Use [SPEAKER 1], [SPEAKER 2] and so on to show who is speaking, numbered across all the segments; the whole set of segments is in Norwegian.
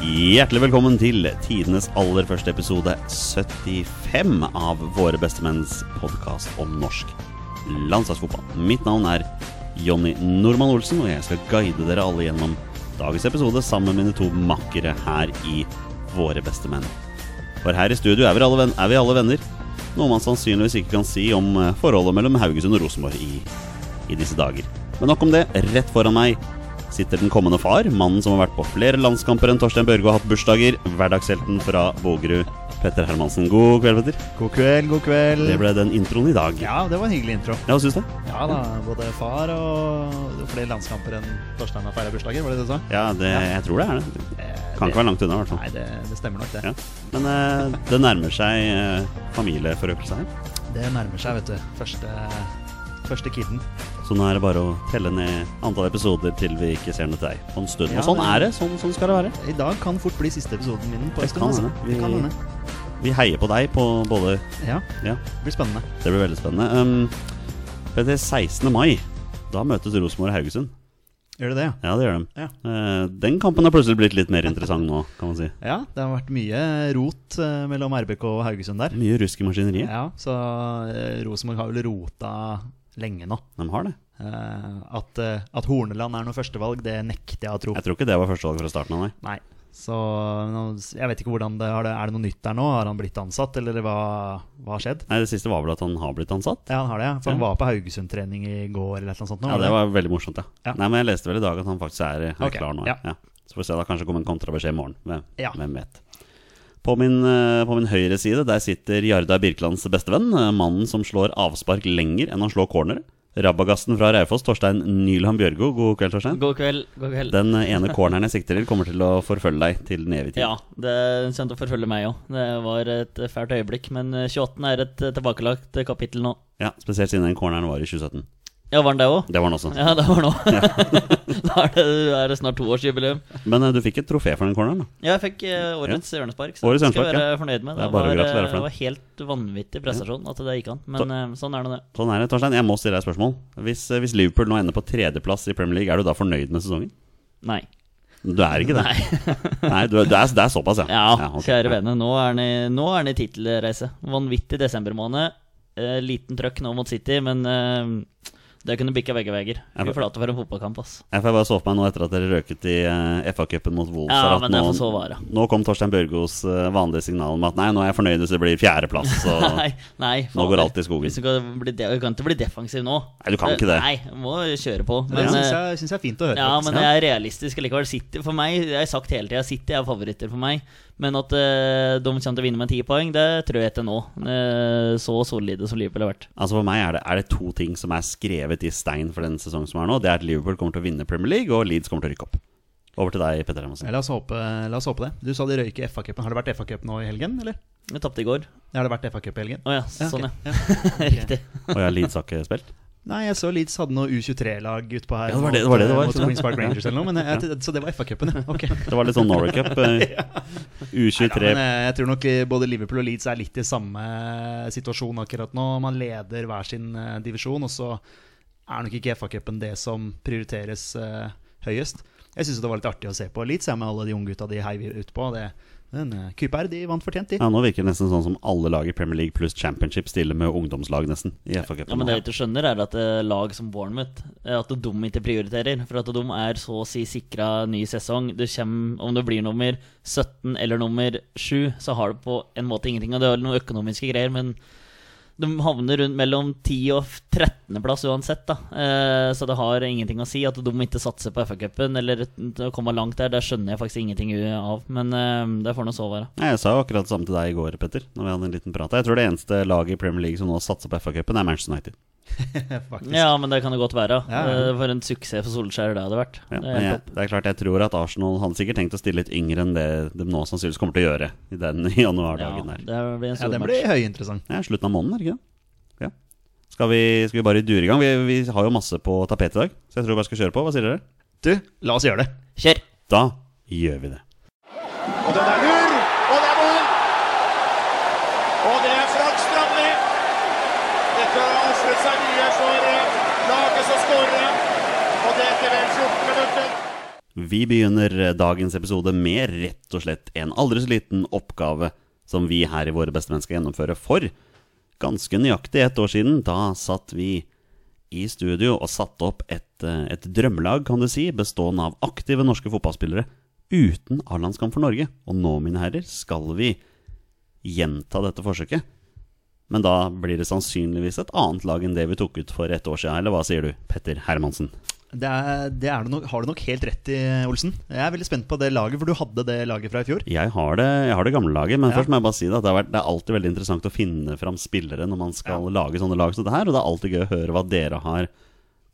[SPEAKER 1] Hjertelig velkommen til tidenes aller første episode 75 av Våre bestemenns podkast om norsk landslagsfotball. Mitt navn er Jonny Normann Olsen, og jeg skal guide dere alle gjennom dagens episode sammen med mine to makkere her i Våre bestemenn. For her i studio er vi alle, venn- er vi alle venner, noe man sannsynligvis ikke kan si om eh, forholdet mellom Haugesund og Rosenborg i, i disse dager. Men nok om det. Rett foran meg sitter den kommende far, mannen som har vært på flere landskamper enn Torstein Børge og hatt bursdager, hverdagshelten fra Bogerud, Petter Hermansen. God kveld, Petter.
[SPEAKER 2] God kveld, god kveld.
[SPEAKER 1] Det ble den introen i dag.
[SPEAKER 2] Ja, det var en hyggelig intro.
[SPEAKER 1] Ja, hva syns du?
[SPEAKER 2] Ja da, både far og flere landskamper enn Torstein har feira bursdager, var det det du sa?
[SPEAKER 1] Ja, det, jeg tror det er det.
[SPEAKER 2] Eh,
[SPEAKER 1] Kan
[SPEAKER 2] det-
[SPEAKER 1] ikke være langt unna, i hvert fall.
[SPEAKER 2] Nei, det, det stemmer nok, det.
[SPEAKER 1] Ja. Men eh, det nærmer seg eh, familieforøkelse her,
[SPEAKER 2] Det nærmer seg, vet du. Første, første kidden.
[SPEAKER 1] så nå er det bare å telle ned antall episoder til vi ikke ser noe til deg på en stund.
[SPEAKER 2] Ja,
[SPEAKER 1] Og sånn
[SPEAKER 2] det-
[SPEAKER 1] er det. Sånn, sånn skal det være.
[SPEAKER 2] I dag kan fort bli siste episoden min. på
[SPEAKER 1] Det
[SPEAKER 2] en stund,
[SPEAKER 1] kan
[SPEAKER 2] altså.
[SPEAKER 1] hende.
[SPEAKER 2] Det kan
[SPEAKER 1] Vi-
[SPEAKER 2] hende.
[SPEAKER 1] Vi heier på deg på både
[SPEAKER 2] Ja,
[SPEAKER 1] Ja,
[SPEAKER 2] det blir spennende.
[SPEAKER 1] det blir veldig spennende. Um, Petter, 16. mai, da møtes Rosenborg og Haugesund.
[SPEAKER 2] Gjør det det, ja?
[SPEAKER 1] Ja, det gjør de.
[SPEAKER 2] Ja.
[SPEAKER 1] Eh, den kampen har plutselig blitt litt mer interessant nå, kan man si.
[SPEAKER 2] Ja, det har vært mye rot eh, mellom RBK og Haugesund der.
[SPEAKER 1] Mye rusk i maskineriet.
[SPEAKER 2] Ja, Så eh, Rosenborg har vel rota lenge nå.
[SPEAKER 1] De har det.
[SPEAKER 2] Eh, at, eh, at Horneland er noe førstevalg, det nekter jeg å tro.
[SPEAKER 1] Jeg tror ikke det var førstevalg fra starten av, nei.
[SPEAKER 2] Nei. Så nå- jeg vet ikke hvordan det, har det Er det noe nytt der nå? Har han blitt ansatt, eller hva, hva har skjedd?
[SPEAKER 1] nei. Det siste var vel at han har blitt ansatt?
[SPEAKER 2] Ja, han har det, ja. For han
[SPEAKER 1] Ja.
[SPEAKER 2] var på Haugesund-trening i går eller et eller annet sånt. nå,
[SPEAKER 1] Ja, det var veldig morsomt, ja.
[SPEAKER 2] Ja.
[SPEAKER 1] Nei, men jeg leste vel i dag at han faktisk er, er
[SPEAKER 2] Ok,
[SPEAKER 1] klar nå.
[SPEAKER 2] ja.
[SPEAKER 1] Ja. Så får vi se, da kanskje det kommer en kontrabeskjed i morgen. Hvem,
[SPEAKER 2] Ja.
[SPEAKER 1] hvem vet. På min, eh, på min høyre side der sitter Jarda Birkelands bestevenn. eh, Mannen som slår avspark lenger enn han slår cornere. Rabagasten fra Raufoss, Torstein Nylhan Bjørgo. God kveld, Torstein.
[SPEAKER 3] God kveld. god kveld
[SPEAKER 1] Den ene corneren jeg sikter til, kommer til å forfølge deg til den evige tid.
[SPEAKER 3] Ja, det kommer til å forfølge meg òg. Det var et fælt øyeblikk, men 28 er et eh, tilbakelagt kapittel nå.
[SPEAKER 1] Ja, Spesielt siden den corneren var i 2017.
[SPEAKER 3] Ja, var den det òg?
[SPEAKER 1] Det var den også.
[SPEAKER 3] Ja, det var nå. da er det, er det snart toårsjubileum.
[SPEAKER 1] Men eh, du fikk et trofé for den corneren. da
[SPEAKER 3] Ja, jeg fikk eh, årets ørnespark, så
[SPEAKER 1] Årets
[SPEAKER 3] det skal
[SPEAKER 1] ørnespark,
[SPEAKER 3] jeg være fornøyd med.
[SPEAKER 1] Det er bare å
[SPEAKER 3] var, eh,
[SPEAKER 1] gratulere for
[SPEAKER 3] det var helt vanvittig prestasjon at det gikk an, men eh, sånn er nå det.
[SPEAKER 1] Sånn er det, Torstein. Jeg må stille deg et spørsmål. Hvis, eh, hvis Liverpool nå ender på tredjeplass i Premier League, er du da fornøyd med sesongen?
[SPEAKER 3] Nei.
[SPEAKER 1] Du er ikke det? Nei, du, er- det, er, det er såpass, ja.
[SPEAKER 3] Ja,
[SPEAKER 1] ok.
[SPEAKER 3] kjære vene, nå er den i- nå er den i tittelreise. Vanvittig desembermåned. Eh, liten trøkk nå mot City, men eh, det kunne bikka begge veier. Fy flate for en fotballkamp, ass.
[SPEAKER 1] Jeg får bare sove på meg nå etter at dere røket i eh, FA-cupen mot Wolves.
[SPEAKER 3] Ja,
[SPEAKER 1] her, at
[SPEAKER 3] men det
[SPEAKER 1] nå-
[SPEAKER 3] får så være.
[SPEAKER 1] Nå kom Torstein Børgos eh, vanlige signal om at nei, nå er jeg fornøyd hvis det blir fjerdeplass. Så...
[SPEAKER 3] Nei, nei fader.
[SPEAKER 1] går alt i skogen.
[SPEAKER 3] Hvis du kan, bli de du kan ikke bli defensiv nå.
[SPEAKER 1] Nei, du kan ikke det.
[SPEAKER 3] Nei, må kjøre på.
[SPEAKER 2] det
[SPEAKER 3] Men,
[SPEAKER 2] syns
[SPEAKER 3] eh,
[SPEAKER 2] jeg, synes jeg er fint å høre.
[SPEAKER 3] ja,
[SPEAKER 2] faktisk.
[SPEAKER 3] men jeg er realistisk likevel. City for meg, jeg har sagt hele tida, City er favoritter for meg. Men at eh, de kommer til å vinne med ti poeng, det tror jeg ikke nå. Eh, så solide som Liverpool har vært.
[SPEAKER 1] Altså For meg er det, er det to ting som er skrevet i stein for den sesongen som er nå. Det er at Liverpool kommer til å vinne Premier League, og Leeds kommer til å rykke opp. Over til deg, Petter Hermansen.
[SPEAKER 2] Ja, La oss, håpe, la oss håpe det. Du sa de røyk i FA-cupen. Har det vært FA-cup nå i helgen, eller?
[SPEAKER 3] Vi tapte i går.
[SPEAKER 2] Har det vært FA-cup i helgen?
[SPEAKER 3] Å ja,
[SPEAKER 2] Ja,
[SPEAKER 3] sånn
[SPEAKER 2] ok.
[SPEAKER 3] ja. Riktig.
[SPEAKER 1] Og ja, Leeds har ikke spilt.
[SPEAKER 2] Nei, jeg så Leeds hadde noe U23-lag utpå her.
[SPEAKER 1] Ja, det var det- det var det det var,
[SPEAKER 2] mot
[SPEAKER 1] ikke sant?
[SPEAKER 2] Queens Park Rangers eller noe. Men jeg, jeg- så det var FA-cupen, ja. Ok.
[SPEAKER 1] Det var litt sånn Norway Cup. eh,
[SPEAKER 2] Ja, men
[SPEAKER 1] U23
[SPEAKER 2] eh, jeg tror nok eh, både Liverpool og Leeds er litt i samme eh, situasjon akkurat nå. Man leder hver sin eh, divisjon, og så er nok ikke FA-cupen det som prioriteres eh, høyest. Jeg syns det var litt artig å se på Leeds, jeg med alle de unge gutta de heiv utpå. Det- Men eh, Cooper, de vant fortjent, de.
[SPEAKER 1] Ja, Nå virker det nesten sånn som alle lag i Premier League pluss Championship stiller med ungdomslag, nesten. I FA-cupen.
[SPEAKER 3] Ja, men det jeg ikke skjønner, er at eh, lag som Bournemouth eh, At de ikke prioriterer. For at de er så å si sikra ny sesong. Du kommer, om du blir nummer 17 eller nummer 7, så har du på en måte ingenting. Og det er vel noen økonomiske greier, men de havner rundt mellom 10. og 13. plass uansett. da Eh, Så det har ingenting å si at de ikke satser på FA-cupen eller å komme langt der. Det skjønner jeg faktisk ingenting av, men eh, det får nå så være.
[SPEAKER 1] Nei, Jeg sa jo akkurat det samme til deg i går, Petter. Når vi hadde en liten prat Jeg tror det eneste laget i Premier League som nå satser på FA-cupen, er Manchester United.
[SPEAKER 2] Faktisk.
[SPEAKER 3] Ja, men det kan det godt være.
[SPEAKER 2] Ja, ja.
[SPEAKER 3] Eh, For en suksess for Solskjær det hadde vært.
[SPEAKER 1] Ja,
[SPEAKER 3] Det er
[SPEAKER 1] men
[SPEAKER 3] helt
[SPEAKER 1] jeg, det er klart, jeg tror at Arsenal hadde sikkert tenkt å stille litt yngre enn det de nå sannsynligvis kommer til å gjøre i den januardagen der.
[SPEAKER 3] Ja, det blir en
[SPEAKER 2] Ja,
[SPEAKER 3] stor
[SPEAKER 2] den
[SPEAKER 3] match.
[SPEAKER 2] blir høyinteressant.
[SPEAKER 1] Ja, slutten av måneden, er det ikke det? Ja. Skal vi, skal vi bare dure i gang? Vi, vi har jo masse på tapetet i dag, så jeg tror vi bare skal kjøre på. Hva sier dere?
[SPEAKER 2] Du, la oss gjøre det.
[SPEAKER 3] Kjør!
[SPEAKER 1] Da gjør vi det.
[SPEAKER 4] Og den er lur, og det er mål! Og det er Frank Strandli. Dette har avsluttet seg mye for eh, laget som skårer. Og det etter vel 14 minutter.
[SPEAKER 1] Vi begynner dagens episode med rett og slett en aldri så liten oppgave som vi her i Våre beste menn skal gjennomføre for ganske nøyaktig ett år siden. Da satt vi i studio og satte opp et, eh, et drømmelag, kan du si, bestående av aktive norske fotballspillere uten A-landskamp for Norge. Og nå, mine herrer, skal vi gjenta dette forsøket. Men da blir det sannsynligvis et annet lag enn det vi tok ut for et år siden, eller hva sier du, Petter Hermansen?
[SPEAKER 2] Det, er, det er du nok, har du nok helt rett i, Olsen. Jeg er veldig spent på det laget, for du hadde det laget fra i fjor.
[SPEAKER 1] Jeg har det, jeg har det gamle laget, men
[SPEAKER 2] Ja.
[SPEAKER 1] først må jeg bare si det at det, har vært, det er alltid veldig interessant å finne fram spillere når man skal lage sånne lag som det her, og det er alltid gøy å høre hva dere har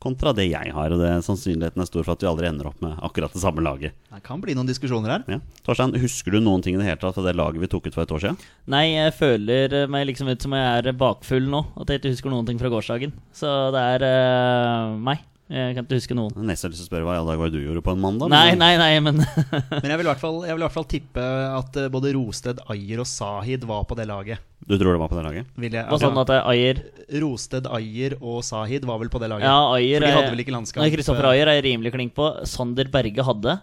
[SPEAKER 1] kontra det jeg har, og det sannsynligheten er stor for at vi aldri ender opp med akkurat det samme laget.
[SPEAKER 2] Det kan bli noen diskusjoner her.
[SPEAKER 1] Ja. Torstein, husker du noen ting i det hele tatt fra det laget vi tok ut for et år siden?
[SPEAKER 3] Nei, jeg føler meg liksom ut som jeg er bakfull nå. At jeg ikke husker noen ting fra gårsdagen. Så det er eh, meg. Jeg kan ikke huske noen.
[SPEAKER 1] Jeg har Nesten lyst til å spørre hva i all dag var det du gjorde på en mandag?
[SPEAKER 3] Nei,
[SPEAKER 1] men-
[SPEAKER 3] nei, nei, men
[SPEAKER 2] Men jeg vil i hvert fall, jeg vil i hvert fall tippe at eh, både Rosted, Ayer og Sahid var på det laget.
[SPEAKER 1] Du tror det var på det laget?
[SPEAKER 2] Vil jeg,
[SPEAKER 3] Og sånn at det er Ayer
[SPEAKER 2] Rosted, Ayer og Sahid var vel på det laget.
[SPEAKER 3] Ja, Ayer
[SPEAKER 2] For de
[SPEAKER 3] er-
[SPEAKER 2] hadde vel ikke eh, landskamp?
[SPEAKER 3] Nei, Kristoffer Ayer er jeg rimelig klink på. Sander Berge hadde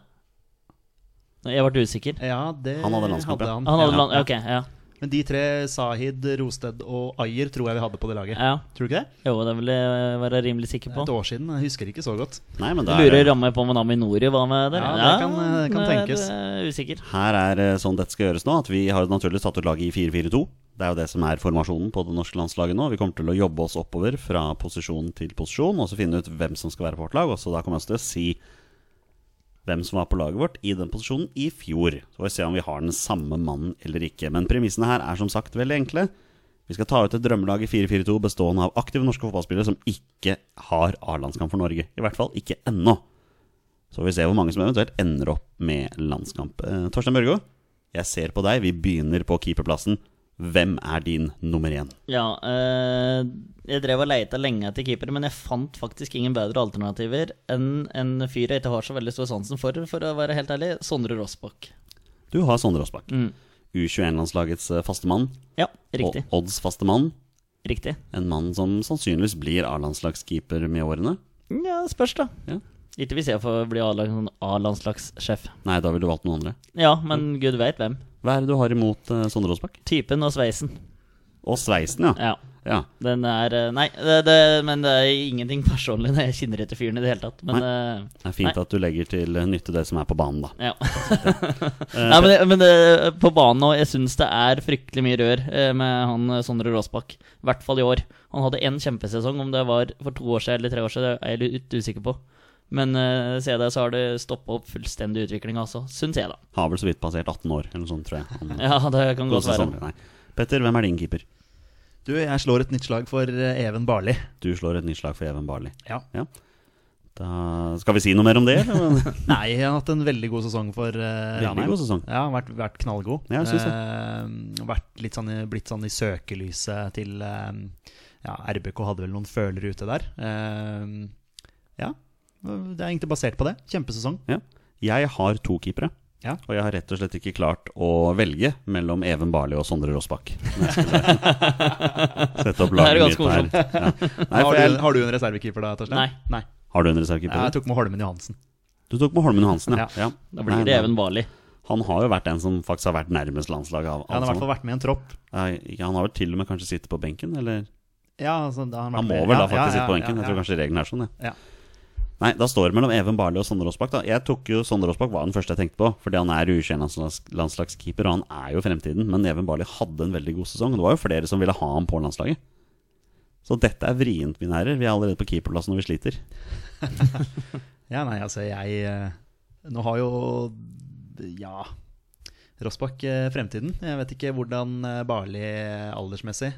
[SPEAKER 3] Nei, Jeg ble usikker.
[SPEAKER 2] Ja, det
[SPEAKER 1] Han hadde landskamp, ja.
[SPEAKER 2] han.
[SPEAKER 3] Han hadde
[SPEAKER 2] Ja.
[SPEAKER 3] land... Ok, ja.
[SPEAKER 2] Men de tre, Sahid, Rosted og Ayer, tror jeg vi hadde på det laget.
[SPEAKER 3] ja.
[SPEAKER 2] Tror du ikke det?
[SPEAKER 3] Jo, det vil jeg være rimelig sikker
[SPEAKER 2] Det er
[SPEAKER 3] på.
[SPEAKER 2] et år siden, jeg husker ikke så godt.
[SPEAKER 1] Nei, men da
[SPEAKER 3] Jeg lurer
[SPEAKER 1] er,
[SPEAKER 3] ramme på om Nami Nori var med der.
[SPEAKER 2] Ja, det kan- det kan
[SPEAKER 3] det-
[SPEAKER 2] tenkes.
[SPEAKER 3] det er Usikker.
[SPEAKER 1] her er eh, sånn dette skal gjøres nå, at vi har naturligvis tatt ut laget i 4-4-2. Det er jo det som er formasjonen på det norske landslaget nå. Vi kommer til å jobbe oss oppover fra posisjon til posisjon, og så finne ut hvem som skal være på vårt lag. Og så da kommer jeg også til å si hvem som var på laget vårt i den posisjonen i fjor. Så får vi se om vi har den samme mannen eller ikke. Men premissene her er som sagt veldig enkle. Vi skal ta ut et drømmelag i 4-4-2 bestående av aktive norske fotballspillere som ikke har A-landskamp for Norge. I hvert fall ikke ennå. Så får vi se hvor mange som eventuelt ender opp med landskamp. Eh, Torstein Børgo, jeg ser på deg. Vi begynner på keeperplassen. Hvem er din nummer én?
[SPEAKER 3] Ja, eh, jeg drev og leita lenge etter keepere, men jeg fant faktisk ingen bedre alternativer enn en fyr jeg ikke har så veldig stor sansen for, for å være helt ærlig. Sondre Rossbakk.
[SPEAKER 1] Du har Sondre Aasbakk.
[SPEAKER 3] Mm.
[SPEAKER 1] U21-landslagets eh, faste mann.
[SPEAKER 3] Ja, riktig.
[SPEAKER 1] Og odds faste mann.
[SPEAKER 3] Riktig.
[SPEAKER 1] En mann som sannsynligvis blir A-landslagskeeper med årene.
[SPEAKER 3] Ja, det spørs, da.
[SPEAKER 1] Ja.
[SPEAKER 3] Ikke hvis jeg får bli A-lag- sånn A-landslagssjef.
[SPEAKER 1] Nei, da ville du valgt noen andre.
[SPEAKER 3] Ja, men gud veit hvem.
[SPEAKER 1] Hva er det du har imot eh, Sondre Aasbakk?
[SPEAKER 3] Typen og sveisen.
[SPEAKER 1] Og sveisen, ja.
[SPEAKER 3] Ja.
[SPEAKER 1] ja.
[SPEAKER 3] Den er eh, Nei, det, det, men det er ingenting personlig. Jeg kjenner ikke fyren i det hele tatt. Men eh,
[SPEAKER 1] Det er fint at du legger til nytte det som er på banen, da.
[SPEAKER 3] Ja. Nei, men, det- men det, på banen nå, jeg syns det er fryktelig mye rør eh, med han eh, Sondre Råsbakk. I hvert fall i år. Han hadde én kjempesesong, om det var for to år siden eller tre år siden, det er jeg litt usikker på. Men eh, siden det så har det stoppa opp fullstendig utviklinga også, syns jeg, da.
[SPEAKER 1] Har vel så vidt passert 18 år, eller noe sånt, tror jeg. Han,
[SPEAKER 3] Ja, det kan godt
[SPEAKER 1] Rosa
[SPEAKER 3] være.
[SPEAKER 1] Sondre, nei. Petter, hvem er din keeper?
[SPEAKER 2] Du, jeg slår et nytt slag for eh, Even Barli.
[SPEAKER 1] Du slår et nytt slag for Even Barli.
[SPEAKER 2] Ja.
[SPEAKER 1] Da skal vi si noe mer om det? eller?
[SPEAKER 2] Nei, han har hatt en veldig god sesong for eh,
[SPEAKER 1] Veldig
[SPEAKER 2] Ranheim.
[SPEAKER 1] god sesong.
[SPEAKER 2] Ja, han har vært, vært knallgod.
[SPEAKER 1] Ja, jeg synes det.
[SPEAKER 2] Eh, vært litt sånn, i- blitt sånn i søkelyset til eh, Ja, RBK hadde vel noen følere ute der. Eh, ja. Det er egentlig basert på det. Kjempesesong.
[SPEAKER 1] Ja. Jeg har to keepere.
[SPEAKER 2] Ja.
[SPEAKER 1] Og jeg har rett og slett ikke klart å velge mellom Even Barli og Sondre Rossbakk. Når jeg skulle Sette opp
[SPEAKER 3] Det er
[SPEAKER 1] laget mitt
[SPEAKER 3] ganske
[SPEAKER 1] her.
[SPEAKER 3] morsomt.
[SPEAKER 1] Ja. Nei,
[SPEAKER 2] har,
[SPEAKER 1] for
[SPEAKER 2] du,
[SPEAKER 1] jeg,
[SPEAKER 2] har du en reservekeeper da, Torstein?
[SPEAKER 3] Nei.
[SPEAKER 2] Nei.
[SPEAKER 1] har du en
[SPEAKER 2] Ja, Jeg
[SPEAKER 1] reservekeeper?
[SPEAKER 2] tok med Holmen Johansen.
[SPEAKER 1] Du tok med Holmen Johansen, ja.
[SPEAKER 2] Ja.
[SPEAKER 1] ja.
[SPEAKER 3] Da blir
[SPEAKER 1] Nei,
[SPEAKER 3] det
[SPEAKER 1] nei.
[SPEAKER 3] Even Barli.
[SPEAKER 1] Han har jo vært den som faktisk har vært nærmest landslaget av
[SPEAKER 2] Ja, han
[SPEAKER 1] alle
[SPEAKER 2] har i hvert
[SPEAKER 1] sammen.
[SPEAKER 2] fall vært med i en tropp.
[SPEAKER 1] Nei, ikke- Han har vel til og med kanskje sittet på benken, eller?
[SPEAKER 2] Ja, altså, da har vært
[SPEAKER 1] Han må
[SPEAKER 2] med-
[SPEAKER 1] vel
[SPEAKER 2] ja,
[SPEAKER 1] da faktisk
[SPEAKER 2] ja,
[SPEAKER 1] sitte på
[SPEAKER 2] ja,
[SPEAKER 1] benken.
[SPEAKER 2] ja,
[SPEAKER 1] Jeg tror
[SPEAKER 2] ja.
[SPEAKER 1] kanskje regelen er sånn, ja.
[SPEAKER 2] Ja.
[SPEAKER 1] Nei, da står det mellom Even Barli og Sondre Aasbakk. da. Jeg tok jo Sondre Aasbakk var den første jeg tenkte på, fordi han er U21-landslagskeeper, og han er jo fremtiden. Men Even Barli hadde en veldig god sesong. og Det var jo flere som ville ha ham på landslaget. Så dette er vrient, mine herrer. Vi er allerede på keeperplassen når vi sliter.
[SPEAKER 2] Ja, nei, altså jeg eh, Nå har jo Ja. Rossbakk eh, fremtiden. Jeg vet ikke hvordan eh, Barli eh, aldersmessig.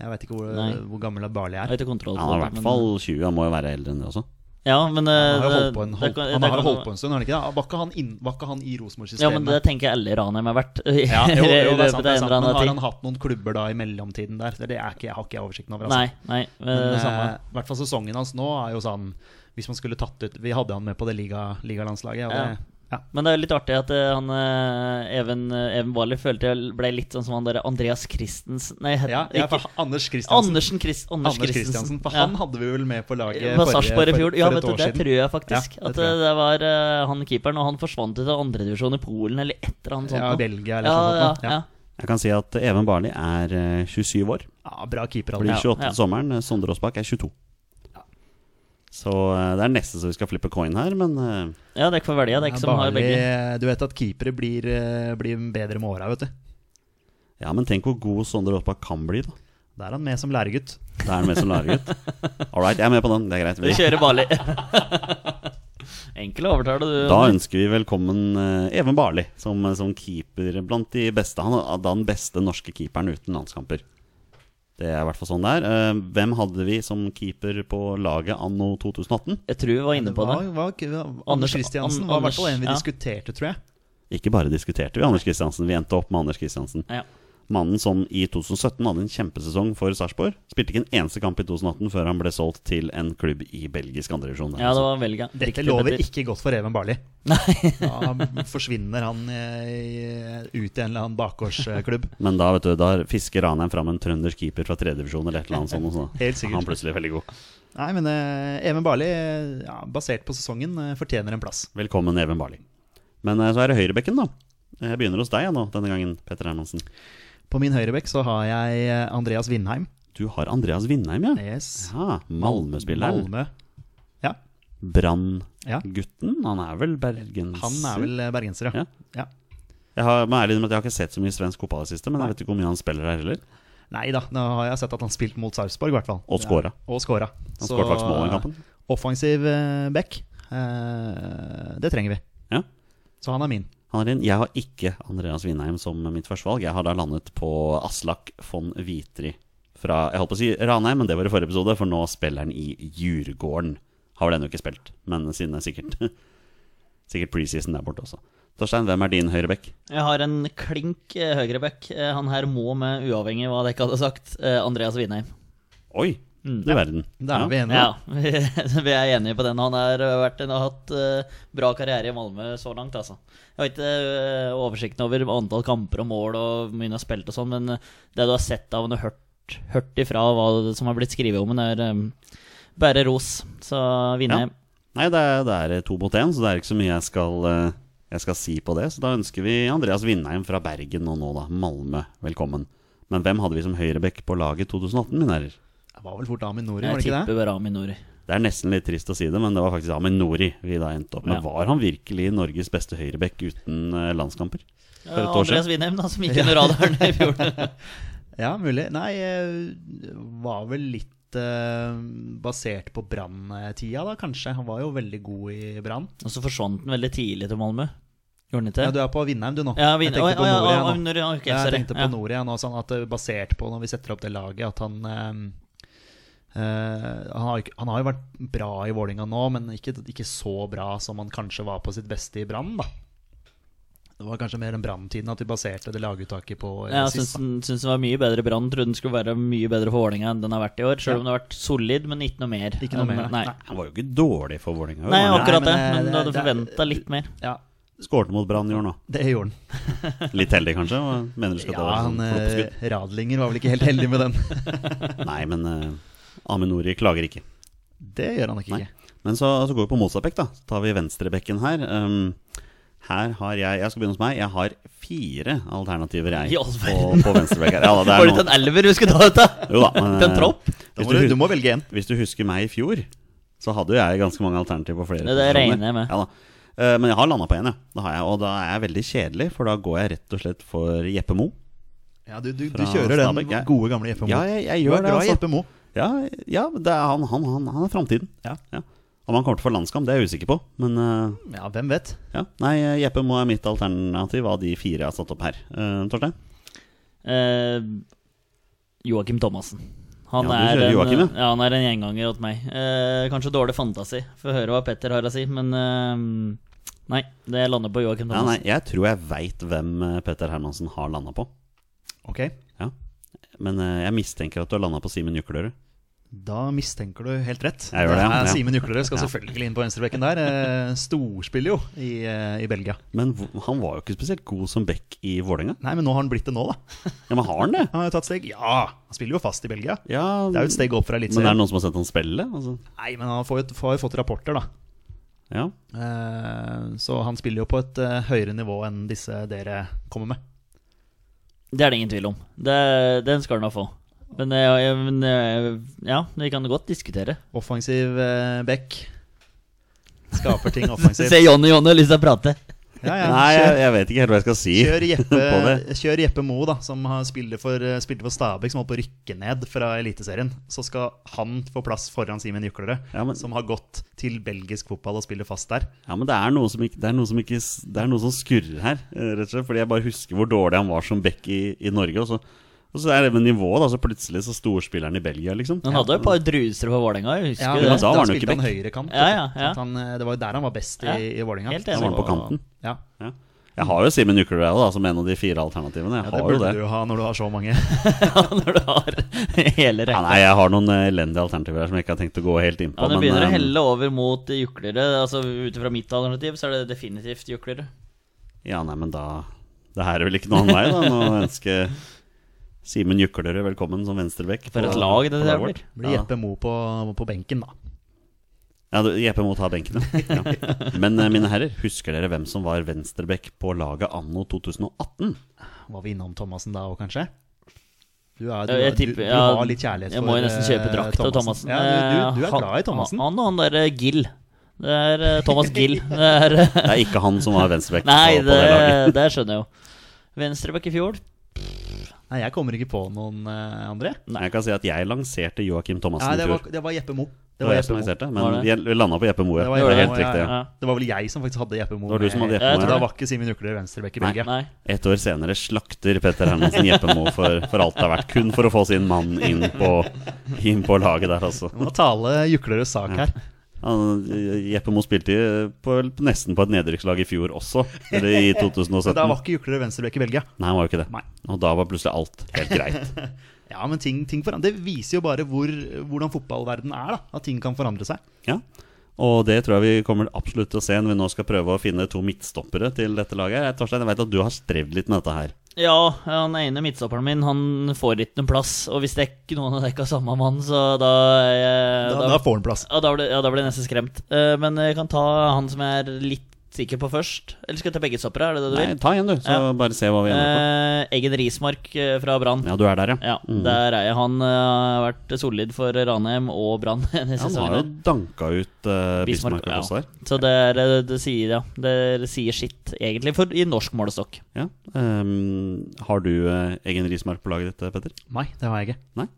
[SPEAKER 2] Jeg vet ikke hvor,
[SPEAKER 3] Nei.
[SPEAKER 2] hvor gammel Barli
[SPEAKER 3] Jeg
[SPEAKER 2] er.
[SPEAKER 3] har ikke kontroll
[SPEAKER 1] Han
[SPEAKER 3] på
[SPEAKER 1] er i
[SPEAKER 3] det,
[SPEAKER 1] hvert
[SPEAKER 3] men-
[SPEAKER 1] fall 20, han må jo være eldre enn det også.
[SPEAKER 3] Ja, men eh,
[SPEAKER 2] Han har jo
[SPEAKER 3] det-
[SPEAKER 2] holdt på en,
[SPEAKER 3] det
[SPEAKER 2] holdt,
[SPEAKER 3] kan-
[SPEAKER 2] han
[SPEAKER 3] det
[SPEAKER 2] har jo
[SPEAKER 3] kan-
[SPEAKER 2] holdt på en stund, har han ikke det? Var ikke han, inn, var ikke han i
[SPEAKER 3] Ja, men det
[SPEAKER 2] Rosenborg-systemet?
[SPEAKER 3] tenker jeg alle Ranheim har vært. Ja,
[SPEAKER 2] jo, jo, det er sant, det er sant. Men har
[SPEAKER 3] tid.
[SPEAKER 2] han hatt noen klubber da i mellomtiden der? Det er ikke, jeg har ikke jeg oversikten over. altså.
[SPEAKER 3] Nei, nei, eh,
[SPEAKER 2] Men,
[SPEAKER 3] samme.
[SPEAKER 2] eh, i hvert fall sesongen hans nå er jo sånn Hvis man skulle tatt ut Vi hadde han med på det liga- ligalandslaget. og
[SPEAKER 3] Ja.
[SPEAKER 2] det- Ja.
[SPEAKER 3] Men det er jo litt artig at eh, han eh, Even, eh, Even Barley følte jeg ble litt sånn som han der Andreas Christensen Nei, het,
[SPEAKER 2] Ja, ja
[SPEAKER 3] ikke,
[SPEAKER 2] for Anders Christiansen.
[SPEAKER 3] Andersen Chris, Anders,
[SPEAKER 2] Anders Christiansen, For han hadde vi vel med på laget
[SPEAKER 3] På
[SPEAKER 2] forrige-
[SPEAKER 3] Sarpsborg i
[SPEAKER 2] for-
[SPEAKER 3] fjor. Ja,
[SPEAKER 2] for et
[SPEAKER 3] vet du,
[SPEAKER 2] år
[SPEAKER 3] det
[SPEAKER 2] siden.
[SPEAKER 3] tror jeg faktisk.
[SPEAKER 2] Ja, det
[SPEAKER 3] at
[SPEAKER 2] tror jeg.
[SPEAKER 3] eh, det var eh, han keeperen, og han forsvant ut av andredivisjon i Polen eller et eller annet sånt.
[SPEAKER 2] Ja,
[SPEAKER 3] nå.
[SPEAKER 2] Belgia eller
[SPEAKER 3] ja, ja,
[SPEAKER 2] sånt. nå.
[SPEAKER 3] ja.
[SPEAKER 1] Jeg kan si at Even Barli er eh, 27 år.
[SPEAKER 2] ja, Bra keeper. altså.
[SPEAKER 1] Blir
[SPEAKER 2] Anders.
[SPEAKER 1] 28
[SPEAKER 3] ja.
[SPEAKER 1] til sommeren. eh, Sondre Aasbakk er 22. Så eh, det er nesten så vi skal flippe coin her, men eh,
[SPEAKER 3] ja, det er ikke for å velge. Det er ikke som har
[SPEAKER 2] Barley,
[SPEAKER 3] begge.
[SPEAKER 2] eh, Du vet at keepere blir, eh, blir bedre med åra, vet du.
[SPEAKER 1] Ja, men tenk hvor god Sondre Aasbakk kan bli, da.
[SPEAKER 2] Da er han med som læregutt.
[SPEAKER 1] Det er han med som laregutt. All right, jeg er med på den. Det er greit.
[SPEAKER 3] Vi
[SPEAKER 1] Vi-
[SPEAKER 3] kjører Bali. Enkel overtale, du.
[SPEAKER 1] Da ønsker vi velkommen eh, Even Barli som, som keeper blant de beste. Han er da den beste norske keeperen uten landskamper. Det er i hvert fall sånn det er. Eh, Hvem hadde vi som keeper på laget anno 2018?
[SPEAKER 3] Jeg tror vi var inne på det.
[SPEAKER 2] var, var, var,
[SPEAKER 3] Anders-
[SPEAKER 2] Anders Christiansen
[SPEAKER 3] An-
[SPEAKER 2] var i
[SPEAKER 3] Anders,
[SPEAKER 2] hvert fall en vi
[SPEAKER 3] ja.
[SPEAKER 2] diskuterte, tror jeg.
[SPEAKER 1] Ikke bare diskuterte vi Anders Kristiansen, vi endte opp med Anders Kristiansen.
[SPEAKER 3] Ja.
[SPEAKER 1] Mannen som i 2017 hadde en kjempesesong for Sarpsborg. Spilte ikke en eneste kamp i 2018 før han ble solgt til en klubb i belgisk andredivisjon.
[SPEAKER 3] Ja, det var Belgia.
[SPEAKER 2] Dette
[SPEAKER 3] Riktig,
[SPEAKER 2] lover
[SPEAKER 3] Petter.
[SPEAKER 2] ikke godt for Even Barli. Da forsvinner han eh, i- ut i en eller annen bakgårdsklubb.
[SPEAKER 1] Men da vet du, da fisker Ranheim fram en trøndersk keeper fra tredjedivisjon eller et eller annet sånt. og så-
[SPEAKER 2] Helt sikkert.
[SPEAKER 1] Han er plutselig veldig god.
[SPEAKER 2] Nei, men eh, Even Barli, eh, ja, basert på sesongen, eh, fortjener en plass.
[SPEAKER 1] Velkommen, Even Barli. Men eh, så er det høyrebekken, da. Jeg begynner hos deg ja, nå, denne gangen, Petter Hermansen.
[SPEAKER 2] På min høyrebekk så har jeg eh, Andreas Vindheim.
[SPEAKER 1] Du har Andreas Vindheim, ja.
[SPEAKER 2] Yes.
[SPEAKER 1] ja Malmö-spilleren.
[SPEAKER 2] Malmö. Ja, Ja.
[SPEAKER 1] Brann-gutten. Han er vel bergenser?
[SPEAKER 2] han er vel eh, bergenser,
[SPEAKER 1] Ja.
[SPEAKER 2] ja. ja.
[SPEAKER 1] Jeg har, må ærlig innrømme at jeg har ikke sett så mye svensk fotball i det siste, men jeg vet ikke hvor mye han spiller her heller.
[SPEAKER 2] Nei da, nå har jeg sett at han spilte mot Sarpsborg, i hvert fall.
[SPEAKER 1] Og scora.
[SPEAKER 2] Ja, og scora.
[SPEAKER 1] Han skåret faktisk mål i kampen.
[SPEAKER 2] Offensiv eh, back. eh, det trenger vi.
[SPEAKER 1] Ja.
[SPEAKER 2] Så han er min.
[SPEAKER 1] Han er inn. Jeg har ikke Andreas Vindheim som mitt førstevalg. Jeg har da landet på Aslak von Vitri fra Jeg holdt på å si Ranheim, men det var i forrige episode, for nå spiller han i Djurgården. Har vel ennå ikke spilt, men siden det er sikkert Sikkert preseason der borte også. Torstein, hvem er din høyreback?
[SPEAKER 3] Jeg har en klink eh, høyreback. Eh, Han her må med, uavhengig av hva dere hadde sagt, eh, Andreas Winheim.
[SPEAKER 1] Oi, du verden.
[SPEAKER 2] Mm. Der er vi enige.
[SPEAKER 3] Ja, vi vi er enige på den. Han har vært en, har hatt eh, bra karriere i Malmö så langt, altså. Jeg har ikke eh, oversikten over antall kamper og mål og hvor mye han har spilt og sånn, men eh, det du har sett av ham og hørt, hørt ifra hva som har blitt skrevet om ham, er eh, bare ros. Så Winheim.
[SPEAKER 1] Nei, det er, det er to mot én, så det er ikke så mye jeg skal, eh, jeg skal si på det. Så da ønsker vi Andreas Vindheim fra Bergen og nå, da, Malmö, velkommen. Men hvem hadde vi som høyreback på laget 2018, mine herrer?
[SPEAKER 2] Det var vel fort Aminori, var
[SPEAKER 3] Jeg
[SPEAKER 2] det ikke det?
[SPEAKER 3] tipper bare Aminori.
[SPEAKER 1] Det er nesten litt trist å si det, men det var faktisk Amin Nori vi da endte opp med.
[SPEAKER 3] Ja.
[SPEAKER 1] Var han virkelig Norges beste høyreback uten eh, landskamper? For et
[SPEAKER 3] Ja,
[SPEAKER 1] år
[SPEAKER 3] Andreas
[SPEAKER 1] siden?
[SPEAKER 3] Winheim, da, som gikk under radaren i fjor.
[SPEAKER 2] Ja, mulig. Nei, eh, var vel litt eh, basert på Brann-tida, da, kanskje. Han var jo veldig god i Brann.
[SPEAKER 3] Og så forsvant den veldig tidlig til Malmö. Gjorde den ikke
[SPEAKER 2] Ja,
[SPEAKER 3] det?
[SPEAKER 2] du er på Vindheim, du, nå.
[SPEAKER 3] Ja, Winheim. Å,
[SPEAKER 2] Jeg tenkte på
[SPEAKER 3] ja,
[SPEAKER 2] Nori,
[SPEAKER 3] ja,
[SPEAKER 2] jeg, nå.
[SPEAKER 3] Aminori, ja, ok,
[SPEAKER 2] Ja, jeg
[SPEAKER 3] sorry.
[SPEAKER 2] tenkte på
[SPEAKER 3] Ja.
[SPEAKER 2] Nori, ja, nå, sånn at eh, basert på når vi setter opp det laget, at han eh, eh, han, har, jo ikke- han har jo vært bra i Vålinga nå, men ikke, ikke så bra som han kanskje var på sitt beste i Brann. da. Det var kanskje mer den Brann-tiden at vi baserte det laguttaket på eh,
[SPEAKER 3] Ja, jeg syns
[SPEAKER 2] sist. da.
[SPEAKER 3] den, syns den var mye bedre i Brann. Trodde den skulle være mye bedre for Vålerenga enn den har vært i år. Selv om den har vært solid, men ikke noe mer.
[SPEAKER 2] Ikke noe
[SPEAKER 3] enn-
[SPEAKER 2] mer,
[SPEAKER 3] Nei,
[SPEAKER 2] nei.
[SPEAKER 1] Han var jo ikke dårlig for Vålerenga.
[SPEAKER 3] nei
[SPEAKER 1] var han?
[SPEAKER 2] men
[SPEAKER 3] akkurat det.
[SPEAKER 2] det-
[SPEAKER 3] Men du hadde
[SPEAKER 2] det- det-
[SPEAKER 3] forventa litt mer.
[SPEAKER 2] Ja,
[SPEAKER 1] Skårte mot Brann i år nå.
[SPEAKER 2] det gjorde han.
[SPEAKER 1] Litt heldig, kanskje? og Mener du skal ta
[SPEAKER 2] Ja, han,
[SPEAKER 1] sånn floppeskudd?
[SPEAKER 2] eh, Radlinger var vel ikke helt heldig med den.
[SPEAKER 1] Nei, men eh, Amin Nori klager ikke.
[SPEAKER 2] Det gjør han nok
[SPEAKER 1] Nei.
[SPEAKER 2] ikke.
[SPEAKER 1] Men så, så går vi på motsatt bekk, da. Så tar vi venstrebekken her. Um, her har jeg Jeg skal begynne hos meg. Jeg har fire alternativer,
[SPEAKER 3] I
[SPEAKER 1] jeg,
[SPEAKER 3] all
[SPEAKER 1] på,
[SPEAKER 3] verden.
[SPEAKER 1] på venstrebekken. Ja, da, det
[SPEAKER 3] Var
[SPEAKER 1] er
[SPEAKER 3] det ikke
[SPEAKER 1] noen.
[SPEAKER 3] en elver du skulle ta ut av?
[SPEAKER 1] Jo da, men,
[SPEAKER 3] Til en
[SPEAKER 1] eh,
[SPEAKER 3] tropp?
[SPEAKER 2] Da
[SPEAKER 1] Hvis
[SPEAKER 2] må
[SPEAKER 1] du,
[SPEAKER 2] du, du
[SPEAKER 1] hus-
[SPEAKER 2] må velge én.
[SPEAKER 1] hvis du husker meg i fjor, så hadde jo jeg ganske mange alternativer på flere.
[SPEAKER 3] Det- det
[SPEAKER 1] posisjoner.
[SPEAKER 3] regner jeg med.
[SPEAKER 1] Ja, da. Eh, Men jeg har landa på én, ja. Det har jeg, og da er jeg veldig kjedelig, for da går jeg rett og slett for Jeppe Mo.
[SPEAKER 2] Ja, du, du, du
[SPEAKER 1] Fra
[SPEAKER 2] kjører den
[SPEAKER 1] Stabæk, ja.
[SPEAKER 2] gode, gamle Jeppe Moe.
[SPEAKER 1] Ja, jeg, jeg
[SPEAKER 2] du er
[SPEAKER 1] gjør det,
[SPEAKER 2] glad i
[SPEAKER 1] altså.
[SPEAKER 2] Jeppe Moe.
[SPEAKER 1] Ja, ja det er han, han, han, han er framtiden. Ja, ja. Om han kommer til å få landskamp, det er jeg usikker på, men eh,
[SPEAKER 2] Ja, hvem vet?
[SPEAKER 1] Ja, Nei, Jeppe må er mitt alternativ av de fire jeg har satt opp her. Eh, Torstein?
[SPEAKER 3] Eh, Joakim Thomassen. Han,
[SPEAKER 1] Ja, du
[SPEAKER 3] er
[SPEAKER 1] kjører
[SPEAKER 3] en,
[SPEAKER 1] Joakim, ja.
[SPEAKER 3] ja, han er en gjenganger åt meg. Eh, kanskje dårlig fantasi, får høre hva Petter har å si, men eh, Nei, det lander på
[SPEAKER 1] Ja,
[SPEAKER 3] Joakim
[SPEAKER 1] nei,
[SPEAKER 3] Thomassen.
[SPEAKER 1] jeg tror jeg veit hvem eh, Petter Hermansen har landa på.
[SPEAKER 2] Ok,
[SPEAKER 1] Men eh, jeg mistenker at du har landa på Simen Juklerud.
[SPEAKER 2] Da mistenker du helt rett.
[SPEAKER 1] Jeg gjør det, ja.
[SPEAKER 2] er
[SPEAKER 1] Ja.
[SPEAKER 2] Simen Juklerød skal
[SPEAKER 1] Ja.
[SPEAKER 2] selvfølgelig inn på venstrebekken der. Eh, Storspiller jo i, eh, i Belgia.
[SPEAKER 1] Men hvor- han var jo ikke spesielt god som back i Vålerenga.
[SPEAKER 2] Nei, men nå har han blitt det nå, da.
[SPEAKER 1] Ja, men har han det?
[SPEAKER 2] Han har jo tatt steg. Ja, han spiller jo fast i Belgia.
[SPEAKER 1] Ja,
[SPEAKER 2] Det er jo et steg opp fra
[SPEAKER 1] Men er det
[SPEAKER 2] eliteserien.
[SPEAKER 1] noen som har sett han spille? Altså,
[SPEAKER 2] Nei, men han får jo, får jo fått rapporter, da.
[SPEAKER 1] ja.
[SPEAKER 2] Eh, Så han spiller jo på et eh, høyere nivå enn disse dere kommer med.
[SPEAKER 3] Det er det ingen tvil om. Det, den skal du nå få. Men, eh, ja, men eh, ja, vi kan godt diskutere.
[SPEAKER 2] Offensiv eh, back. Skaper ting offensivt.
[SPEAKER 3] Se Jonny Jonny har lyst til å prate.
[SPEAKER 2] Ja, ja.
[SPEAKER 1] Nei,
[SPEAKER 2] Kjør,
[SPEAKER 1] jeg, jeg vet ikke helt hva jeg skal si
[SPEAKER 2] kjør,
[SPEAKER 1] på det.
[SPEAKER 2] Jeppe, kjør Jeppe Mo, da, som har- spilte for, eh, spilte for Stabæk, som holdt på å rykke ned fra Eliteserien. Så skal han få plass foran Simen Juklerød,
[SPEAKER 1] Ja, men-
[SPEAKER 2] som har gått til belgisk fotball og spiller fast der.
[SPEAKER 1] Ja, men det er noe som ikke Det er noe som, ikke, s- det er noe som skurrer her, eh, rett og slett. Fordi jeg bare husker hvor dårlig han var som back i, i Norge. Og så, og så er det med nivået, da. Så plutselig så storspiller han i Belgia, liksom.
[SPEAKER 3] Han hadde jo et par druser for Vålerenga, jeg husker
[SPEAKER 1] men
[SPEAKER 3] det.
[SPEAKER 1] da var han jo
[SPEAKER 2] spilte
[SPEAKER 1] ikke
[SPEAKER 2] han høyrekant.
[SPEAKER 3] Ja, ja,
[SPEAKER 2] vet du.
[SPEAKER 3] ja.
[SPEAKER 2] Sånn at Han, eh, det var jo der han var best i,
[SPEAKER 3] Ja.
[SPEAKER 2] i Vålerenga.
[SPEAKER 3] Helt
[SPEAKER 1] Da
[SPEAKER 3] enig.
[SPEAKER 1] var han på kanten.
[SPEAKER 2] Ja.
[SPEAKER 1] Ja. Jeg har jo Simen Uklerød da, som en av de fire alternativene. Jeg
[SPEAKER 2] Ja, det
[SPEAKER 1] har jo
[SPEAKER 2] burde
[SPEAKER 1] det.
[SPEAKER 2] du jo ha når du har så mange.
[SPEAKER 3] Ja, når du har hele
[SPEAKER 1] Ja,
[SPEAKER 3] rekka.
[SPEAKER 1] nei, jeg har noen eh, elendige alternativer her som jeg ikke har tenkt å gå helt inn på.
[SPEAKER 3] Ja, det begynner å
[SPEAKER 1] eh,
[SPEAKER 3] helle over mot juklere. Altså, Ut fra mitt alternativ så er det definitivt juklere.
[SPEAKER 1] Ja, nei, men da Det her er vel ikke noe annet vei, da, enn å ønske Simen Juklerød velkommen som venstrebekk.
[SPEAKER 3] For
[SPEAKER 1] på-
[SPEAKER 3] et lag det
[SPEAKER 1] på
[SPEAKER 3] der
[SPEAKER 1] laget vårt.
[SPEAKER 3] blir.
[SPEAKER 2] Blir
[SPEAKER 1] Ja.
[SPEAKER 2] Jeppe Mo på, på benken, da.
[SPEAKER 1] Ja, du, Jeppe må ta benken, ja. ja. Men eh, mine herrer, husker dere hvem som var venstrebekk på laget anno 2018?
[SPEAKER 2] Var vi innom Thomassen da òg, kanskje? Du, er, du,
[SPEAKER 3] Jeg
[SPEAKER 2] du,
[SPEAKER 3] tipper-
[SPEAKER 2] du
[SPEAKER 3] ja,
[SPEAKER 2] har litt kjærlighet
[SPEAKER 3] Jeg
[SPEAKER 2] for
[SPEAKER 3] må jo nesten kjøpe
[SPEAKER 2] eh,
[SPEAKER 3] drakt av Thomassen.
[SPEAKER 2] Ja, du, du, du er
[SPEAKER 3] Eh,
[SPEAKER 2] glad i Thomassen.
[SPEAKER 3] Han, han og han der eh, Gill. Det er eh, Thomas Gill. Det er, eh,
[SPEAKER 1] Det er ikke han som var venstrebekk på,
[SPEAKER 3] nei,
[SPEAKER 1] på
[SPEAKER 3] det,
[SPEAKER 1] det laget.
[SPEAKER 3] det skjønner jeg jo. Venstrebekk i fjor.
[SPEAKER 2] Nei, jeg kommer ikke på noen, eh, André.
[SPEAKER 1] Jeg kan si at jeg lanserte Joakim Thomassen
[SPEAKER 2] Nei, det
[SPEAKER 1] i fjor.
[SPEAKER 2] var, det var Jeppe Mo.
[SPEAKER 1] Det
[SPEAKER 2] Det
[SPEAKER 1] var
[SPEAKER 2] var
[SPEAKER 1] jeg som
[SPEAKER 2] Jeppe Mo.
[SPEAKER 1] lanserte,
[SPEAKER 3] Var
[SPEAKER 1] men
[SPEAKER 3] det?
[SPEAKER 1] vi landa på Jeppe Moe.
[SPEAKER 2] Det var
[SPEAKER 1] Det
[SPEAKER 2] Jeppe
[SPEAKER 1] var
[SPEAKER 2] Moe,
[SPEAKER 1] helt
[SPEAKER 2] ja,
[SPEAKER 1] riktig, ja.
[SPEAKER 3] Ja.
[SPEAKER 2] Det var vel jeg som faktisk hadde Jeppe Mo.
[SPEAKER 1] Det var du som hadde
[SPEAKER 2] med-
[SPEAKER 1] Jeppe
[SPEAKER 3] Mo,
[SPEAKER 2] Så
[SPEAKER 3] ja.
[SPEAKER 2] Da var ikke Simen Uklerud venstrebekk i
[SPEAKER 1] Nei.
[SPEAKER 2] Belgia.
[SPEAKER 3] Nei.
[SPEAKER 1] Et år senere slakter Petter Hermansen Jeppe Moe for, for alt det har vært. Kun for å få sin mann inn på, inn på laget der, altså.
[SPEAKER 2] Må tale Juklerøds sak her.
[SPEAKER 1] Han, eh, Jeppe Moe spilte i- på, nesten på et nedrykkslag i fjor også, eller i
[SPEAKER 2] Men
[SPEAKER 1] 2017.
[SPEAKER 2] da var ikke Juklerød venstrebekk i Belgia.
[SPEAKER 1] Nei, han var jo ikke det.
[SPEAKER 2] Nei.
[SPEAKER 1] Og da var plutselig alt helt greit.
[SPEAKER 2] Ja, men ting, ting forandrer. Det viser jo bare hvor, hvordan fotballverden er, da. At ting kan forandre seg.
[SPEAKER 1] Ja. Og det tror jeg vi kommer absolutt til å se når vi nå skal prøve å finne to midtstoppere til dette laget. her. Torstein, jeg vet at du har strevd litt med dette her.
[SPEAKER 3] Ja, han ene midtstopperen min Han får ikke noen plass. Og hvis det ikke noen av dere ikke har samme mann, så da, er jeg,
[SPEAKER 2] Da,
[SPEAKER 3] da,
[SPEAKER 2] da får han plass.
[SPEAKER 3] ja, da, blir, ja, da blir jeg nesten skremt. Eh, men jeg kan ta han som jeg er litt sikker på først. Eller skal jeg ta begge stoppere? Er det det du
[SPEAKER 1] Nei,
[SPEAKER 3] vil?
[SPEAKER 1] ta igjen, du, så
[SPEAKER 3] Ja.
[SPEAKER 1] bare se hva vi ender på.
[SPEAKER 3] Eh, Eggen Rismark eh, fra Brann.
[SPEAKER 1] Ja, Mm. du er der, ja.
[SPEAKER 3] Ja, der er jeg. Han eh, har vært solid for Ranheim og Brann
[SPEAKER 1] Han
[SPEAKER 3] denne
[SPEAKER 1] har jo
[SPEAKER 3] sesongen.
[SPEAKER 1] danka ut eh,
[SPEAKER 3] Bismarck,
[SPEAKER 1] Bismarck også der.
[SPEAKER 3] Så det, er, eh, det sier ja. Det sier sitt, egentlig, for i norsk målestokk.
[SPEAKER 1] Ja. ehm, har du eh, egen rismark på laget ditt, eh, Petter?
[SPEAKER 2] Nei, det har jeg ikke.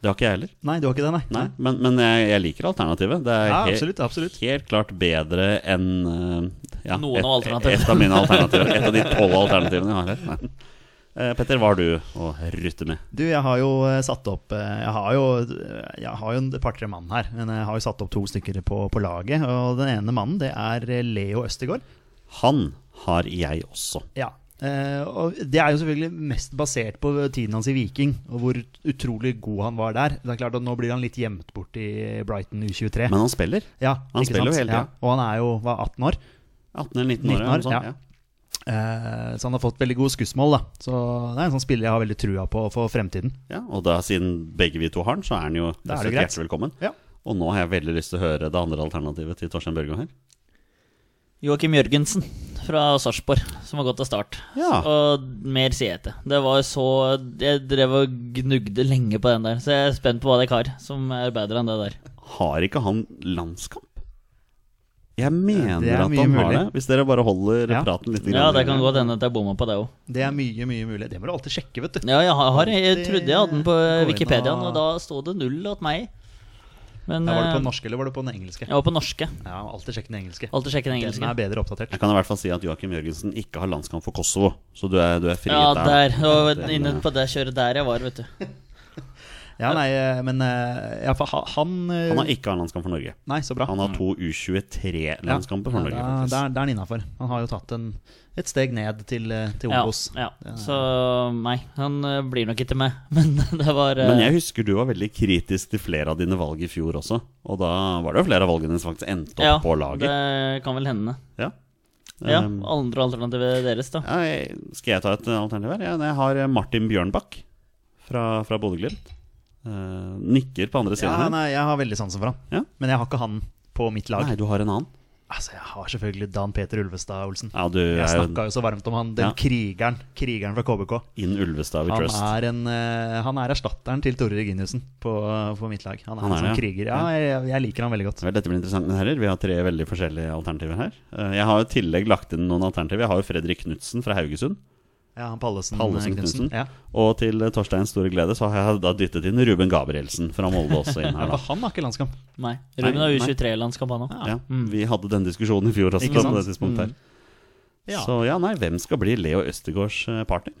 [SPEAKER 1] Det har ikke jeg heller.
[SPEAKER 2] Nei, du har ikke det, nei.
[SPEAKER 1] Nei, Men, men jeg, jeg liker alternativet. Det er
[SPEAKER 2] Ja,
[SPEAKER 1] he-
[SPEAKER 2] absolutt. absolutt.
[SPEAKER 1] helt klart bedre enn eh, ja,
[SPEAKER 3] Noen
[SPEAKER 1] et-
[SPEAKER 3] av alternativene.
[SPEAKER 1] Et av mine alternativer. Et av de tolv alternativene jeg har her. Nei. Eh, Petter, hva har du å rutte med?
[SPEAKER 2] Du, jeg har jo eh, satt opp eh, Jeg har jo, jeg har jo et par-tre mann her, men jeg har jo satt opp to stykker på, på laget. Og den ene mannen, det er eh, Leo Østegård.
[SPEAKER 1] Han har jeg også.
[SPEAKER 2] Ja. eh, og det er jo selvfølgelig mest basert på tiden hans i Viking, og hvor utrolig god han var der. Det er klart at Nå blir han litt gjemt bort i Brighton U23.
[SPEAKER 1] Men han spiller.
[SPEAKER 2] ja,
[SPEAKER 1] han
[SPEAKER 2] ikke
[SPEAKER 1] spiller jo
[SPEAKER 2] sant?
[SPEAKER 1] hele tiden.
[SPEAKER 2] Ja, og han er jo hva, 18 år.
[SPEAKER 1] 18 eller 19 år.
[SPEAKER 2] 19 år,
[SPEAKER 1] eller noe sånt,
[SPEAKER 2] ja. Eh, så han har fått veldig gode skussmål. da Så det er en sånn spiller jeg har veldig trua på for fremtiden.
[SPEAKER 1] Ja. Ja, og da, siden begge vi to har han, så er han jo rett og
[SPEAKER 2] Da er det
[SPEAKER 1] slett
[SPEAKER 2] greit.
[SPEAKER 1] hjertelig velkommen.
[SPEAKER 2] Ja.
[SPEAKER 1] Og nå har jeg veldig lyst til å høre det andre alternativet til Torstein Børgo her.
[SPEAKER 3] Joakim Jørgensen fra Sarpsborg, som har gått av start.
[SPEAKER 1] Ja.
[SPEAKER 3] Og mer sier jeg ikke. Det var så Jeg drev og gnugde lenge på den der, så jeg er spent på hva dere har som er bedre enn det der.
[SPEAKER 1] Har ikke han landskamp? Jeg mener
[SPEAKER 2] Det er
[SPEAKER 1] at han
[SPEAKER 2] mye
[SPEAKER 1] har
[SPEAKER 2] mulig.
[SPEAKER 1] det, hvis dere bare holder
[SPEAKER 2] Ja.
[SPEAKER 1] praten litt.
[SPEAKER 3] Ja, det kan godt hende at jeg bomma på det òg.
[SPEAKER 2] Det er mye, mye mulig. Det må du alltid sjekke, vet du.
[SPEAKER 3] Ja, jeg, har, jeg trodde jeg hadde den på
[SPEAKER 2] Gå inn og-
[SPEAKER 3] Wikipediaen, og da sto det null åt meg. Men
[SPEAKER 2] Ja, var det på den
[SPEAKER 3] eh,
[SPEAKER 2] norske eller var det på den engelske?
[SPEAKER 3] jeg var på norske.
[SPEAKER 2] Ja, alltid sjekk den engelske.
[SPEAKER 3] Alltid sjekke den
[SPEAKER 2] Den
[SPEAKER 3] engelske.
[SPEAKER 2] er bedre oppdatert.
[SPEAKER 1] Jeg kan i hvert fall si at Joakim Jørgensen ikke har landskamp for Kosovo, så du er, du er frigitt
[SPEAKER 3] Ja,
[SPEAKER 1] der.
[SPEAKER 3] der. Og inne på det kjøret der jeg var, vet du.
[SPEAKER 2] Ja, nei, eh, men eh, ja, for ha- han eh,
[SPEAKER 1] Han har ikke A-landskamp for Norge.
[SPEAKER 2] Nei, så bra.
[SPEAKER 1] Han har to U23-landskamper for
[SPEAKER 2] Ja,
[SPEAKER 1] Norge.
[SPEAKER 2] da,
[SPEAKER 1] faktisk.
[SPEAKER 2] der, der er han innafor. Han har jo tatt en, et steg ned til, eh, til
[SPEAKER 3] Ja,
[SPEAKER 2] Obos.
[SPEAKER 3] ja. Så nei, han eh, blir nok ikke med. Men det var eh,
[SPEAKER 1] Men jeg husker du var veldig kritisk til flere av dine valg i fjor også. Og da var det jo flere av valgene som faktisk endte opp
[SPEAKER 3] ja,
[SPEAKER 1] på laget.
[SPEAKER 3] Det kan vel hende.
[SPEAKER 1] Ja.
[SPEAKER 3] Ja,
[SPEAKER 1] Um,
[SPEAKER 3] Andre alternativet deres, da.
[SPEAKER 1] ja, jeg- skal jeg ta et alternativ her? Ja, jeg har Martin Bjørnbakk fra, fra Bodø-Glimt. Eh, nikker på andre siden
[SPEAKER 2] Ja,
[SPEAKER 1] her. Nei.
[SPEAKER 2] nei, jeg har veldig sansen for han.
[SPEAKER 1] Ja.
[SPEAKER 2] Men jeg har ikke han på mitt lag.
[SPEAKER 1] du har en annen.
[SPEAKER 2] Altså, Jeg har selvfølgelig Dan Peter Ulvestad Olsen.
[SPEAKER 1] Ja, du
[SPEAKER 2] Jeg
[SPEAKER 1] er jo
[SPEAKER 2] snakka jo så varmt om han, den
[SPEAKER 1] Ja.
[SPEAKER 2] krigeren krigeren fra KBK.
[SPEAKER 1] inn Ulvestad we
[SPEAKER 2] Han
[SPEAKER 1] trust.
[SPEAKER 2] er, en, eh, han er erstatteren til Tore Reginiussen på, eh, på mitt lag. Han er,
[SPEAKER 1] Han er
[SPEAKER 2] en sånn
[SPEAKER 1] det, ja.
[SPEAKER 2] kriger. Ja, jeg, jeg liker han veldig godt.
[SPEAKER 1] Vel, dette blir interessant, mine herrer. Vi har tre veldig forskjellige alternativer her. Eh, jeg har i tillegg lagt inn noen alternativer. Jeg har jo Fredrik Knutsen fra Haugesund.
[SPEAKER 2] Ja, han Pallesen,
[SPEAKER 1] Pallesen Knudsen.
[SPEAKER 2] Knudsen. Ja.
[SPEAKER 1] Og til eh, Torsteins store glede så har jeg da dyttet inn Ruben Gabrielsen fra Molde også inn her.
[SPEAKER 2] For
[SPEAKER 1] da
[SPEAKER 2] han har ikke landskamp.
[SPEAKER 3] Nei. Ruben har
[SPEAKER 1] Nei, nei.
[SPEAKER 3] U23-landskamp, han òg.
[SPEAKER 1] ja, Vi hadde den diskusjonen i fjor også.
[SPEAKER 2] Mm. Ikke
[SPEAKER 1] på
[SPEAKER 2] sant? Mm.
[SPEAKER 1] det tidspunktet her
[SPEAKER 2] Ja.
[SPEAKER 1] Så ja, nei, hvem skal bli Leo Østegårds eh, partner?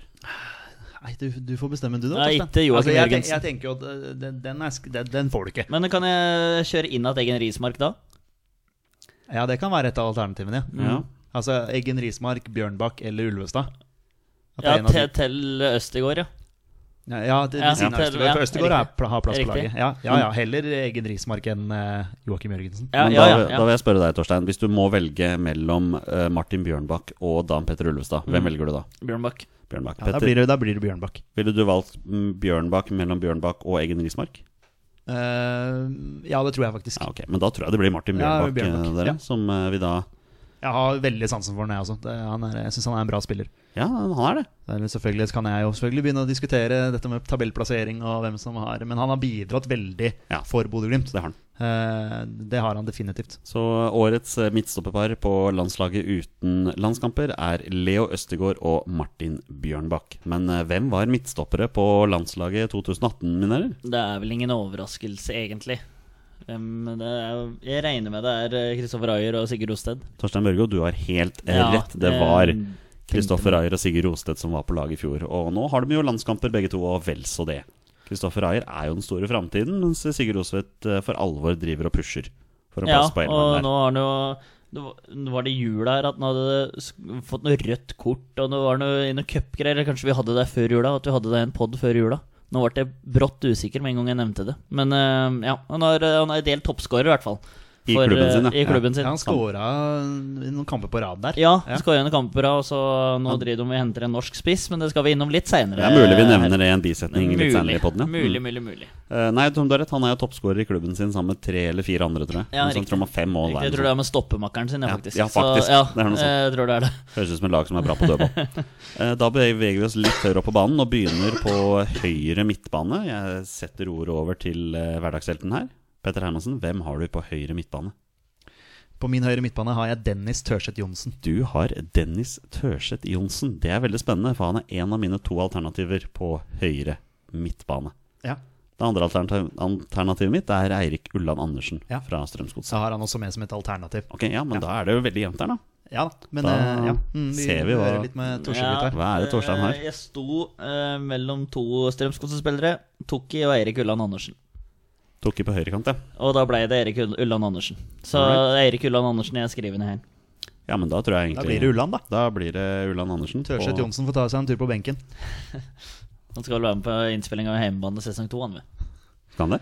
[SPEAKER 2] Nei, du, du får bestemme, du da.
[SPEAKER 3] Nei,
[SPEAKER 2] Torstein.
[SPEAKER 3] ikke Joakim
[SPEAKER 2] altså, jeg, tenk-
[SPEAKER 3] Jørgensen.
[SPEAKER 2] jeg tenker jo at eh, den, den, er, sk- den, den får du ikke.
[SPEAKER 3] Men kan jeg kjøre inn at Egen Rismark da?
[SPEAKER 2] Ja, det kan være et av alternativene,
[SPEAKER 3] Mm.
[SPEAKER 2] ja.
[SPEAKER 1] Ja.
[SPEAKER 2] Altså Eggen Rismark, Bjørnbakk eller Ulvestad. At det
[SPEAKER 3] Ja,
[SPEAKER 2] er en av de-
[SPEAKER 3] til, til Østegård, ja.
[SPEAKER 2] Ja, ja, det,
[SPEAKER 3] Ja,
[SPEAKER 2] ved siden av
[SPEAKER 3] til-
[SPEAKER 2] Østegård. For
[SPEAKER 3] ja,
[SPEAKER 2] Østegård er, pla- har plass på
[SPEAKER 3] Riktig. Mm.
[SPEAKER 2] laget. Ja, ja, ja, heller Egen Rismark enn eh, Joakim Jørgensen.
[SPEAKER 3] Ja,
[SPEAKER 1] Men
[SPEAKER 3] ja,
[SPEAKER 1] da,
[SPEAKER 3] ja,
[SPEAKER 1] da
[SPEAKER 3] ja.
[SPEAKER 1] vil jeg spørre deg, Torstein. Hvis du må velge mellom eh, Martin Bjørnbakk og Dan Petter Ulvestad, hvem velger du da?
[SPEAKER 3] Bjørnbakk.
[SPEAKER 1] Bjørnbakk.
[SPEAKER 2] Mm. Ja, da,
[SPEAKER 1] Petter,
[SPEAKER 2] blir det, da blir det Bjørnbakk.
[SPEAKER 1] Ville du valgt mm, Bjørnbakk mellom Bjørnbakk og Egen Rismark?
[SPEAKER 2] Eh, ja, det tror jeg faktisk.
[SPEAKER 1] Ja, ok, Men da tror jeg det blir Martin
[SPEAKER 2] Ja,
[SPEAKER 1] Bjørnbakk, eh,
[SPEAKER 2] Bjørnbakk,
[SPEAKER 1] dere.
[SPEAKER 2] ja.
[SPEAKER 1] Som eh, vi da
[SPEAKER 2] Jeg har veldig sansen for den, jeg også. Det, han er, jeg syns han er en bra spiller.
[SPEAKER 1] Ja, han er det.
[SPEAKER 2] Det er- Selvfølgelig kan jeg jo selvfølgelig begynne å diskutere dette med tabellplassering og hvem som har Men han har bidratt veldig
[SPEAKER 1] Ja.
[SPEAKER 2] for Bodø-Glimt.
[SPEAKER 1] Det har han.
[SPEAKER 2] Eh, det har han definitivt.
[SPEAKER 1] Så årets eh, midtstopperpar på landslaget uten landskamper er Leo Østegård og Martin Bjørnbakk. Men eh, hvem var midtstoppere på landslaget 2018, mine herrer?
[SPEAKER 3] Det er vel ingen overraskelse, egentlig. Um, det er, jeg regner med det er eh, Kristoffer Ayer og Sigurd Osted.
[SPEAKER 1] Torstein Børgo, du har helt eh,
[SPEAKER 3] Ja,
[SPEAKER 1] rett. Det
[SPEAKER 3] det-
[SPEAKER 1] var Kristoffer Ayer og Sigurd Rostedt som var på lag i fjor. Og nå har de jo landskamper begge to, og vel så det. Kristoffer Ayer er jo den store framtiden, mens Sigurd Rostedt eh, for alvor driver og pusher for en
[SPEAKER 3] Ja,
[SPEAKER 1] plass på
[SPEAKER 3] og
[SPEAKER 1] Elven der.
[SPEAKER 3] nå har han jo det var- nå var det i jula her at han hadde sk- fått noe rødt kort, og nå var det noe, i noen cupgreier. eller Kanskje vi hadde det før jula, at vi hadde det i en pod før jula. Nå ble jeg brått usikker med en gang jeg nevnte det. Men eh, ja, han har- han er delt toppskårer, i hvert fall.
[SPEAKER 1] I klubben sin,
[SPEAKER 3] eh,
[SPEAKER 1] ja.
[SPEAKER 3] I klubben sin.
[SPEAKER 2] Ja, han scora noen kamper på rad der.
[SPEAKER 3] Ja, ja. skåra noen kamper, og så nå driver de og henter en norsk spiss, men det skal vi innom litt seinere.
[SPEAKER 1] Det er mulig vi nevner det i en bisetning litt senere i podden, ja.
[SPEAKER 3] Eh, mulig, mulig, mulig.
[SPEAKER 1] Eh, nei, Tom Dorrett han er jo toppskårer i klubben sin sammen med tre eller fire andre, tror jeg.
[SPEAKER 3] Ja,
[SPEAKER 1] Noe sånt,
[SPEAKER 3] riktig.
[SPEAKER 1] tror jeg, med fem mål
[SPEAKER 3] Riktig, Jeg
[SPEAKER 1] der.
[SPEAKER 3] tror det er med stoppemakeren sin, ja,
[SPEAKER 1] Ja,
[SPEAKER 3] faktisk.
[SPEAKER 1] ja, faktisk.
[SPEAKER 3] Så, ja,
[SPEAKER 1] Det er noe sånt.
[SPEAKER 3] Jeg tror det er det.
[SPEAKER 1] Høres ut som et lag som er bra på dødball. Eh, Da beveger vi oss litt høyere opp på banen og begynner på høyre midtbane. Jeg setter ordet over til eh, hverdagshelten her. Petter Hermansen, hvem har du på høyre midtbane?
[SPEAKER 2] På min høyre midtbane har jeg Dennis Tørseth Johnsen.
[SPEAKER 1] Du har Dennis Tørseth Johnsen. Det er veldig spennende, for han er en av mine to alternativer på høyre midtbane.
[SPEAKER 2] Ja.
[SPEAKER 1] Det andre alternativ- alternativet mitt er Eirik Ulland Andersen
[SPEAKER 2] Ja.
[SPEAKER 1] fra Strømsgodset.
[SPEAKER 2] Så har han også med som et alternativ.
[SPEAKER 1] Ok, ja, men da er det jo veldig jevnt her, da.
[SPEAKER 2] Ja da, men
[SPEAKER 1] Da
[SPEAKER 2] eh, ja. Mm, vi
[SPEAKER 1] ser vi hva-
[SPEAKER 2] hører litt med Torsegutt
[SPEAKER 3] Ja.
[SPEAKER 2] her.
[SPEAKER 1] Hva er det Torstein har?
[SPEAKER 3] Eh, Jeg sto eh, mellom to Strømsgodset-spillere, Tokki og Eirik Ulland Andersen.
[SPEAKER 1] Tok i på høyrekant, ja.
[SPEAKER 3] Og da ble det Eirik Ull- Ulland Andersen. Så
[SPEAKER 1] Alright.
[SPEAKER 3] det er Eirik Ulland Andersen jeg skriver ned her.
[SPEAKER 1] Ja, men da tror jeg
[SPEAKER 2] Da
[SPEAKER 1] egentlig
[SPEAKER 2] blir det Ulland, da.
[SPEAKER 1] Da blir det Ulland Andersen. på-
[SPEAKER 2] Tørseth Johnsen får ta seg en tur på benken.
[SPEAKER 3] Han skal vel være med på innspilling av Hjemmebane sesong to, han vel.
[SPEAKER 1] Kan det?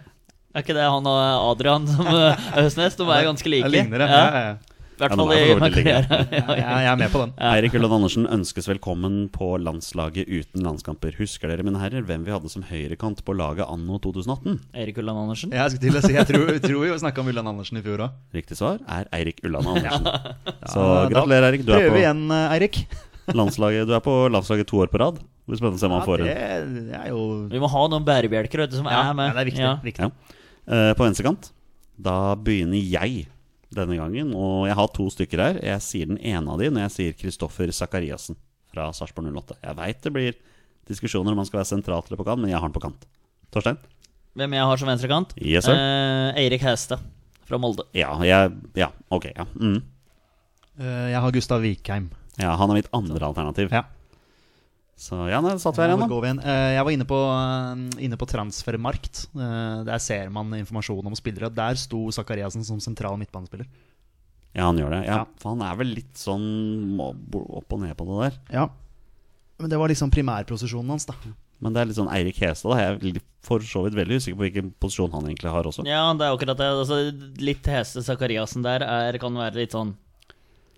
[SPEAKER 3] Er ikke det han og Adrian som eh, Øsnes? De er ganske like.
[SPEAKER 2] Jeg ligner det.
[SPEAKER 3] Ja,
[SPEAKER 2] Ja, ja,
[SPEAKER 3] I hvert
[SPEAKER 1] Ja, de
[SPEAKER 3] fall
[SPEAKER 1] er
[SPEAKER 3] i
[SPEAKER 1] for så vidt like.
[SPEAKER 3] karrieren.
[SPEAKER 2] ja. Jeg, jeg er med på den.
[SPEAKER 1] Eirik Ulland Andersen ønskes velkommen på landslaget uten landskamper. Husker dere, mine herrer, hvem vi hadde som høyrekant på laget anno 2018?
[SPEAKER 3] Eirik Ulland Andersen.
[SPEAKER 2] Jeg skulle til å si, jeg tror, tror vi snakka om Ulland Andersen i fjor òg.
[SPEAKER 1] Riktig svar er Eirik Ulland Andersen. Så
[SPEAKER 2] Ja, da
[SPEAKER 1] gratulerer, Eirik. Du er
[SPEAKER 2] Prøver
[SPEAKER 1] på
[SPEAKER 2] igjen, eh, Eirik.
[SPEAKER 1] landslaget, du er på landslaget to år på rad. Det blir spennende å se om han
[SPEAKER 2] Ja,
[SPEAKER 1] får
[SPEAKER 2] det
[SPEAKER 1] en.
[SPEAKER 2] er jo
[SPEAKER 3] Vi må ha noen bærebjelker vet du, som
[SPEAKER 2] ja,
[SPEAKER 3] er med.
[SPEAKER 2] det er viktig.
[SPEAKER 3] Ja.
[SPEAKER 2] viktig.
[SPEAKER 1] Ja. Eh, På venstrekant, da begynner jeg denne gangen. Og jeg har to stykker her. Jeg sier den ene av de når jeg sier Kristoffer Sakariassen fra Sarpsborg 08. Jeg veit det blir diskusjoner om han skal være sentralt eller på kant, men jeg har han på kant. Torstein?
[SPEAKER 3] Hvem jeg har som venstrekant?
[SPEAKER 1] Yes, sir.
[SPEAKER 3] Eh, Eirik Hæstad fra Molde.
[SPEAKER 1] Ja, jeg, ja ok. Ja. Mm.
[SPEAKER 2] Eh, Jeg har Gustav Vikheim.
[SPEAKER 1] ja, han er mitt andre alternativ.
[SPEAKER 2] Ja.
[SPEAKER 1] Så ja, nei, satt vi her
[SPEAKER 2] Ja,
[SPEAKER 1] igjen,
[SPEAKER 2] hvor
[SPEAKER 1] da.
[SPEAKER 2] går vi igjen? Eh, Jeg var inne på, eh, inne på transfermarkt. Eh, Der ser man informasjon om spillere. Der sto Zakariassen som sentral midtbanespiller.
[SPEAKER 1] Ja, han gjør det. Ja,
[SPEAKER 2] Ja.
[SPEAKER 1] For han er vel litt sånn må- opp og ned på det der.
[SPEAKER 2] Ja. Men det var liksom primærprosesjonen hans, da.
[SPEAKER 1] Men det er litt sånn Eirik Hestad. da. Jeg er litt- for så vidt veldig usikker på hvilken posisjon han egentlig har også.
[SPEAKER 3] Ja, det er akkurat det. Altså, litt hese Sakariassen der er, kan være litt sånn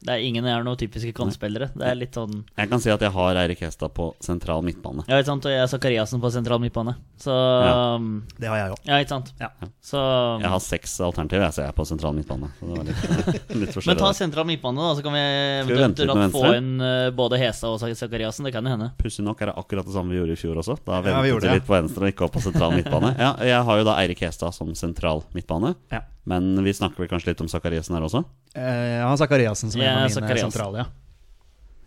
[SPEAKER 3] det er Ingen er noen typiske kantspillere. Det er litt sånn
[SPEAKER 1] Jeg kan si at jeg har Eirik Hestad på sentral midtbane.
[SPEAKER 3] Ja, ikke sant, og jeg er Sakariassen på sentral midtbane. Så
[SPEAKER 1] Ja.
[SPEAKER 3] um,
[SPEAKER 2] Det har jeg òg.
[SPEAKER 3] Ja, ikke sant.
[SPEAKER 2] Ja.
[SPEAKER 3] Så
[SPEAKER 1] Jeg har seks alternativer, jeg, så jeg er på sentral midtbane. Så det var litt, litt
[SPEAKER 3] Men
[SPEAKER 1] forskjellig.
[SPEAKER 3] ta
[SPEAKER 1] der.
[SPEAKER 3] sentral midtbane, da, så kan vi
[SPEAKER 1] vi
[SPEAKER 3] eventuelt
[SPEAKER 1] vente litt med
[SPEAKER 3] få
[SPEAKER 1] venstre?
[SPEAKER 3] inn eh, både Hesa og Sakariassen. Det kan jo hende.
[SPEAKER 1] Pussig nok er det akkurat det samme vi gjorde i fjor også. Da ventet vi
[SPEAKER 2] vi gjorde det,
[SPEAKER 1] litt på venstre og ikke opp på sentral midtbane. Ja, jeg har jo da Eirik Hestad som sentral midtbane,
[SPEAKER 2] Ja.
[SPEAKER 1] men vi snakker vel kanskje litt om Sakariassen her også?
[SPEAKER 2] Eh, Jeg har Zakariassen som
[SPEAKER 3] Ja,
[SPEAKER 2] en av mine
[SPEAKER 3] Zakariassen.
[SPEAKER 2] sentrale. Ja.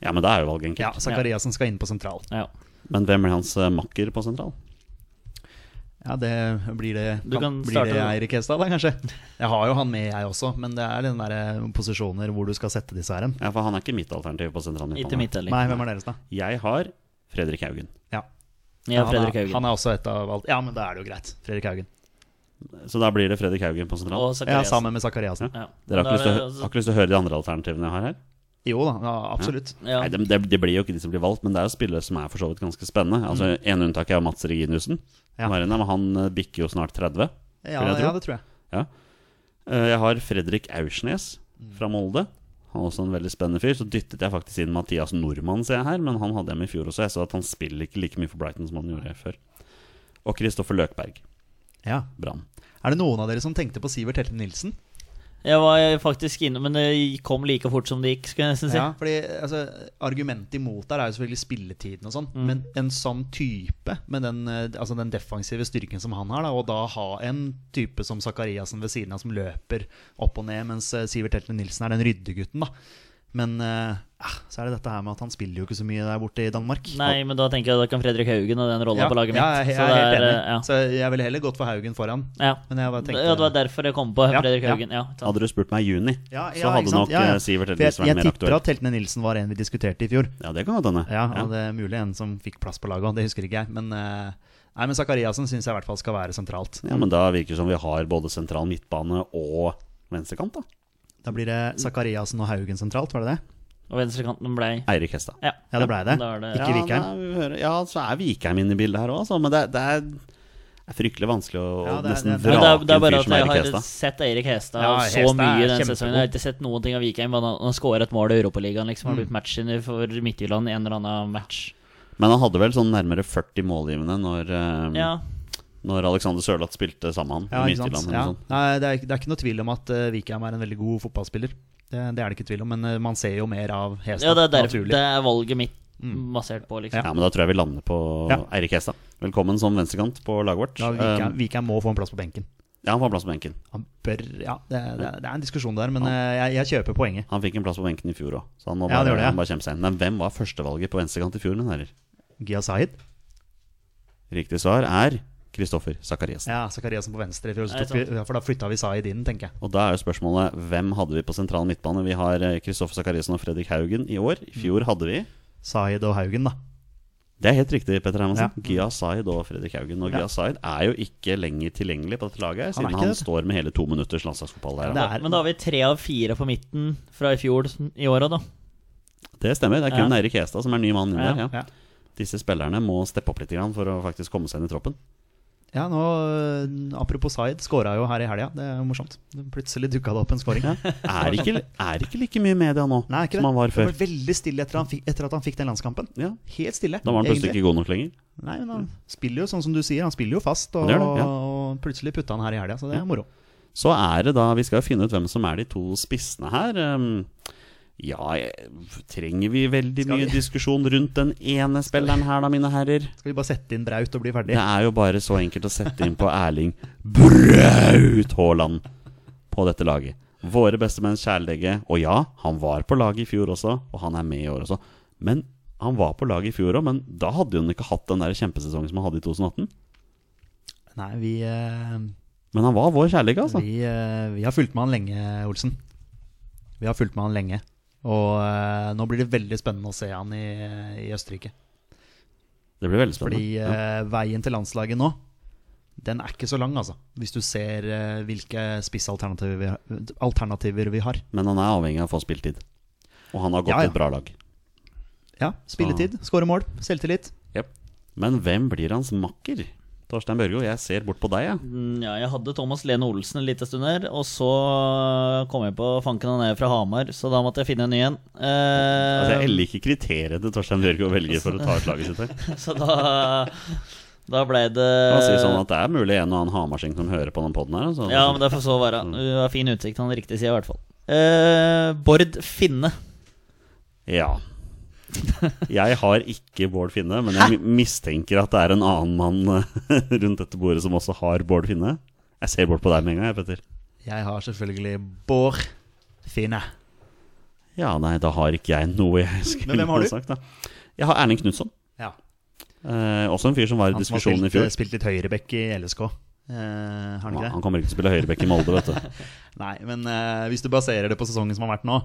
[SPEAKER 1] Ja, men da er jo valget enkelt.
[SPEAKER 2] ja, Zakariassen skal inn på sentral.
[SPEAKER 3] Ja.
[SPEAKER 1] Men hvem blir hans eh, makker på sentral?
[SPEAKER 2] Ja, det blir det
[SPEAKER 3] Du kan
[SPEAKER 2] Blir
[SPEAKER 3] starte
[SPEAKER 2] det
[SPEAKER 3] med-
[SPEAKER 2] Eirik Hestad, da, kanskje? Jeg har jo han med, jeg også, men det er den der eh, posisjoner hvor du skal sette disse her hen.
[SPEAKER 1] Ja, for han er ikke mitt alternativ på sentral
[SPEAKER 3] Ikke
[SPEAKER 1] midtbane.
[SPEAKER 3] mitt heller.
[SPEAKER 2] Nei, hvem er deres, da?
[SPEAKER 1] Jeg har Fredrik Haugen.
[SPEAKER 2] Ja.
[SPEAKER 3] Ja,
[SPEAKER 2] han,
[SPEAKER 3] Fredrik
[SPEAKER 2] er, han
[SPEAKER 3] Haugen.
[SPEAKER 2] er også et av alt Ja, men da er det jo greit. Fredrik Haugen.
[SPEAKER 1] Så da blir det Fredrik Haugen på sentral.
[SPEAKER 3] Og
[SPEAKER 2] Ja,
[SPEAKER 3] Sakariassen.
[SPEAKER 2] sammen med Zakariassen.
[SPEAKER 3] Ja.
[SPEAKER 1] Dere har ikke, lyst til,
[SPEAKER 3] Da er
[SPEAKER 1] å hø- har ikke lyst til å høre de andre alternativene jeg har her?
[SPEAKER 2] Jo da, ja, absolutt.
[SPEAKER 3] det- ja.
[SPEAKER 1] Nei, det, det, det blir jo ikke de som blir valgt, men det er jo spillere som er for så vidt ganske spennende. Altså, En unntak er jo Mats Reginussen.
[SPEAKER 2] Mm. Ja.
[SPEAKER 1] Marina, Men han eh, bikker jo snart 30.
[SPEAKER 2] Ja,
[SPEAKER 1] Vil jeg tro.
[SPEAKER 2] ja, det tror jeg.
[SPEAKER 1] Eh, Jeg har Fredrik Aursnes
[SPEAKER 2] Mm.
[SPEAKER 1] fra Molde. Han er også en veldig spennende fyr. Så dyttet jeg faktisk inn Mathias Nordmann, ser jeg her, men han hadde jeg med i fjor også. Jeg så at han spiller ikke like mye for Brighton som han gjorde før. Og Kristoffer Løkberg,
[SPEAKER 2] Ja.
[SPEAKER 1] Brann.
[SPEAKER 2] Er det noen av dere som tenkte på Sivert Helten Nilsen?
[SPEAKER 3] Jeg var faktisk inne, men det kom like fort som det gikk, skulle jeg nesten si.
[SPEAKER 2] Ja, fordi altså, Argumentet imot der er jo selvfølgelig spilletiden og sånn,
[SPEAKER 3] Mm.
[SPEAKER 2] men en sånn type med den, eh, altså, den defensive styrken som han har, da, og da ha en type som Zakariassen ved siden av som løper opp og ned, mens eh, Sivert Helten Nilsen er den ryddegutten, da. Men eh, ah, så er det dette her med at han spiller jo ikke så mye der borte i Danmark.
[SPEAKER 3] Nei, men da tenker jeg da kan Fredrik Haugen og den rolla på laget mitt.
[SPEAKER 2] Ja, jeg, jeg
[SPEAKER 3] Så
[SPEAKER 2] er helt
[SPEAKER 3] det er,
[SPEAKER 2] enig.
[SPEAKER 3] eh, ja.
[SPEAKER 2] Så jeg ville heller gått for Haugen foran.
[SPEAKER 3] Ja.
[SPEAKER 2] Men jeg bare tenkte
[SPEAKER 3] ja, det var derfor jeg kom på
[SPEAKER 2] Ja,
[SPEAKER 3] Fredrik
[SPEAKER 2] ja.
[SPEAKER 3] Haugen. Ja, ikke sant.
[SPEAKER 1] Hadde du spurt meg i juni,
[SPEAKER 2] Ja, ja,
[SPEAKER 1] så
[SPEAKER 2] ikke
[SPEAKER 1] hadde
[SPEAKER 2] sant?
[SPEAKER 1] nok
[SPEAKER 2] Ja, ja.
[SPEAKER 1] eh, Sivert
[SPEAKER 2] For jeg,
[SPEAKER 1] Heltnes vært
[SPEAKER 2] jeg
[SPEAKER 1] mer
[SPEAKER 2] tipper
[SPEAKER 1] aktuell.
[SPEAKER 2] at Heltene Nilsen var en vi diskuterte i fjor.
[SPEAKER 1] Ja, det kan godt hende.
[SPEAKER 2] Ja,
[SPEAKER 1] Ja.
[SPEAKER 2] og det er mulig en som fikk plass på laget, og det husker ikke jeg. Men, eh, nei, men Zakariassen syns jeg i hvert fall skal være sentralt.
[SPEAKER 1] Ja, men da virker det som vi har både sentral midtbane og venstrekant, da.
[SPEAKER 2] Da blir det Zakariassen og Haugen sentralt, var det det?
[SPEAKER 3] Og venstrekanten blei
[SPEAKER 1] Eirik Hestad.
[SPEAKER 3] Ja.
[SPEAKER 2] Ja, det blei det.
[SPEAKER 3] Da er det-
[SPEAKER 2] Ikke Vikheim.
[SPEAKER 1] Ja, nei, vi hører- ja, så er Vikheim inne i bildet her òg, altså. Men det, det er, er fryktelig vanskelig å
[SPEAKER 2] Ja, det er-
[SPEAKER 1] nesten
[SPEAKER 2] det er-
[SPEAKER 3] Men det er,
[SPEAKER 1] vrake
[SPEAKER 3] det er
[SPEAKER 1] en
[SPEAKER 3] bare
[SPEAKER 1] fyr
[SPEAKER 3] at
[SPEAKER 1] som
[SPEAKER 3] jeg
[SPEAKER 1] Eirik
[SPEAKER 3] har
[SPEAKER 1] Hestad.
[SPEAKER 3] sett Eirik Hestad
[SPEAKER 2] Ja,
[SPEAKER 3] så
[SPEAKER 2] Hestad er
[SPEAKER 3] mye i denne
[SPEAKER 2] kjempegod.
[SPEAKER 3] sesongen. Jeg har ikke sett noen ting av Vikheim. men Han han skårer et mål i Europaligaen,
[SPEAKER 2] Mm.
[SPEAKER 3] liksom. Han har blitt matchvinner for Midtjylland i en eller annen match.
[SPEAKER 1] Men han hadde vel sånn nærmere 40 målgivende når,
[SPEAKER 2] Mm.
[SPEAKER 1] eh,
[SPEAKER 3] Ja,
[SPEAKER 1] når Alexander Sørloth spilte sammen med
[SPEAKER 2] Ja,
[SPEAKER 1] han i
[SPEAKER 2] ikke sant.
[SPEAKER 1] Midtjylland. eller
[SPEAKER 2] Ja.
[SPEAKER 1] noe sånt.
[SPEAKER 2] Nei, det, er, ikke- det er ikke noe tvil om at eh, Vikheim er en veldig god fotballspiller. Det, det er det ikke tvil om, men eh, man ser jo mer av Hestad.
[SPEAKER 3] ja det, er der,
[SPEAKER 2] naturlig. Mm.
[SPEAKER 3] det er valget mitt basert på, liksom.
[SPEAKER 1] Ja, men da tror jeg vi lander på
[SPEAKER 2] Ja.
[SPEAKER 1] Eirik Hestad. Velkommen som venstrekant på laget vårt.
[SPEAKER 2] Da
[SPEAKER 1] Eh,
[SPEAKER 2] Vikheim, Vikheim må få en plass på benken.
[SPEAKER 1] ja, han får plass på benken.
[SPEAKER 2] Han bør Ja, det, er- det, er- det er en diskusjon der, men eh, jeg, jeg kjøper poenget.
[SPEAKER 1] Han fikk en plass på benken i fjor òg, så han må
[SPEAKER 2] Ja,
[SPEAKER 1] bare,
[SPEAKER 2] det gjorde
[SPEAKER 1] han
[SPEAKER 2] jeg.
[SPEAKER 1] bare kjempe seg inn. Men hvem var førstevalget på venstrekant i fjor, mine herrer?
[SPEAKER 2] Gia Sahid.
[SPEAKER 1] Riktig svar er Kristoffer Sakariassen.
[SPEAKER 2] Ja, Zakariassen på venstre i fjor, så
[SPEAKER 3] Nei,
[SPEAKER 2] tok vi, for da flytta vi Sahid inn, tenker jeg.
[SPEAKER 1] Og da er jo spørsmålet hvem hadde vi på sentral midtbane? Vi har eh, Kristoffer Sakariassen og Fredrik Haugen i år. I fjor hadde vi
[SPEAKER 2] Sahid og Haugen, da.
[SPEAKER 1] Det er helt riktig, Petter Hermansen.
[SPEAKER 2] Ja.
[SPEAKER 1] Gia Zaid og Fredrik Haugen. Og
[SPEAKER 2] Ja.
[SPEAKER 1] Gia Zaid er jo ikke lenger tilgjengelig på dette laget, her,
[SPEAKER 2] Han er
[SPEAKER 1] siden
[SPEAKER 2] ikke
[SPEAKER 1] han,
[SPEAKER 2] det.
[SPEAKER 1] står med hele to minutters landslagsfotball der.
[SPEAKER 2] Det er-
[SPEAKER 3] Men da har vi tre av fire på midten fra i fjor i år òg, da.
[SPEAKER 1] Det stemmer. Det er kun
[SPEAKER 3] Ja.
[SPEAKER 1] Eirik Hestad som er ny mann inn
[SPEAKER 3] Ja,
[SPEAKER 1] der. Ja.
[SPEAKER 2] Ja.
[SPEAKER 1] Disse spillerne må steppe opp litt grann for å faktisk komme seg inn i troppen.
[SPEAKER 2] Ja, nå, øh, Apropos Zaid, skåra jo her i helga. Det er jo morsomt. Det Plutselig dukka det opp en skåring.
[SPEAKER 1] Er ikke, er ikke like mye i media nå
[SPEAKER 2] Nei, ikke det.
[SPEAKER 1] som han var
[SPEAKER 2] Det
[SPEAKER 1] før.
[SPEAKER 2] var veldig stille etter, han fikk, etter at han fikk den landskampen.
[SPEAKER 1] Ja.
[SPEAKER 2] Helt stille.
[SPEAKER 1] Da var han plutselig ikke god nok lenger.
[SPEAKER 2] egentlig. Nei, men Han spiller jo sånn som du sier, han spiller jo fast. Og,
[SPEAKER 1] Han gjør det, ja.
[SPEAKER 2] og plutselig putta han her i helga, så det
[SPEAKER 1] Ja.
[SPEAKER 2] er moro.
[SPEAKER 1] Så er det da Vi skal jo finne ut hvem som er de to spissene her. Ehm, Ja, jeg- trenger vi veldig
[SPEAKER 2] Skal vi-
[SPEAKER 1] mye diskusjon rundt den ene spilleren her, da, mine herrer?
[SPEAKER 2] Skal vi bare sette inn Braut og bli
[SPEAKER 1] Det
[SPEAKER 2] ferdig?
[SPEAKER 1] er jo bare så enkelt å sette inn på Erling Braut Haaland på dette laget. Våre bestemenns kjæledegge. Og ja, han var på laget i fjor også, og han er med i år også. Men han var på laget i fjor òg, men da hadde han ikke hatt den der kjempesesongen som han hadde i 2018.
[SPEAKER 2] Nei, vi, øh,
[SPEAKER 1] Men han var vår kjæledegge, altså.
[SPEAKER 2] vi, øh, vi har fulgt med han lenge, Olsen. Vi har eh, fulgt med han lenge. Og øh, nå blir det veldig spennende å se han i, i Østerrike.
[SPEAKER 1] Det blir veldig spennende.
[SPEAKER 2] Fordi eh, veien til landslaget nå, den er ikke så lang, altså. Hvis du ser eh, hvilke spissalternativer vi, har- alternativer vi har.
[SPEAKER 1] Men han er avhengig av å få spilletid. Og han har gått
[SPEAKER 2] Ja,
[SPEAKER 1] til
[SPEAKER 2] ja.
[SPEAKER 1] et bra lag.
[SPEAKER 2] Ja, spilletid, skåre mål, selvtillit.
[SPEAKER 1] Men hvem blir hans makker? Torstein Børgo, jeg ser bort på deg, jeg.
[SPEAKER 3] Mm, Ja, jeg hadde Thomas Lene Olsen en liten stund her, og så kom jeg på fanken han er fra Hamar, så da måtte jeg finne en ny en. Eh,
[SPEAKER 1] Altså, jeg liker kriteriene Torstein Børgo velger for å ta ut laget sitt her.
[SPEAKER 3] så da, da ble det
[SPEAKER 1] Han sier sånn at det er mulig en og annen hamarsing som hører på den poden her. Altså.
[SPEAKER 3] Ja, men det får så være. Du har fin utsikt, han riktig sier i hvert fall. Eh, Bård Finne.
[SPEAKER 1] Ja. Jeg har ikke Bård Finne, men jeg mistenker at det er en annen mann eh, rundt dette bordet som også har Bård Finne. Jeg ser bort på deg med en gang, jeg, Petter.
[SPEAKER 2] Jeg har selvfølgelig Bård Finne.
[SPEAKER 1] Ja, nei, da har ikke jeg noe jeg skulle
[SPEAKER 2] Men hvem har du?
[SPEAKER 1] ha sagt, da. Jeg har Erling Knutson.
[SPEAKER 2] Ja.
[SPEAKER 1] Eh, også en fyr som var i
[SPEAKER 2] Han som har
[SPEAKER 1] diskusjonen i
[SPEAKER 2] spilt, eh,
[SPEAKER 1] fjor.
[SPEAKER 2] spilt litt høyrebekk i LSK. Eh, har han
[SPEAKER 1] Ja,
[SPEAKER 2] ikke det?
[SPEAKER 1] han kommer ikke til å spille høyrebekk i Molde, vet du.
[SPEAKER 2] Nei, men eh, hvis du baserer det på sesongen som har vært nå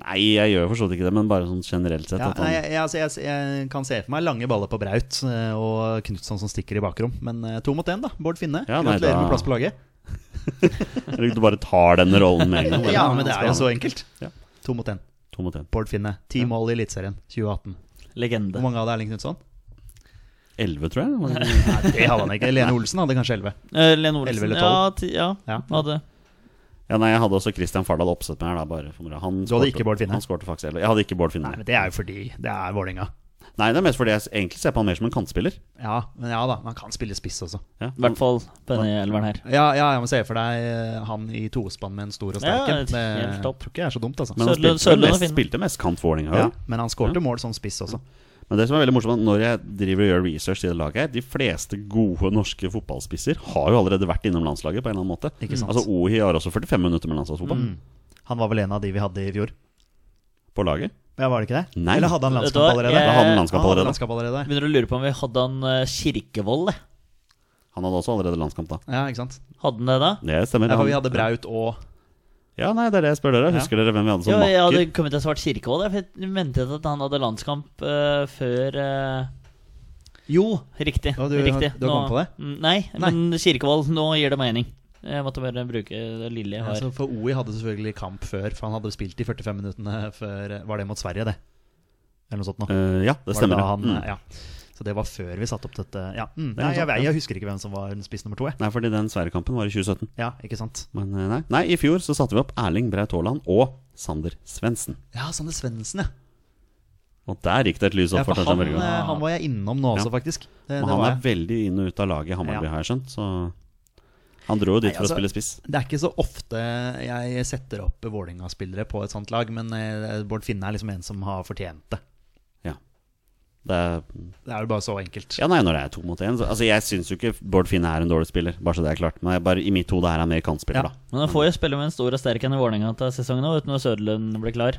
[SPEAKER 1] Nei, jeg gjør for så vidt ikke det, men bare sånn generelt sett.
[SPEAKER 2] ja,
[SPEAKER 1] at
[SPEAKER 2] nei,
[SPEAKER 1] han,
[SPEAKER 2] jeg, jeg, altså, jeg, jeg kan se for meg lange baller på Braut eh, og Knutson som stikker i bakrom. Men eh, to mot én, da. Bård Finne.
[SPEAKER 1] Ja, nei, da-
[SPEAKER 2] Gratulerer med plass på laget.
[SPEAKER 1] Eller du bare tar den rollen med en gang.
[SPEAKER 2] Ja, men det
[SPEAKER 1] han
[SPEAKER 2] er jo
[SPEAKER 1] skal-
[SPEAKER 2] så enkelt.
[SPEAKER 1] Ja.
[SPEAKER 2] To mot én.
[SPEAKER 1] To mot én.
[SPEAKER 2] Bård Finne. Ti mål i Eliteserien 2018. Hvor
[SPEAKER 3] Legende.
[SPEAKER 2] mange hadde Erling Knutson?
[SPEAKER 1] Elleve, tror jeg. Var det-
[SPEAKER 2] Nei, det hadde han ikke. Lene Olsen hadde kanskje elleve.
[SPEAKER 3] Eh, Lene Olsen.
[SPEAKER 2] 11 eller 12?
[SPEAKER 3] ja, ti, ja,
[SPEAKER 2] Ja.
[SPEAKER 3] hadde
[SPEAKER 1] Ja, nei, Jeg hadde også Christian Fardal Opseth med her. da, bare for moro. Han
[SPEAKER 2] Du hadde
[SPEAKER 1] skårte-
[SPEAKER 2] ikke Bård Finne?
[SPEAKER 1] Han skårte faktisk heller. Jeg hadde ikke Bård Finne.
[SPEAKER 2] Nei, men det er jo fordi det er Vålerenga.
[SPEAKER 1] Nei, det er mest fordi jeg egentlig ser på han mer som en kantspiller.
[SPEAKER 2] Ja, men ja da, man kan spille spiss også.
[SPEAKER 1] Ja.
[SPEAKER 3] I hvert fall på denne elveren her.
[SPEAKER 2] Ja, ja jeg må se for deg eh, han i tospann med en stor og sterk
[SPEAKER 3] Ja,
[SPEAKER 2] en.
[SPEAKER 3] det er helt
[SPEAKER 2] Det-
[SPEAKER 3] topp.
[SPEAKER 2] Tror ikke jeg er så dumt, altså.
[SPEAKER 1] Men han
[SPEAKER 3] Sørlund-
[SPEAKER 1] spilte
[SPEAKER 3] Sørlund og
[SPEAKER 1] mest,
[SPEAKER 3] Finne.
[SPEAKER 1] spilte mest kant for Vålerenga.
[SPEAKER 2] ja,
[SPEAKER 1] jo.
[SPEAKER 2] men han skårte mål som spiss også.
[SPEAKER 1] Men det som er veldig morsomt, er at når jeg driver og gjør research i det laget her, de fleste gode norske fotballspisser har jo allerede vært innom landslaget på en eller annen måte.
[SPEAKER 2] Ikke sant? Mm.
[SPEAKER 1] Altså Ohi har også 45 minutter med landslagsfotball
[SPEAKER 2] Han var vel en av de vi hadde i fjor.
[SPEAKER 1] på laget.
[SPEAKER 2] Ja, var det ikke det?
[SPEAKER 1] Nei.
[SPEAKER 2] Eller hadde han
[SPEAKER 3] Vet du
[SPEAKER 2] landskamp
[SPEAKER 3] hva?
[SPEAKER 2] allerede?
[SPEAKER 3] Jeg-
[SPEAKER 1] Da hadde han
[SPEAKER 2] Han
[SPEAKER 1] landskamp
[SPEAKER 2] hadde
[SPEAKER 1] allerede.
[SPEAKER 2] landskamp allerede.
[SPEAKER 3] Begynner å lure på om vi hadde han eh, Kirkevold. eh.
[SPEAKER 1] Han hadde også allerede landskamp da.
[SPEAKER 2] Ja, ikke sant.
[SPEAKER 3] Hadde han det da?
[SPEAKER 1] Det stemmer.
[SPEAKER 2] Ja, for vi
[SPEAKER 1] han-
[SPEAKER 2] hadde Braut og
[SPEAKER 1] Ja, nei, det er det jeg spør dere. Husker dere hvem vi hadde som
[SPEAKER 3] Ja, jeg
[SPEAKER 1] Altså, makker?
[SPEAKER 3] hadde kommet til å svart Kirkevold. Jeg vet- ventet at han hadde landskamp eh, før eh, Jo, riktig.
[SPEAKER 2] Ja, du-
[SPEAKER 3] riktig.
[SPEAKER 2] du har
[SPEAKER 3] Nå-
[SPEAKER 2] kommet
[SPEAKER 3] Mm, Nei,
[SPEAKER 2] Nei.
[SPEAKER 3] men Kirkevold, nå gir det mening. Jeg måtte bare bruke det lille jeg
[SPEAKER 2] Ja,
[SPEAKER 3] har.
[SPEAKER 2] så Altså, For OI hadde selvfølgelig kamp før, for han hadde spilt de 45 minuttene før Var det mot Sverige, det? Eller noe sånt nå
[SPEAKER 1] Eh, ja, det
[SPEAKER 2] Var
[SPEAKER 1] stemmer.
[SPEAKER 2] det
[SPEAKER 1] ja.
[SPEAKER 2] da han,
[SPEAKER 1] Mm.
[SPEAKER 2] ja. Så det var før vi satte opp dette ja. mm.
[SPEAKER 1] er
[SPEAKER 2] Nei, jeg,
[SPEAKER 1] sant,
[SPEAKER 2] jeg husker ikke hvem som var spiss nummer to. Jeg.
[SPEAKER 1] Nei, fordi den Sverige-kampen var i 2017.
[SPEAKER 2] Ja, ikke sant?
[SPEAKER 1] Men eh, nei. nei, i fjor så satte vi opp Erling Braut Haaland og Sander Svendsen.
[SPEAKER 2] Ja, Sander Svendsen, ja.
[SPEAKER 1] Og der gikk det et lys opp
[SPEAKER 2] ja
[SPEAKER 1] for
[SPEAKER 2] for han,
[SPEAKER 1] Torstein Børgo.
[SPEAKER 2] eh, han var jeg innom nå
[SPEAKER 1] Ja.
[SPEAKER 2] også, faktisk. Det,
[SPEAKER 1] Men
[SPEAKER 2] det,
[SPEAKER 1] han
[SPEAKER 2] var
[SPEAKER 1] er
[SPEAKER 2] jeg.
[SPEAKER 1] veldig inn og ut av laget i Hammarby,
[SPEAKER 2] Ja.
[SPEAKER 1] har jeg skjønt. Så han dro jo dit
[SPEAKER 2] Nei,
[SPEAKER 1] for
[SPEAKER 2] altså-
[SPEAKER 1] å spille spiss.
[SPEAKER 2] det er ikke så ofte jeg setter opp Vålerenga-spillere på et sånt lag, men eh, Bård Finne er liksom en som har fortjent det.
[SPEAKER 1] Det er,
[SPEAKER 2] Det er jo bare så enkelt.
[SPEAKER 1] ja, nei, når det er to mot én så, Altså, jeg syns jo ikke Bård Finne er en dårlig spiller, bare så det er klart. Men jeg, bare, i mitt hode er han mer
[SPEAKER 2] Ja.
[SPEAKER 1] kantspiller,
[SPEAKER 3] Men han får jo spille med en stor og sterk en i Vålerenga til sesongen òg, uten at Søderlund blir klar.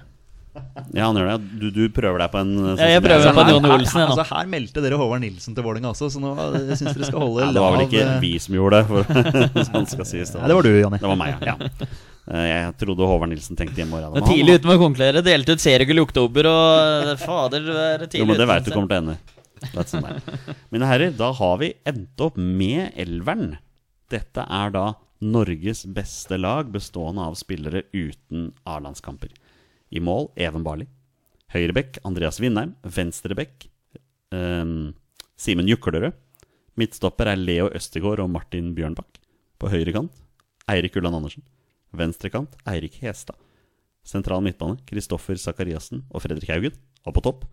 [SPEAKER 1] da. Ja, han gjør det. Du, du prøver deg på en eh,
[SPEAKER 3] Ja, jeg
[SPEAKER 1] sånn-
[SPEAKER 3] prøver
[SPEAKER 1] Sånn-
[SPEAKER 3] på en
[SPEAKER 1] Nei,
[SPEAKER 3] Jon Olsen, jeg, nå.
[SPEAKER 2] altså, her meldte dere Håvard Nilsen til Vålerenga også, så nå eh, syns dere skal holde
[SPEAKER 1] Det var vel
[SPEAKER 2] lav,
[SPEAKER 1] ikke
[SPEAKER 2] eh,
[SPEAKER 1] vi som gjorde det, for sånn skal sies.
[SPEAKER 2] Nei, det var du, Jonny.
[SPEAKER 1] Det var meg, ja. Eh, Jeg trodde Håvard Nilsen tenkte hjemme ja, da, men
[SPEAKER 3] Det er tidlig ute med å konkludere. Delte ut seriegull i oktober og Fader, du er tidlig
[SPEAKER 1] Jo, men det
[SPEAKER 3] ute,
[SPEAKER 1] veit du
[SPEAKER 3] synes jeg.
[SPEAKER 1] kommer til å ende. Det er sånn det er. Mine herrer, da har vi endt opp med elveren. Dette er da Norges beste lag, bestående av spillere uten A-landskamper. I mål Even Barli. Høyrebekk Andreas Vindheim. Venstrebekk ehm, Simen Juklerød. Midtstopper er Leo Østegård og Martin Bjørnbakk. På høyre kant Eirik Ulland Andersen. Venstre kant Eirik Hestad. Sentral midtbane Kristoffer Sakariassen og Fredrik Haugen. Og på topp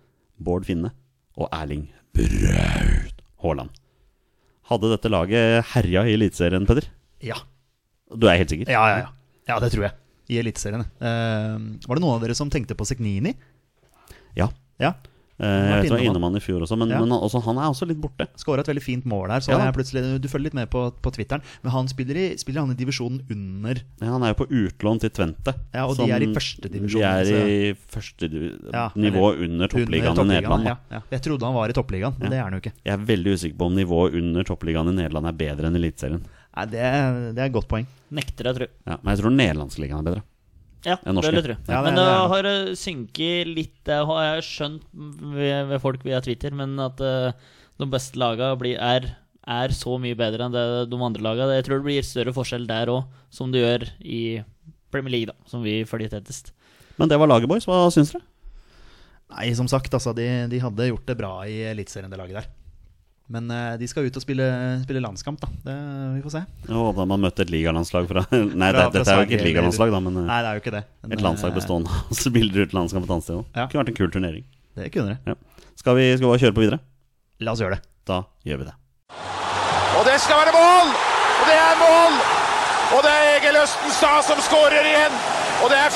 [SPEAKER 1] Bård Finne og Erling Braut Haaland. Hadde dette laget herja i Eliteserien, Peder?
[SPEAKER 2] Ja.
[SPEAKER 1] Du er helt sikker?
[SPEAKER 2] Ja, ja, ja. ja, det tror jeg. I Eliteserien. Eh, var det noen av dere som tenkte på Seknini?
[SPEAKER 1] Ja.
[SPEAKER 2] Ja.
[SPEAKER 1] Eh, Jeg vet,
[SPEAKER 2] innom
[SPEAKER 1] var innom han i fjor også, men,
[SPEAKER 2] Ja.
[SPEAKER 1] men han- også, han er også litt borte.
[SPEAKER 2] Skåra et veldig fint mål her. Så
[SPEAKER 1] Ja.
[SPEAKER 2] jeg plutselig, Du følger litt med på, på Twitteren. Men han spiller, i, spiller han i divisjonen under
[SPEAKER 1] Ja, han er jo på utlån til Twente.
[SPEAKER 2] Ja, og de er i første divisjon,
[SPEAKER 1] De er
[SPEAKER 2] så-
[SPEAKER 1] i første div-
[SPEAKER 2] Ja,
[SPEAKER 1] nivå under
[SPEAKER 2] under
[SPEAKER 1] toppligaen i Nederland.
[SPEAKER 2] Ja,
[SPEAKER 1] da.
[SPEAKER 2] ja. Jeg trodde han var i toppligaen, men
[SPEAKER 1] Ja.
[SPEAKER 2] det er han jo ikke.
[SPEAKER 1] Jeg er veldig usikker på om nivået under toppligaen i Nederland er bedre enn Eliteserien.
[SPEAKER 2] Nei, Det, det er et godt poeng.
[SPEAKER 3] Nekter jeg, tror
[SPEAKER 1] Ja, men jeg tror nederlandsligaen er bedre.
[SPEAKER 3] Ja,
[SPEAKER 1] Ja, norske.
[SPEAKER 3] det vil jeg tro.
[SPEAKER 2] Ja, det- det
[SPEAKER 3] men det
[SPEAKER 2] er det.
[SPEAKER 3] har eh, synket litt Det har jeg skjønt ved, ved folk via Twitter, men at eh, de beste laga blir, er, er så mye bedre enn det de andre laga. Jeg tror det blir større forskjell der òg, som det gjør i Premier League, da, som vi følger tettest.
[SPEAKER 1] Men det var laget, boys. Hva syns dere?
[SPEAKER 2] Nei, som sagt, altså, de, de hadde gjort det bra i Eliteserien, det laget der. Men eh, de skal ut og spille, spille landskamp, da. Det, vi får se.
[SPEAKER 1] Jo, da man møtte et ligalandslag fra Nei, det,
[SPEAKER 2] Fra- fra
[SPEAKER 1] dette er jo ikke et
[SPEAKER 2] Sverige,
[SPEAKER 1] ligalandslag, da, men eh,
[SPEAKER 2] Nei, det er jo ikke det. Men,
[SPEAKER 1] et landslag
[SPEAKER 2] eh,
[SPEAKER 1] bestående av spillere uten landskamp et annet sted òg.
[SPEAKER 2] Ja.
[SPEAKER 1] Kunne vært en kul turnering.
[SPEAKER 2] Det kunne det.
[SPEAKER 1] Skal vi, skal vi bare kjøre på videre?
[SPEAKER 2] La oss gjøre det.
[SPEAKER 1] Da gjør vi det.
[SPEAKER 4] Og det skal være mål! Og det er mål! Og det er Egil Østenstad som skårer igjen. Og det er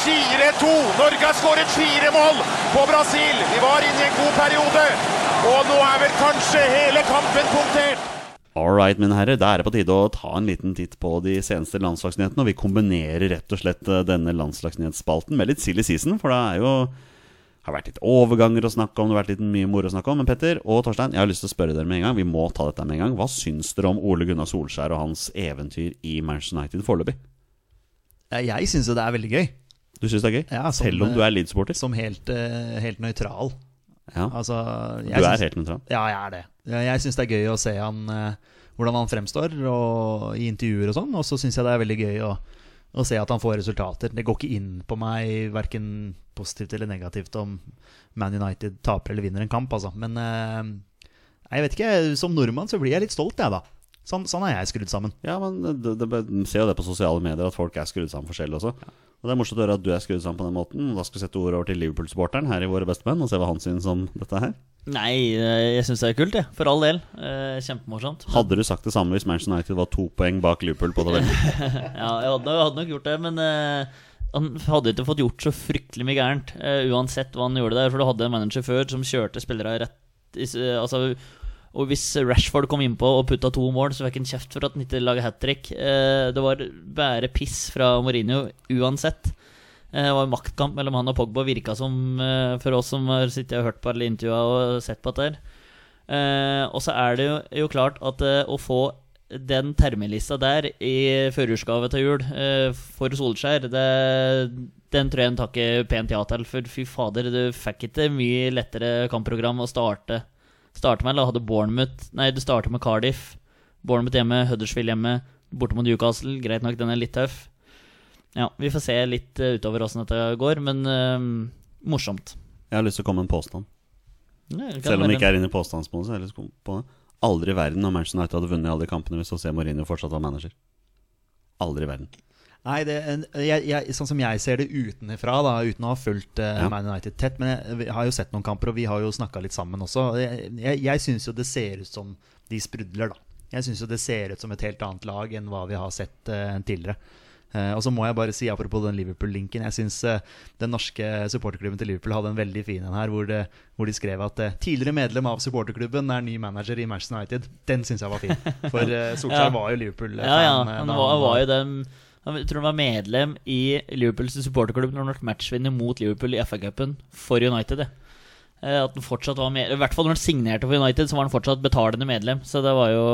[SPEAKER 4] 4-2. Norge har skåret fire mål på Brasil. Vi var inne i en god periode. Og nå er vel kanskje hele kampen punktert.
[SPEAKER 1] All right, mine herrer. Da er det på tide å ta en liten titt på de seneste landslagsnyhetene. Og vi kombinerer rett og slett eh, denne landslagsnyhetsspalten med litt silly season, for det er jo har vært litt overganger å snakke om, det har vært litt mye moro å snakke om. Men Petter og Torstein, jeg har lyst til å spørre dere med en gang. Vi må ta dette med en gang. Hva syns dere om Ole Gunnar Solskjær og hans eventyr i Manchester United foreløpig?
[SPEAKER 2] Eh, Jeg syns jo det er veldig gøy,
[SPEAKER 1] Du syns det er gøy?
[SPEAKER 2] Ja, som,
[SPEAKER 1] Selv om du
[SPEAKER 2] eh,
[SPEAKER 1] er Leeds-supporter?
[SPEAKER 2] som helt, eh, helt nøytral.
[SPEAKER 1] Ja.
[SPEAKER 2] Altså,
[SPEAKER 1] Du
[SPEAKER 2] jeg
[SPEAKER 1] er
[SPEAKER 2] syns-
[SPEAKER 1] helt nøytral?
[SPEAKER 2] Ja, jeg er det. Jeg- Jeg syns det er gøy å se han, eh, hvordan han fremstår og, i intervjuer og sånn. Og så syns jeg det er veldig gøy å, å se at han får resultater. Det går ikke inn på meg verken positivt eller negativt om Man United taper eller vinner en kamp, altså. Men eh, jeg vet ikke, som nordmann så blir jeg litt stolt, jeg, da. Sånn, sånn er jeg skrudd sammen.
[SPEAKER 1] Ja, men det, det, det- ser jo det på sosiale medier at folk er skrudd sammen forskjellig også. Og det er morsomt å høre at du er skrudd sammen på den måten. Og Da skal vi sette ordet over til Liverpool-supporteren her i Våre bestemenn og se hva han syns om dette her.
[SPEAKER 3] Nei, eh, jeg syns det er kult, jeg. For all del. Eh, Kjempemorsomt.
[SPEAKER 1] Hadde du sagt det samme hvis Manchester United var to poeng bak Liverpool på tabellen?
[SPEAKER 3] Ja, jeg hadde, jeg hadde nok gjort det, men eh, han hadde ikke fått gjort så fryktelig mye gærent. eh, uansett hva han gjorde der, for du hadde en manager før som kjørte spillere rett i, s- eh, altså, Og hvis Rashford kom innpå og putta to mål, så fikk han kjeft for at han ikke laga hat trick. Eh, det var bare piss fra Mourinho uansett. Eh, Det var en maktkamp mellom han og Pogba, virka som, eh, for oss som har sittet og hørt på alle intervjua og sett på dette. her. Eh, og så er det jo, jo klart at eh, å få den termelista der i førjulsgave til jul eh, for Solskjær, det, den tror jeg han takker pent ja til. For fy fader, du fikk ikke mye lettere kampprogram å starte, starte med. Eller hadde Bournemouth Nei, du starter med Cardiff. Bournemouth hjemme, Huddersfield hjemme, borte mot Newcastle. Greit nok, den er litt tøff. Ja, vi får se litt eh, utover åssen dette går, men eh, morsomt.
[SPEAKER 1] Jeg har lyst til å komme med en påstand.
[SPEAKER 3] Ja, kan
[SPEAKER 1] Selv om det
[SPEAKER 3] være-
[SPEAKER 1] ikke er inne i påstandsbonus. Jeg har lyst til å komme på det. Aldri i verden om Manchester United hadde vunnet alle de kampene hvis José Mourinho fortsatt var manager. Aldri i verden.
[SPEAKER 2] Nei, det, en- jeg, jeg, sånn som jeg ser det utenfra, da, uten å ha fulgt eh,
[SPEAKER 1] Ja.
[SPEAKER 2] Man United tett Men jeg, vi har jo sett noen kamper, og vi har jo snakka litt sammen også. og Jeg, jeg, jeg syns jo det ser ut som de sprudler, da. Jeg syns jo det ser ut som et helt annet lag enn hva vi har sett eh, tidligere. Eh, og så må jeg bare si apropos den Liverpool-linken. Jeg syns eh, den norske supporterklubben til Liverpool hadde en veldig fin en her, hvor, det, hvor de skrev at eh, tidligere medlem av supporterklubben er ny manager i Manchester United. Den syns jeg var fin. For eh, Solskjær
[SPEAKER 3] Ja.
[SPEAKER 2] var jo Liverpool-fan.
[SPEAKER 3] Ja, ja.
[SPEAKER 2] eh,
[SPEAKER 3] Han
[SPEAKER 2] da
[SPEAKER 3] var, han var jo den Jeg tror han var medlem i Liverpools supporterklubb når han ble matchvinner mot Liverpool i FA-cupen for United. det. Eh, At han fortsatt var med, I hvert fall når han signerte for United, så var han fortsatt betalende medlem. Så det var jo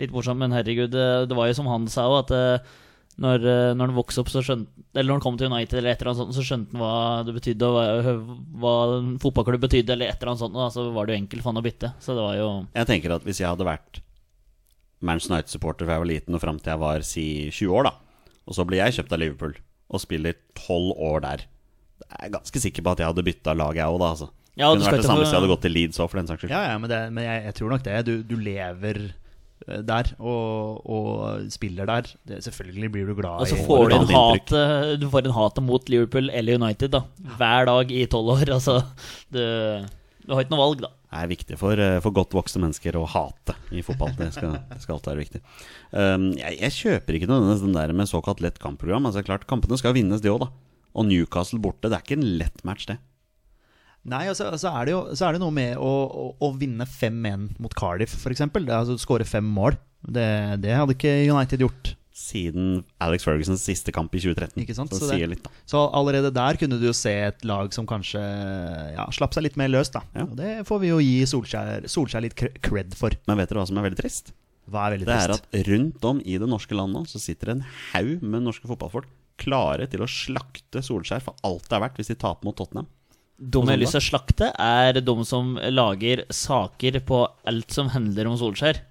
[SPEAKER 3] litt morsomt, men herregud, eh, det var jo som han sa òg, at eh, når, eh, når han vokste opp, så skjønte Eller når han kom til United, eller et eller annet sånt, så skjønte han hva det betydde, og hva, hva en fotballklubb betydde, eller et eller annet sånt, og da, så var det jo enkelt for han å bytte. Så det var jo
[SPEAKER 1] Jeg tenker at hvis jeg hadde vært Manchester United-supporter fra jeg var liten og fram til jeg var si 20 år, da, og så ble jeg kjøpt av Liverpool og spiller 12 år der Jeg er ganske sikker på at jeg hadde bytta lag, jeg òg, da. Altså.
[SPEAKER 3] Ja, du
[SPEAKER 1] Kunne
[SPEAKER 3] skal
[SPEAKER 1] vært det
[SPEAKER 3] ikke
[SPEAKER 1] samme
[SPEAKER 3] få-
[SPEAKER 1] hvis jeg hadde gått til Leeds òg, for den saks skyld.
[SPEAKER 2] Ja, ja, men, det, men jeg, jeg tror nok det. Du, du lever eh, der og, og spiller der. Det, selvfølgelig blir du glad
[SPEAKER 3] Og så
[SPEAKER 2] i
[SPEAKER 1] Altså, får
[SPEAKER 3] får du,
[SPEAKER 1] et
[SPEAKER 3] en
[SPEAKER 1] annet inntrykk.
[SPEAKER 3] hat, eh, du får en hat mot Liverpool eller United da hver dag i tolv år. Altså, du, du har ikke noe valg, da.
[SPEAKER 1] Det er viktig for, eh, for godt voksne mennesker å hate i fotball. Det skal, det skal alltid være viktig. Um, jeg, jeg kjøper ikke nødvendigvis den der med såkalt lett kampprogram. Altså, det er klart, Kampene skal vinnes, de òg, da. Og Newcastle borte, det er ikke en lett match, det.
[SPEAKER 2] Nei, og så, så er det jo så er det noe med å, å, å vinne 5-1 mot Cardiff, f.eks. Altså skåre fem mål. Det, det hadde ikke United gjort.
[SPEAKER 1] Siden Alex Fergusons siste kamp i 2013.
[SPEAKER 2] Ikke sant,
[SPEAKER 1] Så,
[SPEAKER 2] så
[SPEAKER 1] det
[SPEAKER 2] det-
[SPEAKER 1] sier litt, da.
[SPEAKER 2] Så allerede der kunne du jo se et lag som kanskje ja, slapp seg litt mer løst. da
[SPEAKER 1] Ja.
[SPEAKER 2] Og Det får vi jo gi Solskjær, Solskjær litt cre- cred for.
[SPEAKER 1] Men vet dere hva som er veldig trist?
[SPEAKER 2] Hva er veldig
[SPEAKER 1] Det er
[SPEAKER 2] trist.
[SPEAKER 1] at rundt om i det norske land nå så sitter en haug med norske fotballfolk klare til å slakte Solskjær for alt det er verdt hvis de taper mot Tottenham.
[SPEAKER 3] De jeg har lyst til å slakte, er de som lager saker på alt som handler om Solskjær.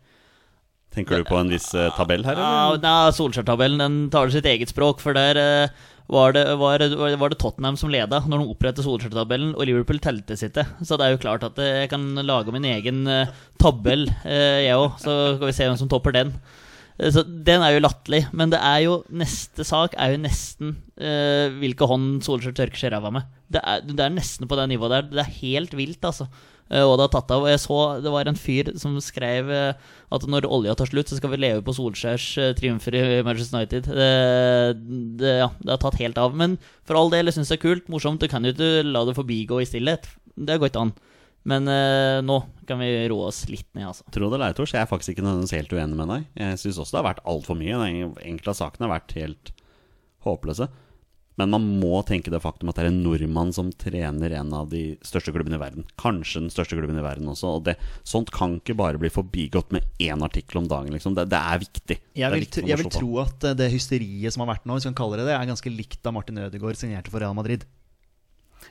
[SPEAKER 1] Tenker du på en viss eh, tabell her,
[SPEAKER 3] Ja,
[SPEAKER 1] eller?
[SPEAKER 3] nei, Solskjær-tabellen den taler sitt eget språk, for der eh, var det, var, var det Tottenham som leda når de opprettet Solskjær-tabellen, og Liverpool telte sitt. Så det er jo klart at eh, jeg kan lage min egen eh, tabell, eh, jeg òg, så skal vi se hvem som topper den. Eh, Så Den er jo latterlig, men det er jo neste sak er jo nesten eh, hvilke hånd Solskjær tørker seg i ræva med. Det er, det er nesten på det nivået der. Det er helt vilt, altså. Eh, og det har tatt av. Og jeg så det var en fyr som skrev eh, at når olja tar slutt, så skal vi leve på Solskjærs eh, triumfer i Manchester United. Det, det, ja, det har tatt helt av. Men for all del, jeg syns det er kult, morsomt. Du kan jo ikke la det forbigå i stillhet. Det går ikke an. Men eh, nå kan vi roe oss litt ned, altså.
[SPEAKER 1] Tro det eller ei, Tors, jeg er faktisk ikke nødvendigvis helt uenig med deg. Jeg syns også det har vært altfor mye. Den enkelte av sakene har vært helt håpløse. Men man må tenke det faktum at det er en nordmann som trener en av de største klubbene i verden. Kanskje den største klubben i verden også. Og det, sånt kan ikke bare bli forbigått med én artikkel om dagen, liksom. Det, det er viktig. Det er
[SPEAKER 2] Jeg vil,
[SPEAKER 1] viktig
[SPEAKER 2] tr-
[SPEAKER 1] å
[SPEAKER 2] jeg vil
[SPEAKER 1] slå på.
[SPEAKER 2] tro at eh, det hysteriet som har vært nå, hvis man kaller det det, er ganske likt da Martin Ødegaard signerte for Real Madrid.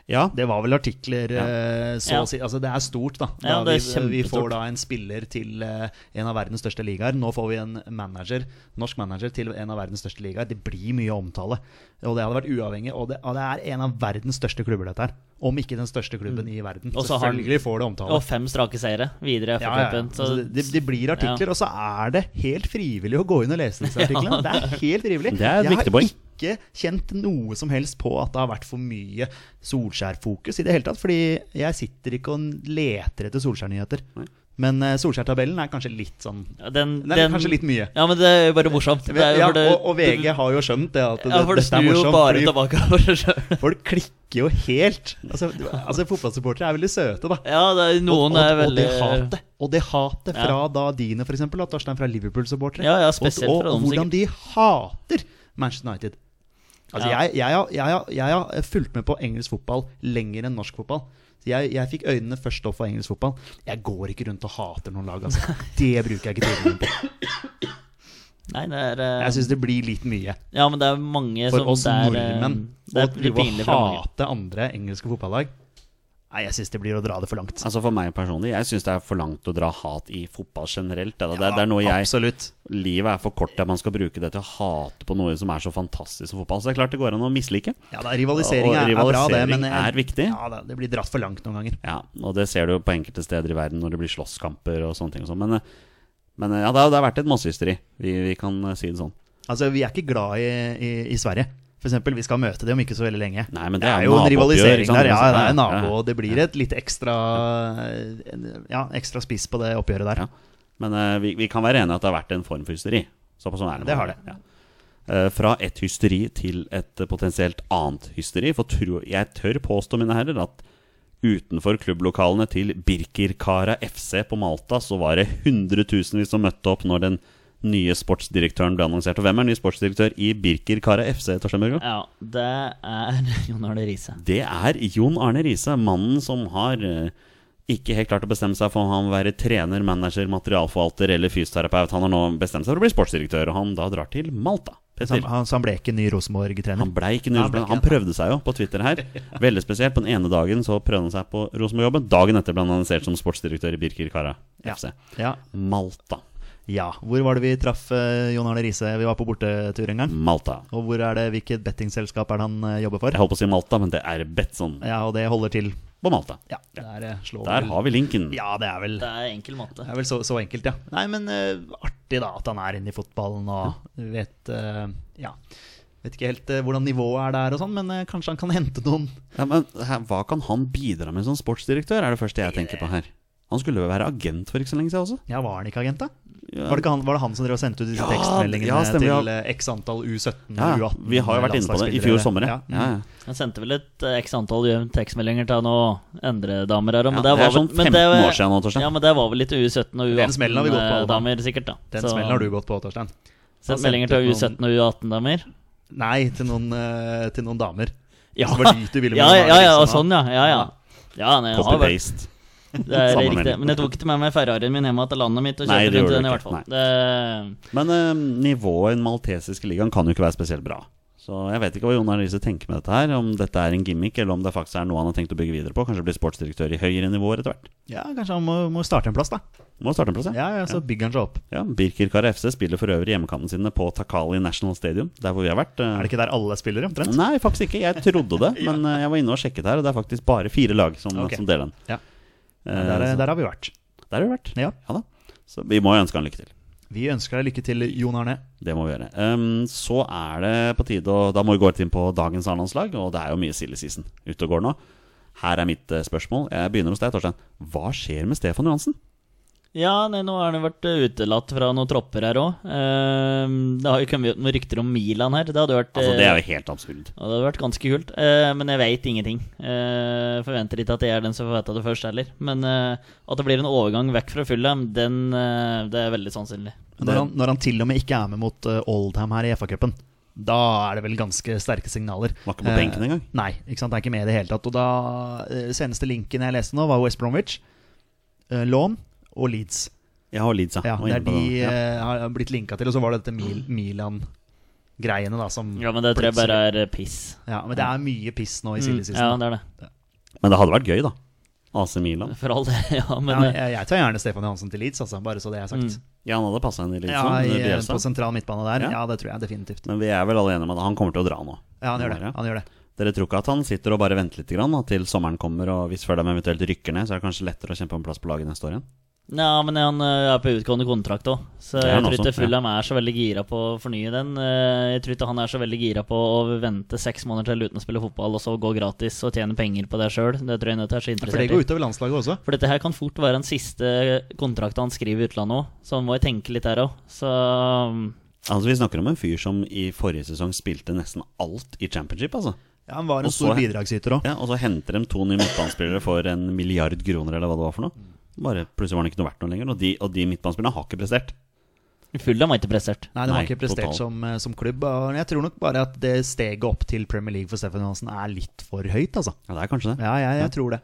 [SPEAKER 1] Ja,
[SPEAKER 2] Det var vel artikler
[SPEAKER 1] Ja.
[SPEAKER 2] eh, så
[SPEAKER 3] Ja.
[SPEAKER 2] å si Altså, det er stort, da. da
[SPEAKER 3] Ja, det
[SPEAKER 2] vi,
[SPEAKER 3] er
[SPEAKER 2] vi
[SPEAKER 3] kjempestort.
[SPEAKER 2] får da en spiller til eh, en av verdens største ligaer. Nå får vi en manager, norsk manager til en av verdens største ligaer. Det blir mye omtale. Og det hadde vært uavhengig. Og det, og det er en av verdens største klubber, dette her. Om ikke den største klubben i verden.
[SPEAKER 3] Mm. Og så har han-
[SPEAKER 2] Selvfølgelig får det omtale.
[SPEAKER 3] Og fem strake seire videre. For
[SPEAKER 2] Ja, ja, ja.
[SPEAKER 3] klubben,
[SPEAKER 2] Altså, det, det blir artikler, og så er det helt frivillig å gå inn og lese disse artiklene. Det er helt frivillig.
[SPEAKER 1] Det er et viktig poeng.
[SPEAKER 2] Jeg har ikke kjent noe som helst på at det har vært for mye Solskjær-fokus i det hele tatt, fordi jeg sitter ikke og leter etter Solskjær-nyheter.
[SPEAKER 1] Nei.
[SPEAKER 2] Men eh, Solskjær-tabellen er kanskje litt sånn
[SPEAKER 3] Ja, den,
[SPEAKER 2] Den er
[SPEAKER 3] den-
[SPEAKER 2] kanskje litt mye.
[SPEAKER 3] Ja, men det er jo bare morsomt. Det er jo
[SPEAKER 2] Ja,
[SPEAKER 3] for det-
[SPEAKER 2] og, og VG har jo skjønt det at det,
[SPEAKER 3] Ja, for det
[SPEAKER 2] dette er
[SPEAKER 3] snur jo
[SPEAKER 2] morsomt.
[SPEAKER 3] bare
[SPEAKER 2] fordi
[SPEAKER 3] tilbake for seg sjøl.
[SPEAKER 2] folk klikker jo helt. Altså, altså fotballsupportere er veldig søte, da.
[SPEAKER 3] Ja, det er,
[SPEAKER 2] og,
[SPEAKER 3] noen
[SPEAKER 2] og,
[SPEAKER 3] er veldig
[SPEAKER 2] Og det hatet og det hatet
[SPEAKER 3] Ja.
[SPEAKER 2] fra da dine, for eksempel, at Torstein fra Liverpool-supportere.
[SPEAKER 3] Ja, ja, spesielt
[SPEAKER 2] og,
[SPEAKER 3] fra
[SPEAKER 2] og,
[SPEAKER 3] dem,
[SPEAKER 2] og hvordan de hater Manchester United. Altså,
[SPEAKER 3] Ja.
[SPEAKER 2] jeg, jeg, har- jeg, har- jeg har fulgt med på engelsk fotball lenger enn norsk fotball. Så jeg, jeg fikk øynene først opp for engelsk fotball. Jeg går ikke rundt og hater noen lag, altså. Det bruker jeg ikke tiden min på.
[SPEAKER 3] Nei, det er eh,
[SPEAKER 2] Jeg syns det blir litt mye.
[SPEAKER 3] Ja, men det er mange
[SPEAKER 2] For
[SPEAKER 3] som
[SPEAKER 2] oss
[SPEAKER 3] det er, eh,
[SPEAKER 2] nordmenn å
[SPEAKER 3] Det er litt
[SPEAKER 2] drive
[SPEAKER 3] pinlig
[SPEAKER 2] og
[SPEAKER 3] for mange.
[SPEAKER 2] hate andre engelske fotballag Nei, jeg syns det blir å dra det for langt.
[SPEAKER 1] Altså For meg personlig, jeg syns det er for langt å dra hat i fotball generelt. Det, det, det er noe jeg
[SPEAKER 2] Absolutt.
[SPEAKER 1] Livet er for kort til at man skal bruke det til å hate på noe som er så fantastisk som fotball. Så det er klart det går an å mislike.
[SPEAKER 2] Ja, da, rivalisering,
[SPEAKER 1] Og- og
[SPEAKER 2] er- er bra, det.
[SPEAKER 1] rivalisering
[SPEAKER 2] Men jeg-
[SPEAKER 1] er viktig.
[SPEAKER 2] Ja, da, det blir dratt for langt noen ganger.
[SPEAKER 1] Ja, og det ser du jo på enkelte steder i verden når det blir slåsskamper og sånne ting. Og sånn. men, eh, men eh, ja, det har, det har vært et massehysteri. Vi, vi kan eh, si det sånn.
[SPEAKER 2] Altså, Vi er ikke glad i, i, i Sverige. For eksempel, vi skal møte det om ikke så veldig lenge.
[SPEAKER 1] Nei, men det
[SPEAKER 2] det
[SPEAKER 1] er
[SPEAKER 2] er
[SPEAKER 1] jo
[SPEAKER 2] jo en
[SPEAKER 1] nabooppgjør, ikke
[SPEAKER 2] rivalisering
[SPEAKER 1] sant?
[SPEAKER 2] der. Ja, det er en
[SPEAKER 1] Ja, ja,
[SPEAKER 2] nabo,
[SPEAKER 1] ja.
[SPEAKER 2] og det blir et litt ekstra eh, Ja, ekstra spiss på det oppgjøret der.
[SPEAKER 1] Ja. Men eh, vi, vi kan være enige at det har vært en form for hysteri. Såpass sånn er det.
[SPEAKER 2] Det har det.
[SPEAKER 1] Ja. Eh, fra et hysteri til et eh, potensielt annet hysteri. For tro, jeg tør påstå, mine herrer, at utenfor klubblokalene til Birkirkara FC på Malta, så var det hundretusenvis som møtte opp når den nye sportsdirektøren ble annonsert. Og hvem er ny sportsdirektør i Birkirkara FC, Torstein Børgo?
[SPEAKER 3] Ja, det er Jon Arne Riise.
[SPEAKER 1] Det er Jon Arne Riise, mannen som har eh, ikke helt klart å bestemme seg for om han vil være trener, manager, materialforvalter eller fysioterapeut. Han har nå bestemt seg for å bli sportsdirektør, og han da drar til Malta.
[SPEAKER 2] Så han,
[SPEAKER 1] Petter.
[SPEAKER 2] han- så han ble ikke ny Rosenborg-trener.
[SPEAKER 1] Han blei ikke ny
[SPEAKER 2] Han ble
[SPEAKER 1] Rosenborg.
[SPEAKER 2] ikke
[SPEAKER 1] Han prøvde seg jo på Twitter her. Veldig spesielt. På den ene dagen så prøvde han seg på Rosenborg-jobben. Dagen etter ble han annonsert som sportsdirektør i Birker Kara
[SPEAKER 2] Ja.
[SPEAKER 1] FC.
[SPEAKER 2] Ja.
[SPEAKER 1] Malta.
[SPEAKER 2] ja. Hvor var det vi traff eh, Jon Arne Riise? Vi var på bortetur
[SPEAKER 1] Mm.
[SPEAKER 2] en gang.
[SPEAKER 1] Malta.
[SPEAKER 2] Og hvor er det, hvilket bettingselskap er det han eh, jobber
[SPEAKER 1] Jeg
[SPEAKER 2] for?
[SPEAKER 1] holdt på å si Malta, men det er Betson
[SPEAKER 2] Ja, og det holder til
[SPEAKER 1] på Malta.
[SPEAKER 2] Ja, der eh, slår
[SPEAKER 1] Der
[SPEAKER 2] vel-
[SPEAKER 1] har vi linken.
[SPEAKER 2] Ja, det er vel
[SPEAKER 3] Det er enkel matte.
[SPEAKER 2] Det er vel så, så enkelt, ja. Nei, men eh, artig da at han er inne i fotballen og vet eh, Ja. Vet ikke helt eh, hvordan nivået er der og sånn, men eh, kanskje han kan hente noen
[SPEAKER 1] Ja, men her, Hva kan han bidra med som sportsdirektør, er det første jeg tenker på her. Han skulle vel være agent for ikke så lenge siden også?
[SPEAKER 2] Ja, var han ikke agent, da?
[SPEAKER 1] Ja.
[SPEAKER 2] Var det, ikke han, var det han som drev og sendte ut disse
[SPEAKER 1] Ja,
[SPEAKER 2] tekstmeldingene
[SPEAKER 1] ja, stemmer, ja.
[SPEAKER 2] til eh, x antall U17
[SPEAKER 1] Ja,
[SPEAKER 2] og U18?
[SPEAKER 1] vi har jo vært inne på det i fjor sommer. Ja.
[SPEAKER 2] landslagsspillere? mm.
[SPEAKER 1] Ja, ja.
[SPEAKER 3] Han sendte vel et eh, x antall tekstmeldinger til noen Endre-damer her. Men
[SPEAKER 1] Ja, det
[SPEAKER 3] var
[SPEAKER 1] er sånn
[SPEAKER 3] vel- men
[SPEAKER 1] 15
[SPEAKER 3] det var-
[SPEAKER 1] år siden nå, Torstein.
[SPEAKER 3] Ja, men det var vel litt U17 og
[SPEAKER 2] Den smellen har vi gått på, Alba.
[SPEAKER 3] U18-damer, sikkert. da
[SPEAKER 2] Den
[SPEAKER 3] Så-
[SPEAKER 2] smellen har du gått på, Torstein.
[SPEAKER 3] Sendt
[SPEAKER 2] Han
[SPEAKER 3] meldinger
[SPEAKER 2] sendte
[SPEAKER 3] til
[SPEAKER 2] ut
[SPEAKER 3] U17 og U18-damer?
[SPEAKER 2] Nei, til noen, eh, til noen damer.
[SPEAKER 3] Ja.
[SPEAKER 2] Så var dit du ville med
[SPEAKER 3] Ja,
[SPEAKER 2] Jon
[SPEAKER 3] ja,
[SPEAKER 2] Arne
[SPEAKER 1] liksom,
[SPEAKER 3] ja, ja,
[SPEAKER 2] Riise, da.
[SPEAKER 3] sånn, ja. ja, ja. ja nei, jeg har vært-
[SPEAKER 1] Copy-paste.
[SPEAKER 3] Det er
[SPEAKER 1] Samme
[SPEAKER 3] riktig.
[SPEAKER 1] mening.
[SPEAKER 3] Men jeg tok ikke med meg Ferrarien min hjemme til landet mitt og
[SPEAKER 1] Nei,
[SPEAKER 3] kjørte
[SPEAKER 1] det
[SPEAKER 3] rundt i
[SPEAKER 1] gjorde
[SPEAKER 3] den i
[SPEAKER 1] du
[SPEAKER 3] hvert
[SPEAKER 1] ikke.
[SPEAKER 3] fall. Det,
[SPEAKER 1] ehm, Men eh, nivået i den maltesiske ligaen kan jo ikke være spesielt bra. Så Så jeg vet ikke hva Jon Arne Riise tenker med dette her. Om dette er en gimmick, eller om det faktisk er noe han har tenkt å bygge videre på. Kanskje bli sportsdirektør i høyere nivåer etter hvert.
[SPEAKER 2] Ja, kanskje han må, må starte en plass, da.
[SPEAKER 1] Må starte en plass, ja.
[SPEAKER 2] Ja, ja, Så bygger han seg opp.
[SPEAKER 1] ja Birker Kara FC spiller for øvrig hjemmekampene sine på Takali National Stadium, der hvor vi har vært. eh,
[SPEAKER 2] Er det ikke der alle spiller, omtrent?
[SPEAKER 1] Nei, faktisk ikke. Jeg trodde det, men eh, jeg var inne og sjekket her, og det er faktisk bare fire lag som,
[SPEAKER 2] Ok.
[SPEAKER 1] som deler den.
[SPEAKER 2] Ja.
[SPEAKER 1] Eh,
[SPEAKER 2] Der,
[SPEAKER 1] så-
[SPEAKER 2] der har vi vært.
[SPEAKER 1] Der har vi vært.
[SPEAKER 2] Ja.
[SPEAKER 1] Ja da. Så vi må jo ønske han lykke til.
[SPEAKER 2] Vi ønsker deg lykke til, Jon Arne.
[SPEAKER 1] Det må vi gjøre. Ehm, så er det på tide å Da må vi gå litt inn på dagens A-landslag, og det er jo mye silly season ute og går nå. Her er mitt eh, spørsmål. Jeg begynner hos deg, Torstein. Hva skjer med Stefan Johansen?
[SPEAKER 3] Ja, nei, nå har han jo vært eh, utelatt fra noen tropper her òg. Det har jo kommet ut noen rykter om Milan her. Det hadde vært
[SPEAKER 1] Altså, det
[SPEAKER 3] eh,
[SPEAKER 1] er jo helt absurd.
[SPEAKER 3] Ja, det hadde vært ganske kult, eh, men jeg veit ingenting. Eh, forventer ikke at jeg er den som får vite det først heller. Men eh, at det blir en overgang vekk fra Fulham, den, eh, det er veldig sannsynlig.
[SPEAKER 2] Når han, når han til og med ikke er med mot eh, Oldham her i FA-cupen, da er det vel ganske sterke signaler.
[SPEAKER 1] Var ikke på benken engang.
[SPEAKER 2] Eh, nei, ikke sant? han er ikke med i det hele tatt. Og da, eh, Seneste linken jeg leste nå, var West Bromwich, eh, Lawn og Leeds.
[SPEAKER 1] Jeg har Leeds,
[SPEAKER 2] Ja,
[SPEAKER 1] Var
[SPEAKER 2] Det
[SPEAKER 1] inne
[SPEAKER 2] er
[SPEAKER 1] på
[SPEAKER 2] de
[SPEAKER 1] det. Ja.
[SPEAKER 2] eh, har blitt linka til. Og så var det dette Mil Milan-greiene, da, som
[SPEAKER 3] Ja, men det tror jeg bare er eh, piss.
[SPEAKER 2] Ja, men det er mye piss nå i
[SPEAKER 3] Mm,
[SPEAKER 2] silly
[SPEAKER 3] ja,
[SPEAKER 2] season.
[SPEAKER 3] det er det.
[SPEAKER 1] Men det hadde vært gøy, da. AC Milan.
[SPEAKER 3] For all del. Ja, men
[SPEAKER 2] Ja,
[SPEAKER 3] eh,
[SPEAKER 2] jeg, jeg tar gjerne Stefan Johansen til Leeds, altså, bare så det er sagt.
[SPEAKER 3] Mm.
[SPEAKER 1] Ja, han hadde passa inn i Leeds
[SPEAKER 2] Ja,
[SPEAKER 1] nå,
[SPEAKER 2] i, eh,
[SPEAKER 1] under Bielsa.
[SPEAKER 2] på sentral midtbane der.
[SPEAKER 1] Ja.
[SPEAKER 2] Ja. det tror jeg definitivt.
[SPEAKER 1] Men vi er vel alle enige om at han kommer til å dra nå.
[SPEAKER 2] Ja, han gjør det. Han gjør det.
[SPEAKER 1] Dere tror ikke at han sitter og bare venter litt grann, da, til sommeren kommer, og hvis Fulham eventuelt rykker ned, så er det kanskje lettere å kjempe om plass på laget neste år igjen?
[SPEAKER 3] ja, men han eh, er på utgående kontrakt òg, så
[SPEAKER 1] Det er
[SPEAKER 3] jeg
[SPEAKER 1] han
[SPEAKER 3] tror ikke
[SPEAKER 1] også, ja.
[SPEAKER 3] Fulham er så veldig gira på å fornye den. Eh, Jeg tror ikke han er så veldig gira på å vente seks måneder til uten å spille fotball, og så gå gratis og tjene penger på det sjøl. Det tror jeg ikke er så
[SPEAKER 2] For
[SPEAKER 3] interessert
[SPEAKER 2] det
[SPEAKER 3] i.
[SPEAKER 2] går utover landslaget også.
[SPEAKER 3] For dette her kan fort være den siste kontrakten han skriver i utlandet òg, så han må jo tenke litt der òg. Så um,
[SPEAKER 1] Altså, Vi snakker om en fyr som i forrige sesong spilte nesten alt i championship, altså.
[SPEAKER 2] Ja, han var en
[SPEAKER 1] Og så-
[SPEAKER 2] stor bidragsyter òg.
[SPEAKER 1] Ja, Og så henter de to nye midtbanespillere for en milliard kroner, eller hva det var for noe. Bare Plutselig var han ikke noe verdt noe lenger, og de, og de midtbanespillerne har ikke prestert.
[SPEAKER 3] Fulham har ikke prestert.
[SPEAKER 2] Nei, de har
[SPEAKER 1] Nei,
[SPEAKER 2] ikke prestert
[SPEAKER 1] totalt.
[SPEAKER 2] som, eh, som klubb. og Jeg tror nok bare at det steget opp til Premier League for Stefan Johansen er litt for høyt, altså.
[SPEAKER 1] Ja, det er kanskje det.
[SPEAKER 2] Ja, jeg, jeg tror det.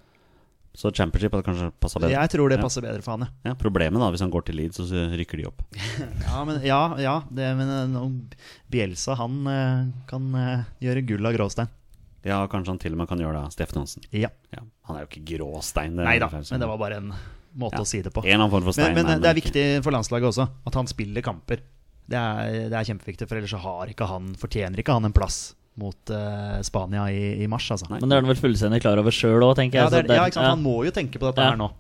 [SPEAKER 1] Så championship hadde kanskje passa bedre.
[SPEAKER 2] Jeg tror det
[SPEAKER 1] Ja.
[SPEAKER 2] passer bedre for han, ja.
[SPEAKER 1] Ja, problemet da, hvis han går til Leeds, så- så rykker de opp.
[SPEAKER 2] Ja, men, ja, ja det, men eh, nå- Bielsa, han eh, kan eh, gjøre gull av gråstein.
[SPEAKER 1] Ja, kanskje han til og med kan gjøre det, Steffen Johansen.
[SPEAKER 2] Ja.
[SPEAKER 1] Ja, han er jo ikke gråstein.
[SPEAKER 2] Nei da, men det var bare en måte å si det på.
[SPEAKER 1] En eller annen form for stein.
[SPEAKER 2] Men, men
[SPEAKER 1] er
[SPEAKER 2] eh,
[SPEAKER 1] han
[SPEAKER 2] det er
[SPEAKER 1] ikke.
[SPEAKER 2] viktig for landslaget også, at han spiller kamper. Det er, det er kjempeviktig, for ellers så har ikke han, fortjener ikke han en plass mot eh, Spania i, i mars, altså.
[SPEAKER 1] Nei.
[SPEAKER 3] Men det er han vel fullstendig klar over sjøl òg, tenker
[SPEAKER 2] Ja,
[SPEAKER 3] jeg.
[SPEAKER 2] det
[SPEAKER 3] så
[SPEAKER 2] er,
[SPEAKER 3] det-
[SPEAKER 2] ja, ikke sant? Han
[SPEAKER 3] ja.
[SPEAKER 2] må jo tenke på dette
[SPEAKER 3] Ja.
[SPEAKER 2] her nå.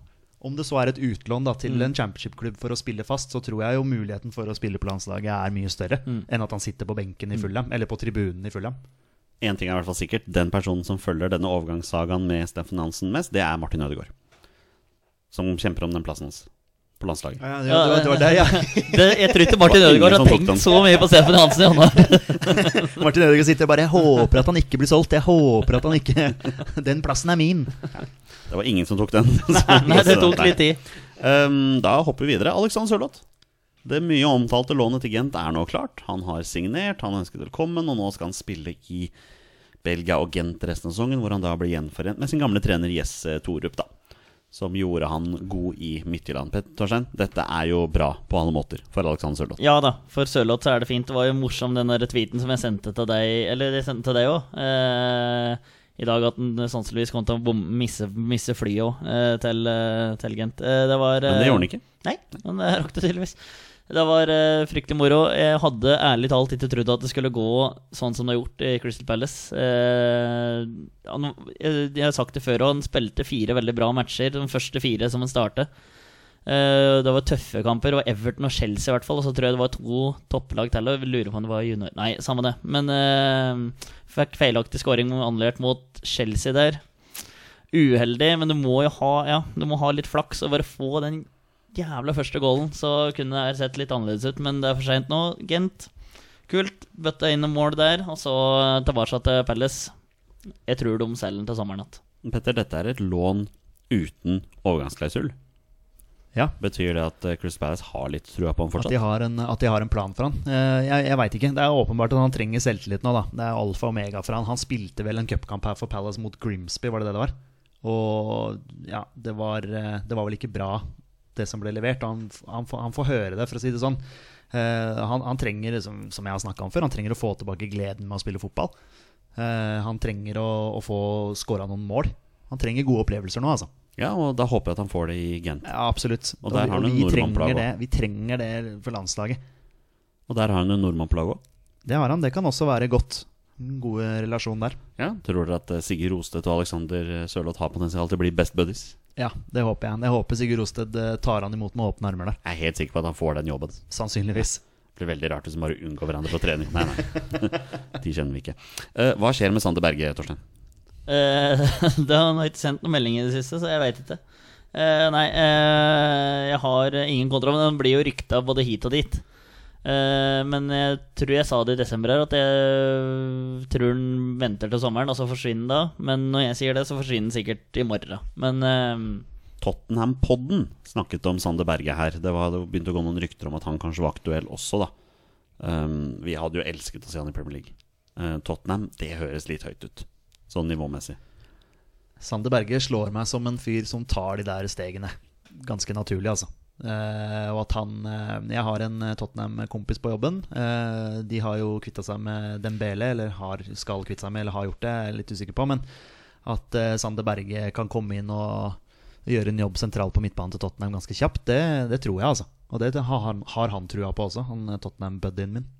[SPEAKER 2] Om det så er et utlån da, til en championship-klubb for å spille fast, så tror jeg jo muligheten for å spille på landslaget er mye større enn at han sitter på benken i Fulham, eller på tribunen i Fulham.
[SPEAKER 1] En ting er i hvert fall sikkert, den personen som følger denne overgangssagaen med Steffen Hansen mest, det er Martin Ødegaard. Som kjemper om den plassen hans på landslaget.
[SPEAKER 2] Ja,
[SPEAKER 3] det var- det var der,
[SPEAKER 2] ja.
[SPEAKER 3] Det, jeg tror ikke Martin
[SPEAKER 1] Det var ingen
[SPEAKER 3] Ødegaard
[SPEAKER 1] som
[SPEAKER 3] har
[SPEAKER 1] tok den.
[SPEAKER 3] tenkt så mye på Stefan Hansen i januar.
[SPEAKER 2] Martin Ødegaard sitter bare Jeg håper at han ikke blir solgt. Jeg håper at han ikke Den plassen er min.
[SPEAKER 1] Det var ingen som tok den.
[SPEAKER 3] Nei, det tok litt tid.
[SPEAKER 1] Um, da hopper vi videre. Alexander Sørloth. Det mye omtalte lånet til Gent er nå klart. Han har signert, han ønsket velkommen, og nå skal han spille i Belgia og Gent resten av sesongen, hvor han da blir gjenforent med sin gamle trener Jesse Torup, da. Som gjorde han god i Midtjylland. Pet- Torstein, dette er jo bra på alle måter for Alexander Sørloth.
[SPEAKER 3] Ja da, for Sørloth så er det fint. Det var jo morsom den der tweeten som jeg sendte til deg, eller jeg sendte til deg òg. Eh, I dag at han sannsynligvis kom til å bom, misse, misse flyet òg, eh, til, eh, til Gent. Eh, det var
[SPEAKER 1] Men det
[SPEAKER 3] eh,
[SPEAKER 1] gjorde han ikke.
[SPEAKER 3] Nei, men det rakk det tydeligvis. Det var eh, fryktelig moro. Jeg hadde ærlig talt ikke trodd at det skulle gå sånn som det har gjort i Crystal Palace. Eh, han, jeg, jeg har sagt det før, og han spilte fire veldig bra matcher, de første fire som han startet. Eh, det var tøffe kamper, det var Everton og Chelsea i hvert fall, og så tror jeg det var to topplag til. og Jeg lurer på om det var junior Nei, samme det. Men eh, fikk feilaktig scoring annullert mot Chelsea der. Uheldig, men du må jo ha, ja, du må ha litt flaks og bare få den jævla første goalen, så kunne det her sett litt annerledes ut, men det er for seint nå. Gent, kult. Bøtta inn en mål der, og så tilbake til Palace. Jeg tror de selger den til sommeren igjen.
[SPEAKER 1] Petter, dette er et lån uten overgangsklausul.
[SPEAKER 2] Ja.
[SPEAKER 1] Betyr det at eh, Chris Palace har litt trua på ham
[SPEAKER 2] At
[SPEAKER 1] fortsatt?
[SPEAKER 2] de, har en, at de har en plan for han. Eh, Jeg, jeg veit ikke. Det er åpenbart at han trenger selvtillit nå. da Det er alfa og omega for han Han spilte vel en cupkamp her for Palace mot Grimsby, var det det det var? Og ja, det var, eh, det var vel ikke bra det som ble levert. Han, han, får, han får høre det, for å si det sånn. Eh, han, han trenger, som, som jeg har snakka om før, han trenger å få tilbake gleden med å spille fotball. Eh, han trenger å, å få scora noen mål. Han trenger gode opplevelser nå, altså.
[SPEAKER 1] Ja, og da håper jeg at han får det i Gent.
[SPEAKER 2] Ja, absolutt.
[SPEAKER 1] Og der har han en
[SPEAKER 2] vi,
[SPEAKER 1] nordmann på
[SPEAKER 2] trenger det,
[SPEAKER 1] laget.
[SPEAKER 2] vi trenger det for landslaget.
[SPEAKER 1] Og der har han en nordmann på laget òg.
[SPEAKER 2] Det har han. Det kan også være godt. Gode relasjon der.
[SPEAKER 1] Ja. Tror dere at eh, Sigurd Rostedt og Alexander eh, Sørloth har potensial til å bli best buddies?
[SPEAKER 2] Ja, det håper jeg. Jeg håper Sigurd Rosted eh, tar han imot med åpne armer der.
[SPEAKER 1] Jeg er helt sikker på at han får den jobben.
[SPEAKER 2] Sannsynligvis.
[SPEAKER 1] Det blir veldig rart hvis de bare unngår hverandre på trening. Nei, nei. De kjenner vi ikke. Eh, hva skjer med Sander Berge, Torstein?
[SPEAKER 3] Eh, det har han ikke sendt noen melding i det siste, så jeg veit ikke. Eh, nei, eh, jeg har ingen kontra, men den blir jo rykta både hit og dit. Eh, men jeg tror jeg sa det i desember her, at jeg tror den venter til sommeren, og så forsvinner den da. Men når jeg sier det, så forsvinner den sikkert i morgen. Men eh,
[SPEAKER 1] Tottenham-podden snakket om Sander Berge her. Det, var, det begynte å gå noen rykter om at han kanskje var aktuell også, da. Um, vi hadde jo elsket å se han i Premier League. Eh, Tottenham, det høres litt høyt ut. Sånn nivåmessig.
[SPEAKER 2] Sander Berge slår meg som en fyr som tar de der stegene. Ganske naturlig, altså. Eh, og at han eh, Jeg har en eh, Tottenham-kompis på jobben. Eh, de har jo kvitta seg med Dembele, eller har, skal kvitte seg med, eller har gjort det. Jeg er litt usikker på, men at eh, Sander Berge kan komme inn og gjøre en jobb sentralt på midtbanen til Tottenham ganske kjapt, det, det tror jeg, altså. Og det har han, har han trua på også, han eh, Tottenham-buddyen min.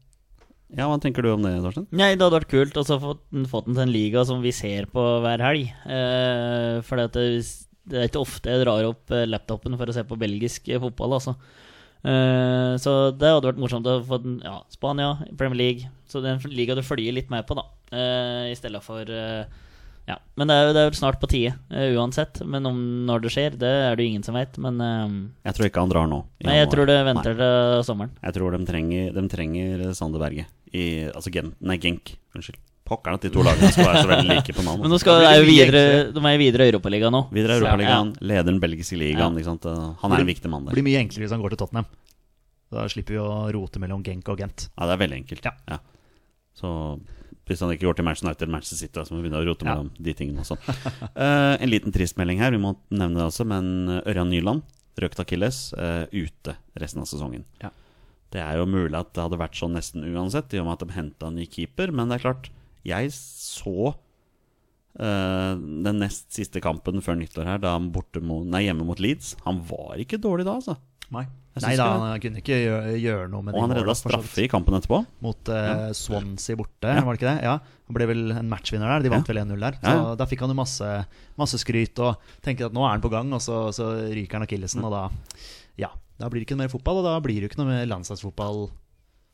[SPEAKER 1] Ja, hva tenker du om det, Torstein?
[SPEAKER 3] Nei, det hadde vært kult også å få den- fått den til en liga som vi ser på hver helg. Eh, for det, det er ikke ofte jeg drar opp eh, laptopen for å se på belgisk eh, fotball, altså. Eh, så det hadde vært morsomt å få den ja, Spania, Premier League. Så det er en liga du følger litt med på, da. Eh, I stedet for eh, Ja. Men det er jo det er jo snart på tide, eh, uansett. Men om når det skjer, det er det jo ingen som veit. Men eh,
[SPEAKER 1] Jeg tror ikke han drar nå. i
[SPEAKER 3] nei, jeg
[SPEAKER 1] januar.
[SPEAKER 3] tror det
[SPEAKER 1] Nei.
[SPEAKER 3] venter til sommeren.
[SPEAKER 1] Jeg tror de trenger, de trenger Sander Berge. I, altså Gen, nei, Genk. Unnskyld. Pokkeren at de to lagene skal være så veldig like på navn. altså.
[SPEAKER 3] Men nå skal,
[SPEAKER 2] Da
[SPEAKER 3] er jo
[SPEAKER 2] blir det
[SPEAKER 3] videre, de er jo videre i Europaligaen nå.
[SPEAKER 1] Videre i
[SPEAKER 3] Så,
[SPEAKER 1] Europaligaen, leder den belgiske ligaen. Ikke sant? Han er en viktig mann
[SPEAKER 2] Det
[SPEAKER 1] der.
[SPEAKER 2] blir mye enklere hvis han går til Tottenham. Da slipper vi å rote mellom Genk og Gent.
[SPEAKER 1] Ja, det er veldig enkelt.
[SPEAKER 2] Ja.
[SPEAKER 1] Ja. Så hvis han ikke går til Manchester United, Manchester City, da, så må vi begynne å rote
[SPEAKER 2] Ja.
[SPEAKER 1] mellom de tingene også. Eh, en liten trist melding her, vi må nevne det også, men eh, Ørjan Nyland, røkt akilles, eh, ute resten av sesongen.
[SPEAKER 2] Ja.
[SPEAKER 1] Det er jo mulig at det hadde vært sånn nesten uansett, i og med at de henta en ny keeper, men det er klart, jeg så eh, den nest siste kampen før nyttår her, da han borte mot, nei, hjemme mot Leeds. Han var ikke dårlig da, altså.
[SPEAKER 2] Nei.
[SPEAKER 1] Jeg
[SPEAKER 2] Nei
[SPEAKER 1] syns
[SPEAKER 2] da,
[SPEAKER 1] ikke det.
[SPEAKER 2] han kunne ikke gjøre, gjøre noe med
[SPEAKER 1] Og
[SPEAKER 2] de
[SPEAKER 1] han
[SPEAKER 2] målene,
[SPEAKER 1] redda
[SPEAKER 2] for så vidt.
[SPEAKER 1] straffe i kampen etterpå.
[SPEAKER 2] Mot eh, Swansea borte,
[SPEAKER 1] Ja.
[SPEAKER 2] var det ikke det? Ja. Han ble vel en matchvinner der. De vant vel 1-0 der. Så
[SPEAKER 1] Ja, ja.
[SPEAKER 2] Da fikk han jo masse, masse skryt og tenker at nå er han på gang, og så, så ryker han akillesen, og da Ja. Da blir det ikke noe mer fotball, og da blir det jo ikke noe mer landslagsfotball.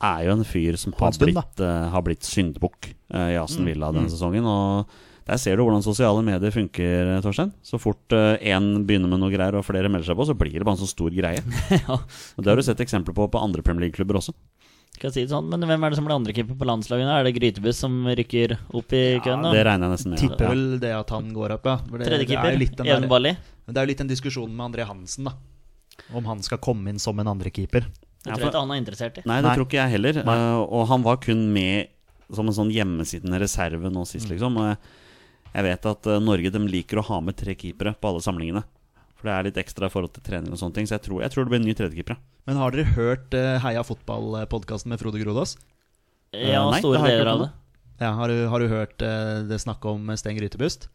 [SPEAKER 1] er jo en fyr som
[SPEAKER 2] På
[SPEAKER 1] har
[SPEAKER 2] en stund,
[SPEAKER 1] blitt, eh, har blitt syndebukk eh, i
[SPEAKER 2] Mm.
[SPEAKER 1] Aston Villa denne sesongen. Og der ser du hvordan sosiale medier funker, eh, Torstein. Så fort én begynner med noe greier og flere melder seg på, så blir det bare en sånn stor greie.
[SPEAKER 3] ja.
[SPEAKER 1] Og Det har du sett eksempler på på andre Premier League-klubber også.
[SPEAKER 3] Skal jeg si det sånn, men hvem er det som blir andrekeeper på landslaget nå? Er det Grytebuss som rykker opp i køen da?
[SPEAKER 1] Det regner jeg nesten med. Ja.
[SPEAKER 2] Tipper vel det at han går opp, ja. For det- det er jo
[SPEAKER 3] Tredjekeeper?
[SPEAKER 2] litt den
[SPEAKER 3] Even
[SPEAKER 2] der-
[SPEAKER 3] Balli?
[SPEAKER 2] Men det er jo litt en diskusjon med André Hansen, da. Om han skal komme inn som en andrekeeper.
[SPEAKER 3] Det
[SPEAKER 1] Ja, for-
[SPEAKER 3] tror jeg ikke han er interessert i.
[SPEAKER 1] Nei, det
[SPEAKER 2] Nei.
[SPEAKER 1] tror ikke jeg heller. Eh, og han var kun med som en sånn hjemmesittende reserve nå
[SPEAKER 2] Mm.
[SPEAKER 1] sist, liksom. Og jeg- jeg vet at eh, Norge de liker å ha med tre keepere på alle samlingene. For det er litt ekstra i forhold til trening og sånne ting. Så jeg tror, jeg tror det blir en ny tredjekeeper. ja.
[SPEAKER 2] Men har dere hørt eh, Heia fotball-podkasten med Frode Grodås?
[SPEAKER 3] Ja,
[SPEAKER 1] Eh, nei, det
[SPEAKER 3] store
[SPEAKER 1] har jeg ikke
[SPEAKER 3] deler
[SPEAKER 1] hørt
[SPEAKER 3] av
[SPEAKER 1] om.
[SPEAKER 3] det.
[SPEAKER 2] Ja, har, du, har du hørt eh, det snakket om Sten Grytebust?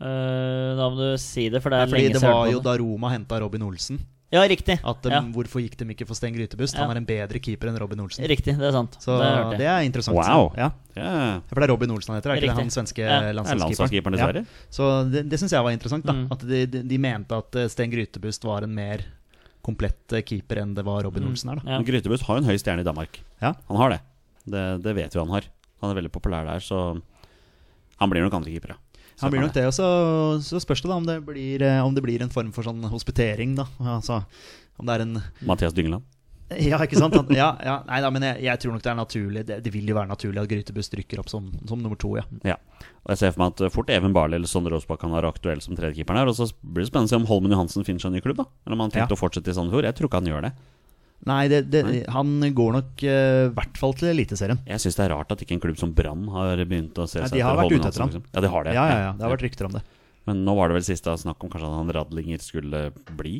[SPEAKER 3] Eh, da må du si det, for det er
[SPEAKER 2] Fordi
[SPEAKER 3] lenge
[SPEAKER 2] det
[SPEAKER 3] siden.
[SPEAKER 2] var
[SPEAKER 3] jeg
[SPEAKER 2] jo
[SPEAKER 3] hørte på
[SPEAKER 2] da Roma henta Robin Olsen.
[SPEAKER 3] det. Ja, riktig.
[SPEAKER 2] At um, de,
[SPEAKER 3] ja,
[SPEAKER 2] Hvorfor gikk de ikke for Sten Grytebust?
[SPEAKER 3] Ja.
[SPEAKER 2] Han er en bedre keeper enn Robin Olsen.
[SPEAKER 3] riktig, det er sant.
[SPEAKER 2] Så
[SPEAKER 3] det hørte
[SPEAKER 2] det
[SPEAKER 3] jeg.
[SPEAKER 2] er interessant.
[SPEAKER 1] Wow.
[SPEAKER 2] Ja.
[SPEAKER 1] Ja.
[SPEAKER 2] For det er Robin Olsen han heter, er ikke
[SPEAKER 3] Riktig.
[SPEAKER 2] det han svenske
[SPEAKER 3] Ja. Ja,
[SPEAKER 1] Er landslagskeeperen
[SPEAKER 2] landslagskeeperen?
[SPEAKER 1] til Sverige?
[SPEAKER 2] Ja. Så det, det syns jeg var interessant. da
[SPEAKER 3] Mm.
[SPEAKER 2] At de, de, de mente at eh, Sten Grytebust var en mer komplett eh, keeper enn det var Robin Olsen er. da
[SPEAKER 3] Mm. Ja.
[SPEAKER 1] Men Grytebust har jo en høy stjerne i Danmark.
[SPEAKER 2] Ja.
[SPEAKER 1] Han har det. det. Det vet vi han har. Han er veldig populær der, så han blir nok andrekeeper, ja.
[SPEAKER 2] Han blir nok det, og så, så spørs det da om det, blir, eh, om det blir en form for sånn hospitering. da Altså Om det er en
[SPEAKER 1] Mathias Dyngeland.
[SPEAKER 2] Ja, ikke sant? Han, ja, ja. Nei da, men jeg, jeg tror nok det er naturlig. Det, det vil jo være naturlig at Grytebust rykker opp som, som nummer to, ja.
[SPEAKER 1] Ja. Og jeg ser for meg at eh, fort Even Barley eller Sondre Aasbakk kan være aktuell som tredjekeeperen her. Og så blir det spennende å se om Holmen Johansen finner seg en ny klubb, da. Eller om han tenkte
[SPEAKER 2] Ja.
[SPEAKER 1] å fortsette i Sandefjord. Jeg tror ikke han gjør det.
[SPEAKER 2] Nei, det, det,
[SPEAKER 1] Nei.
[SPEAKER 2] han går nok eh, i hvert fall til Eliteserien.
[SPEAKER 1] Jeg syns det er rart at ikke en klubb som Brann har begynt å se
[SPEAKER 2] Ja,
[SPEAKER 1] seg
[SPEAKER 2] de har vært ute etter
[SPEAKER 1] Johansen,
[SPEAKER 2] han.
[SPEAKER 1] liksom. Ja, de har det.
[SPEAKER 2] Ja, ja, ja. Det har vært rykter om det.
[SPEAKER 1] Men nå var det vel siste snakk om kanskje at han Radlinger skulle bli?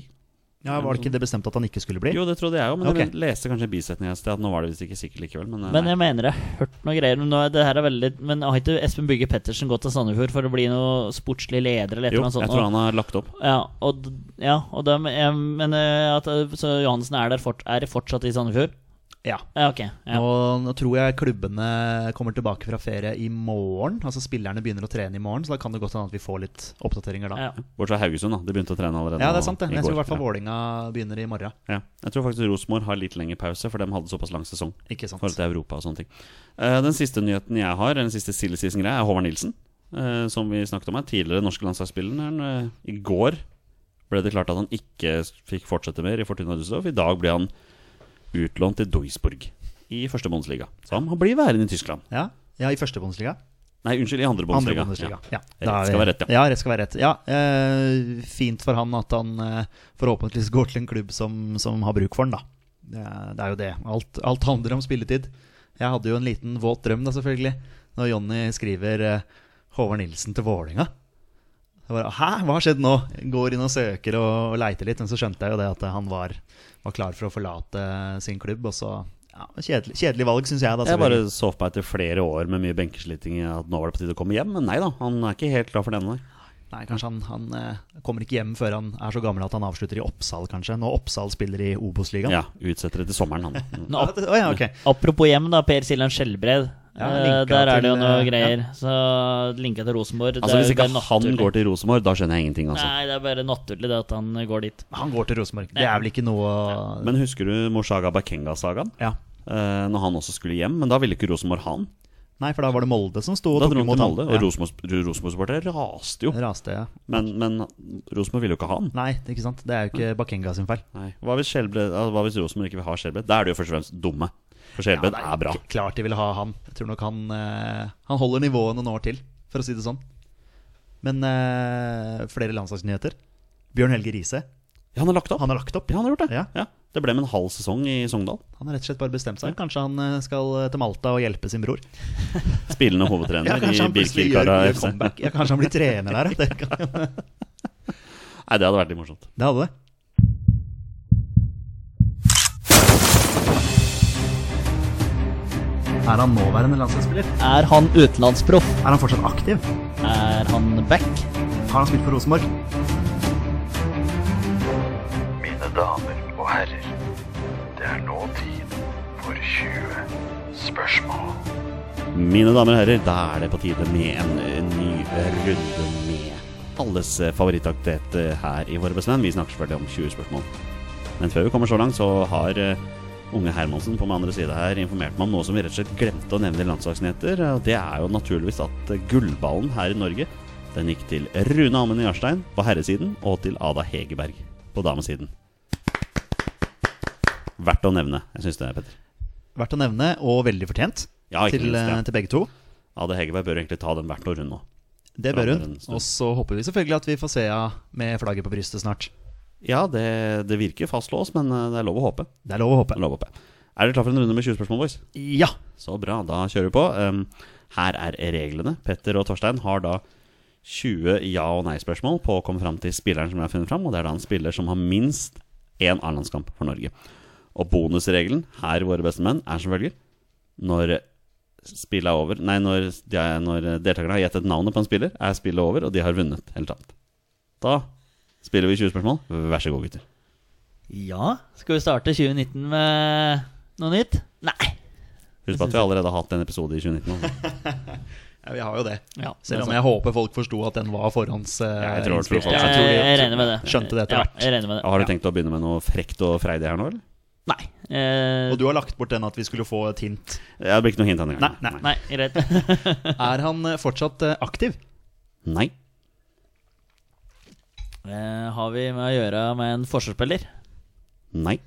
[SPEAKER 2] Ja, Var det ikke det bestemt at han ikke skulle bli?
[SPEAKER 1] Jo, det trodde jeg jo, men
[SPEAKER 2] Ok.
[SPEAKER 1] jeg leste kanskje en bisetning et sted at nå var det visst ikke sikkert likevel. Men, eh,
[SPEAKER 3] Men
[SPEAKER 1] nei.
[SPEAKER 3] jeg mener jeg har hørt noe greier. Men, nå er det her er veldig, men har ikke Espen Bygge Pettersen gått til Sandefjord for å bli noe sportslig leder? Eller et
[SPEAKER 1] jo,
[SPEAKER 3] eller annet sånt?
[SPEAKER 1] jeg tror han har lagt opp.
[SPEAKER 3] Ja, og, d- ja, og dem- jeg, men eh, at, eh, Så Johansen er der fort, er fortsatt i Sandefjord?
[SPEAKER 2] Ja.
[SPEAKER 3] Ja, ok. Ja.
[SPEAKER 2] Og nå tror jeg klubbene kommer tilbake fra ferie i morgen. Altså Spillerne begynner å trene i morgen, så da kan det godt hende at vi får litt oppdateringer da.
[SPEAKER 3] Ja.
[SPEAKER 1] Bortsett fra Haugesund, da. De begynte å trene allerede
[SPEAKER 2] Ja,
[SPEAKER 1] nå
[SPEAKER 2] det er sant. det
[SPEAKER 1] i
[SPEAKER 2] Jeg tror i
[SPEAKER 1] går.
[SPEAKER 2] hvert fall
[SPEAKER 1] Ja.
[SPEAKER 2] Vålinga begynner i morgen.
[SPEAKER 1] Ja. Jeg tror faktisk Rosenborg har litt lengre pause, for de hadde såpass lang sesong.
[SPEAKER 2] Ikke
[SPEAKER 1] I
[SPEAKER 2] sant?
[SPEAKER 1] forhold til Europa og sånne ting. Eh, den siste nyheten jeg har, eller den siste silly season-greia, er Håvard Nilsen. eh, som vi snakket om her. Tidligere norske landslagsspilleren. eh, I går ble det klart at han ikke s- fikk fortsette mer i Fortuna Düsseldorf. I dag ble han utlånt til Duisburg i første Bundesliga. Så han blir værende i Tyskland.
[SPEAKER 2] Ja, ja i første Bundesliga.
[SPEAKER 1] Nei, unnskyld, i andre
[SPEAKER 2] Andre
[SPEAKER 1] Bundesliga.
[SPEAKER 2] Bundesliga.
[SPEAKER 1] Ja.
[SPEAKER 2] Ja.
[SPEAKER 1] Rett
[SPEAKER 2] Da er vi-
[SPEAKER 1] skal være rett, ja.
[SPEAKER 2] ja. rett skal være rett. Ja, eh, fint for han at han eh, forhåpentligvis går til en klubb som, som har bruk for han, da. Det er, det er jo det. Alt, alt handler om spilletid. Jeg hadde jo en liten våt drøm, da, selvfølgelig, når Jonny skriver eh, Håvard Nilsen til Vålinga. Jeg bare, Hæ, hva har skjedd nå? Går inn og søker og, og leiter litt, men så skjønte jeg jo det at eh, han var, var klar for å forlate eh, sin klubb, og så ja, Kjedelig, kjedelig valg, syns jeg. da
[SPEAKER 1] Jeg
[SPEAKER 2] selvfølgelig.
[SPEAKER 1] bare så på meg etter flere år med mye benkeslitting at nå var det på tide å komme hjem, men nei da, han er ikke helt klar for det ennå.
[SPEAKER 2] Nei, kanskje han, han eh, kommer ikke hjem før han er så gammel at han avslutter i Oppsal, kanskje. Når Oppsal spiller i Obos-ligaen.
[SPEAKER 1] Ja, utsetter det til sommeren, han. Mm.
[SPEAKER 3] Nå,
[SPEAKER 2] Ja,
[SPEAKER 3] ap
[SPEAKER 2] det- å ja, ok.
[SPEAKER 3] apropos hjem, da. Per Siljan Skjelbred.
[SPEAKER 2] Ja,
[SPEAKER 3] Eh,
[SPEAKER 2] linka
[SPEAKER 3] der er det jo
[SPEAKER 2] til,
[SPEAKER 3] noe
[SPEAKER 2] eh,
[SPEAKER 3] greier. Så linka til Rosenborg. det
[SPEAKER 1] Altså
[SPEAKER 3] er
[SPEAKER 1] Hvis
[SPEAKER 3] jo
[SPEAKER 1] ikke
[SPEAKER 3] bare
[SPEAKER 1] han
[SPEAKER 3] naturlig.
[SPEAKER 1] går til Rosenborg, da skjønner jeg ingenting, altså.
[SPEAKER 3] Nei, det er bare naturlig det at han går dit.
[SPEAKER 2] Han går til Rosenborg. Det er vel ikke noe å-
[SPEAKER 1] Men husker du Moshaga Bakenga-sagaen?
[SPEAKER 2] ja.
[SPEAKER 1] eh, når han også skulle hjem, men da ville ikke Rosenborg ha han.
[SPEAKER 2] Nei, for da var det Molde som sto og
[SPEAKER 1] Da
[SPEAKER 2] tok
[SPEAKER 1] dro han
[SPEAKER 2] imot
[SPEAKER 1] til
[SPEAKER 2] han.
[SPEAKER 1] Molde, og Rosenborg- Rosenborg-supportere raste jo.
[SPEAKER 2] Ja, raste, ja.
[SPEAKER 1] Men, men Rosenborg ville jo ikke ha han.
[SPEAKER 2] Nei, det er ikke sant. Det er jo ikke Bakenga sin feil.
[SPEAKER 1] Nei. Hva, hvis Skjelbred, altså, hva hvis Rosenborg ikke vil ha Skjelbred? Da er de jo først og fremst dumme. For Skjelbred
[SPEAKER 2] det
[SPEAKER 1] er bra.
[SPEAKER 2] k- Klart de vil ha han. Jeg tror nok han, eh, han holder nivået noen år til, for å si det sånn. Men eh, flere landslagsnyheter. Bjørn Helge Riise,
[SPEAKER 1] Ja, han har lagt opp.
[SPEAKER 2] han har lagt opp.
[SPEAKER 1] Ja, han har gjort det.
[SPEAKER 2] Ja.
[SPEAKER 1] Ja. Det ble med en halv sesong i Sogndal.
[SPEAKER 2] Han har rett og slett bare bestemt seg. Kanskje han eh, skal eh, til Malta og hjelpe sin bror.
[SPEAKER 1] Spillende
[SPEAKER 2] Ja,
[SPEAKER 1] hovedtrener
[SPEAKER 2] kanskje
[SPEAKER 1] i
[SPEAKER 2] han plutselig gjør,
[SPEAKER 1] Birkirkara
[SPEAKER 2] gjør
[SPEAKER 1] FC. Nei,
[SPEAKER 2] comeback. Ja, kanskje han blir trener der. ja. Det, kan,
[SPEAKER 1] det hadde vært litt morsomt.
[SPEAKER 2] det hadde det. Er han nåværende landslagsspiller?
[SPEAKER 3] Er han utenlandsproff?
[SPEAKER 2] Er han fortsatt aktiv?
[SPEAKER 3] Er han back?
[SPEAKER 2] Har han spilt for Rosenborg?
[SPEAKER 5] Mine damer og herrer, det er nå tid for 20 spørsmål.
[SPEAKER 1] Mine damer og herrer, da er det på tide med en eh, ny runde med alles eh, favorittaktivitet eh, her i Våre bestemenn. Vi snakker selvfølgelig om 20 spørsmål. Men før vi kommer så langt, så har eh, unge Hermansen på min andre side her informert meg om noe som vi rett og slett glemte å nevne i landslagsnyheter. og Det er jo naturligvis at eh, gullballen her i Norge den gikk til Rune Amund Jarstein på herresiden og til Ada Hegerberg på damesiden. Verdt å nevne. Jeg syns det, Petter.
[SPEAKER 2] Verdt å nevne, og veldig fortjent
[SPEAKER 1] Ja, ikke
[SPEAKER 2] til,
[SPEAKER 1] minst, ja.
[SPEAKER 2] eh, til begge to.
[SPEAKER 1] Ada Hegerberg bør egentlig ta den hvert år, hun nå.
[SPEAKER 2] Det
[SPEAKER 1] Ja,
[SPEAKER 2] bør
[SPEAKER 1] det er
[SPEAKER 2] hun.
[SPEAKER 1] en stund.
[SPEAKER 2] Og så håper vi selvfølgelig at vi får se henne med flagget på brystet snart.
[SPEAKER 1] Ja, det, det virker fastlåst, men eh, det er lov å håpe.
[SPEAKER 2] Det er lov å
[SPEAKER 1] Det
[SPEAKER 2] håpe.
[SPEAKER 1] Er, lov å håpe. er dere klar for en runde med 20 spørsmål, boys?
[SPEAKER 2] Ja!
[SPEAKER 1] Så bra, da kjører vi på. Um, her er reglene. Petter og Torstein har da 20 ja- og nei-spørsmål på å komme fram til spilleren som jeg har funnet fram, og det er da en spiller som har minst én A-landskamp for Norge. Og bonusregelen her i Våre beste menn er som følger Når spillet er over Nei, når, de er, når deltakerne har gjettet navnet på en spiller, er spillet over, og de har vunnet eller tapt. Da spiller vi 20 spørsmål. Vær så god, gutter.
[SPEAKER 3] Ja. Skal vi starte 2019 med noe nytt? Nei.
[SPEAKER 1] Husk på at vi allerede har hatt en episode i 2019. Altså.
[SPEAKER 2] ja vi har jo det.
[SPEAKER 3] Ja,
[SPEAKER 2] Selv om jeg håper folk forsto at den var
[SPEAKER 1] jeg tror-
[SPEAKER 2] forhåndsinnspilt.
[SPEAKER 1] tror folk-
[SPEAKER 3] jeg, jeg, regner med det.
[SPEAKER 2] skjønte det etter
[SPEAKER 3] ja,
[SPEAKER 2] hvert.
[SPEAKER 3] Jeg regner med det.
[SPEAKER 1] Har du tenkt å begynne med noe frekt og freidig her nå, eller?
[SPEAKER 3] Nei. Eh,
[SPEAKER 2] Og du har lagt bort den at vi skulle få et hint.
[SPEAKER 1] Ja, Det blir ikke noe hint denne gangen.
[SPEAKER 2] Nei, nei.
[SPEAKER 3] Nei, greit.
[SPEAKER 2] Er han eh, fortsatt eh, aktiv?
[SPEAKER 1] Nei.
[SPEAKER 3] Eh, har vi med å gjøre med en forsvarsspiller?
[SPEAKER 1] Nei.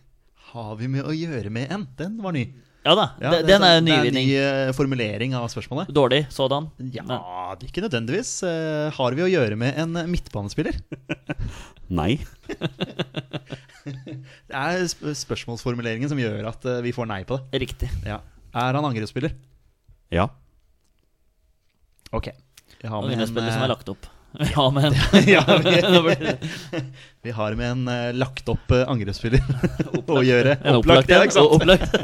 [SPEAKER 2] Har vi med å gjøre med en? Den var ny.
[SPEAKER 3] Ja da.
[SPEAKER 2] Ja,
[SPEAKER 3] de-
[SPEAKER 2] det
[SPEAKER 3] den er jo
[SPEAKER 2] sant.
[SPEAKER 3] nyvinning.
[SPEAKER 2] Det er en ny eh, formulering av spørsmålet.
[SPEAKER 3] Dårlig sådan.
[SPEAKER 2] Ja,
[SPEAKER 3] Nei.
[SPEAKER 2] det er ikke nødvendigvis. Eh, Har vi å gjøre med en eh, midtbanespiller?
[SPEAKER 1] Nei.
[SPEAKER 2] Det er sp- spørsmålsformuleringen som gjør at eh, vi får nei på det.
[SPEAKER 3] Riktig.
[SPEAKER 2] Ja. Er han angrepsspiller?
[SPEAKER 1] Ja.
[SPEAKER 2] Ok. Jeg har
[SPEAKER 3] Og
[SPEAKER 2] med
[SPEAKER 3] underspiller
[SPEAKER 2] en,
[SPEAKER 3] som er
[SPEAKER 2] eh,
[SPEAKER 3] lagt opp. Ja, men
[SPEAKER 2] Ja, vi, vi har med en eh, lagt opp eh, angrepsspiller å gjøre.
[SPEAKER 3] En opplagt
[SPEAKER 2] ja,
[SPEAKER 3] en.
[SPEAKER 2] ikke sant?
[SPEAKER 3] Opplagt.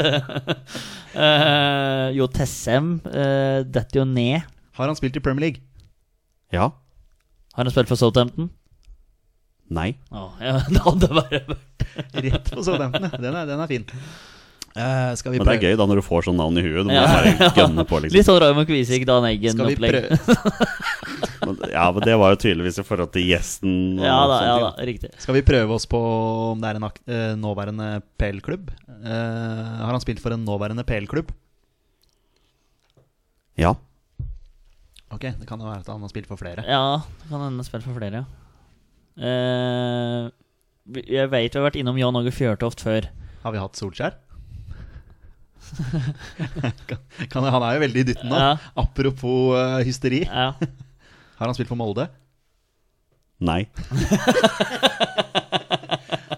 [SPEAKER 3] Eh, jo, Tessem eh, detter jo ned.
[SPEAKER 2] Har han spilt i Premier League?
[SPEAKER 1] Ja.
[SPEAKER 3] Har han spilt for Southampton?
[SPEAKER 1] Nei.
[SPEAKER 3] Å, ja, det hadde bare
[SPEAKER 2] Rett på Southampton, ja. Den er, den er fin. Eh, skal vi
[SPEAKER 1] Men det er
[SPEAKER 2] prøve,
[SPEAKER 1] gøy da når du får sånn navn i huet. Du må
[SPEAKER 3] Ja.
[SPEAKER 1] bare gønne på, liksom.
[SPEAKER 3] Litt sånn Raymond Kvisvik,
[SPEAKER 2] skal
[SPEAKER 3] Dan
[SPEAKER 2] vi
[SPEAKER 3] Eggen-opplegg.
[SPEAKER 2] prøve,
[SPEAKER 1] Men, ja, men det var jo tydeligvis i forhold til gjesten. Og
[SPEAKER 3] Ja da,
[SPEAKER 1] sånne
[SPEAKER 3] ja
[SPEAKER 1] ting.
[SPEAKER 3] da, riktig.
[SPEAKER 2] skal vi prøve oss på om det er en ak eh, nåværende PL-klubb? Eh, har han spilt for en nåværende PL-klubb?
[SPEAKER 1] Ja.
[SPEAKER 2] Ok, det kan jo være at han har spilt for flere.
[SPEAKER 3] Ja, det kan hende spilt for flere, ja. Eh, jeg vet vi har vært innom Jan Åge Fjørtoft før.
[SPEAKER 2] Har vi hatt Solskjær? kan, kan, han er jo veldig i dytten nå.
[SPEAKER 3] Ja.
[SPEAKER 2] Apropos eh, hysteri.
[SPEAKER 3] Ja.
[SPEAKER 2] Har han spilt for Molde?
[SPEAKER 1] Nei.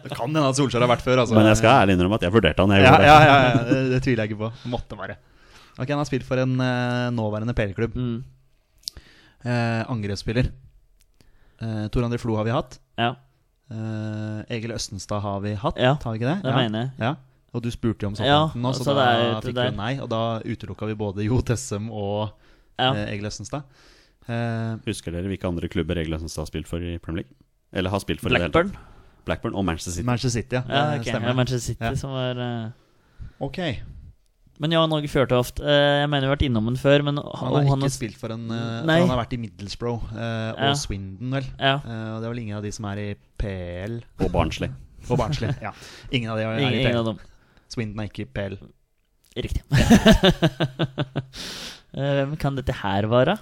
[SPEAKER 2] Det kan hende at Solskjær har vært før. Altså.
[SPEAKER 1] Men jeg skal ærlig innrømme at jeg vurderte han. Jeg
[SPEAKER 2] ja,
[SPEAKER 1] gjorde det.
[SPEAKER 2] ja, ja, ja, det, det tviler jeg ikke på. Måtte bare. Ok, Han har spilt for en eh, nåværende PL-klubb.
[SPEAKER 3] Mm,
[SPEAKER 2] Eh, angrepsspiller. Eh, Tor André Flo har vi hatt.
[SPEAKER 3] ja.
[SPEAKER 2] Eh, Egil Østenstad har vi hatt,
[SPEAKER 3] Ja,
[SPEAKER 2] har vi ikke det?
[SPEAKER 3] det mener jeg.
[SPEAKER 2] Ja. Og du spurte jo om
[SPEAKER 3] Ja,
[SPEAKER 2] Southampton nå, så, da
[SPEAKER 3] så det er-
[SPEAKER 2] fikk
[SPEAKER 3] det
[SPEAKER 2] vi
[SPEAKER 3] er-
[SPEAKER 2] jo nei. Og da utelukka vi både Jo Tessem og
[SPEAKER 3] Ja.
[SPEAKER 2] eh, Egil Østenstad. Eh,
[SPEAKER 1] Husker dere hvilke andre klubber reglene som har spilt for i Premier League? Eller har spilt for i det hele
[SPEAKER 3] Blackburn.
[SPEAKER 1] tatt? Blackburn og Manchester City.
[SPEAKER 2] Manchester City, ja.
[SPEAKER 3] Ja,
[SPEAKER 2] det
[SPEAKER 3] ok,
[SPEAKER 2] stemmer.
[SPEAKER 3] ja, Manchester City
[SPEAKER 2] Ja.
[SPEAKER 3] som var eh,
[SPEAKER 2] Ok.
[SPEAKER 3] Men Jan Åge Fjørtoft, eh, jeg mener vi har vært innom den før, men
[SPEAKER 2] Han har ikke
[SPEAKER 3] han har-
[SPEAKER 2] spilt for en eh,
[SPEAKER 3] Nei.
[SPEAKER 2] for Han har vært i Middlesbrough eh, og
[SPEAKER 3] Ja.
[SPEAKER 2] Swindon, vel.
[SPEAKER 3] Ja.
[SPEAKER 2] Eh, og det er vel ingen av de som er i PL.
[SPEAKER 1] Og Barnsley.
[SPEAKER 2] Og Barnsley. ja. Ingen av de er
[SPEAKER 3] Ingen,
[SPEAKER 2] i
[SPEAKER 3] ingen av
[SPEAKER 2] PL.
[SPEAKER 3] dem.
[SPEAKER 2] Swindon er ikke i PL.
[SPEAKER 3] Riktig. Eh, Hvem kan dette her være?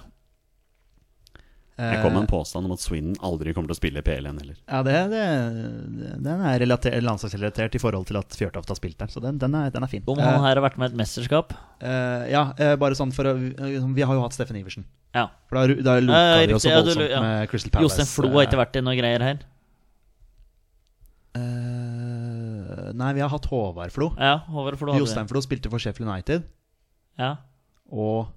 [SPEAKER 1] Jeg kom
[SPEAKER 3] Eh.
[SPEAKER 1] med en påstand om at Swindon aldri kommer til å spille i PL igjen heller.
[SPEAKER 2] Ja, det, det, den er relater- landslagsrelatert i forhold til at Fjørtoft har spilt der, så den, den, er, den er fin.
[SPEAKER 3] Om
[SPEAKER 2] Eh,
[SPEAKER 3] han her har vært med i et mesterskap?
[SPEAKER 2] eh, ja, eh, bare sånn for å Vi har jo hatt Steffen Iversen.
[SPEAKER 3] Ja.
[SPEAKER 2] For da, ru- da loka
[SPEAKER 3] Ja,
[SPEAKER 2] vi
[SPEAKER 3] riktig,
[SPEAKER 2] oss så
[SPEAKER 3] ja, du
[SPEAKER 2] voldsomt
[SPEAKER 3] lo- ja.
[SPEAKER 2] med Crystal Palace. eh.
[SPEAKER 3] Jostein Flo har ikke vært i noe greier her.
[SPEAKER 2] Eh, Nei, vi har hatt Håvard Flo.
[SPEAKER 3] Ja, Håvard Flo hadde det.
[SPEAKER 2] Jostein Flo spilte for Sheffield United.
[SPEAKER 3] Ja.
[SPEAKER 2] Og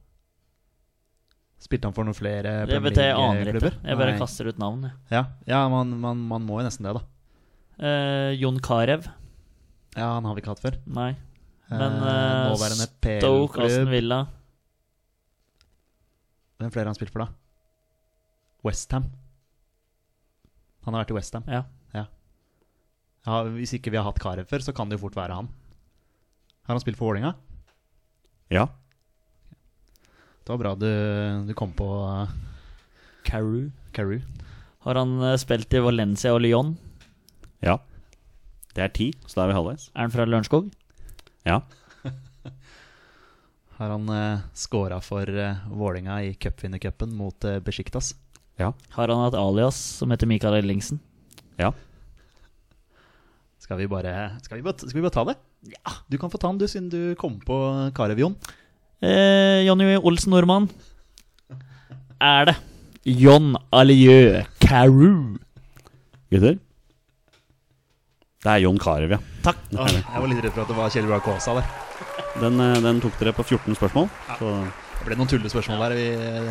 [SPEAKER 2] spilte han for noen flere
[SPEAKER 3] Jeg
[SPEAKER 2] Premier
[SPEAKER 3] vet det, jeg aner ikke.
[SPEAKER 2] League-klubber?
[SPEAKER 3] Jeg bare
[SPEAKER 2] Nei.
[SPEAKER 3] kaster ut navn, jeg.
[SPEAKER 2] Ja, ja man, man, man må jo nesten det, da.
[SPEAKER 3] Eh, Jon Carew?
[SPEAKER 2] Ja, Han har vi ikke hatt før.
[SPEAKER 3] Nei. Men
[SPEAKER 2] Eh,
[SPEAKER 3] eh,
[SPEAKER 2] nåværende
[SPEAKER 3] Stoke, Aston
[SPEAKER 2] PL-klubb.
[SPEAKER 3] Villa
[SPEAKER 2] Hvem flere har han spilt for, da? Westham. Han har vært i Westham.
[SPEAKER 3] Ja.
[SPEAKER 2] Ja, hvis ikke vi har hatt Carew før, så kan det jo fort være han. Har han spilt for Vålerenga?
[SPEAKER 1] Ja.
[SPEAKER 2] Det var bra du, du kom på uh,
[SPEAKER 3] Carew.
[SPEAKER 2] Carew.
[SPEAKER 3] Har han eh, spilt i Valencia og Lyon?
[SPEAKER 1] Ja. Det er ti, så da er vi halvveis.
[SPEAKER 3] Er han fra Lørenskog?
[SPEAKER 1] Ja.
[SPEAKER 2] Har han uh, scora for uh, Vålerenga i cupvinnercupen mot uh, Besjiktas?
[SPEAKER 1] Ja.
[SPEAKER 3] Har han hatt alias som heter Mikael Ellingsen?
[SPEAKER 1] Ja.
[SPEAKER 2] Skal vi bare Skal vi bare, skal vi bare ta det? Ja. Du kan få ta den, du, siden du kom på Carew, Jon.
[SPEAKER 3] Eh, Jonny Olsen Nordmann. Er det John Alieu Carew?
[SPEAKER 1] Gutter? Det er Jon Carew, ja.
[SPEAKER 3] Takk.
[SPEAKER 2] Åh, Jeg var litt redd for at det var Kjell Brage Kaasa der.
[SPEAKER 1] Den, eh, den tok dere på 14 spørsmål. Så
[SPEAKER 2] Det ble noen tullespørsmål der. Vi,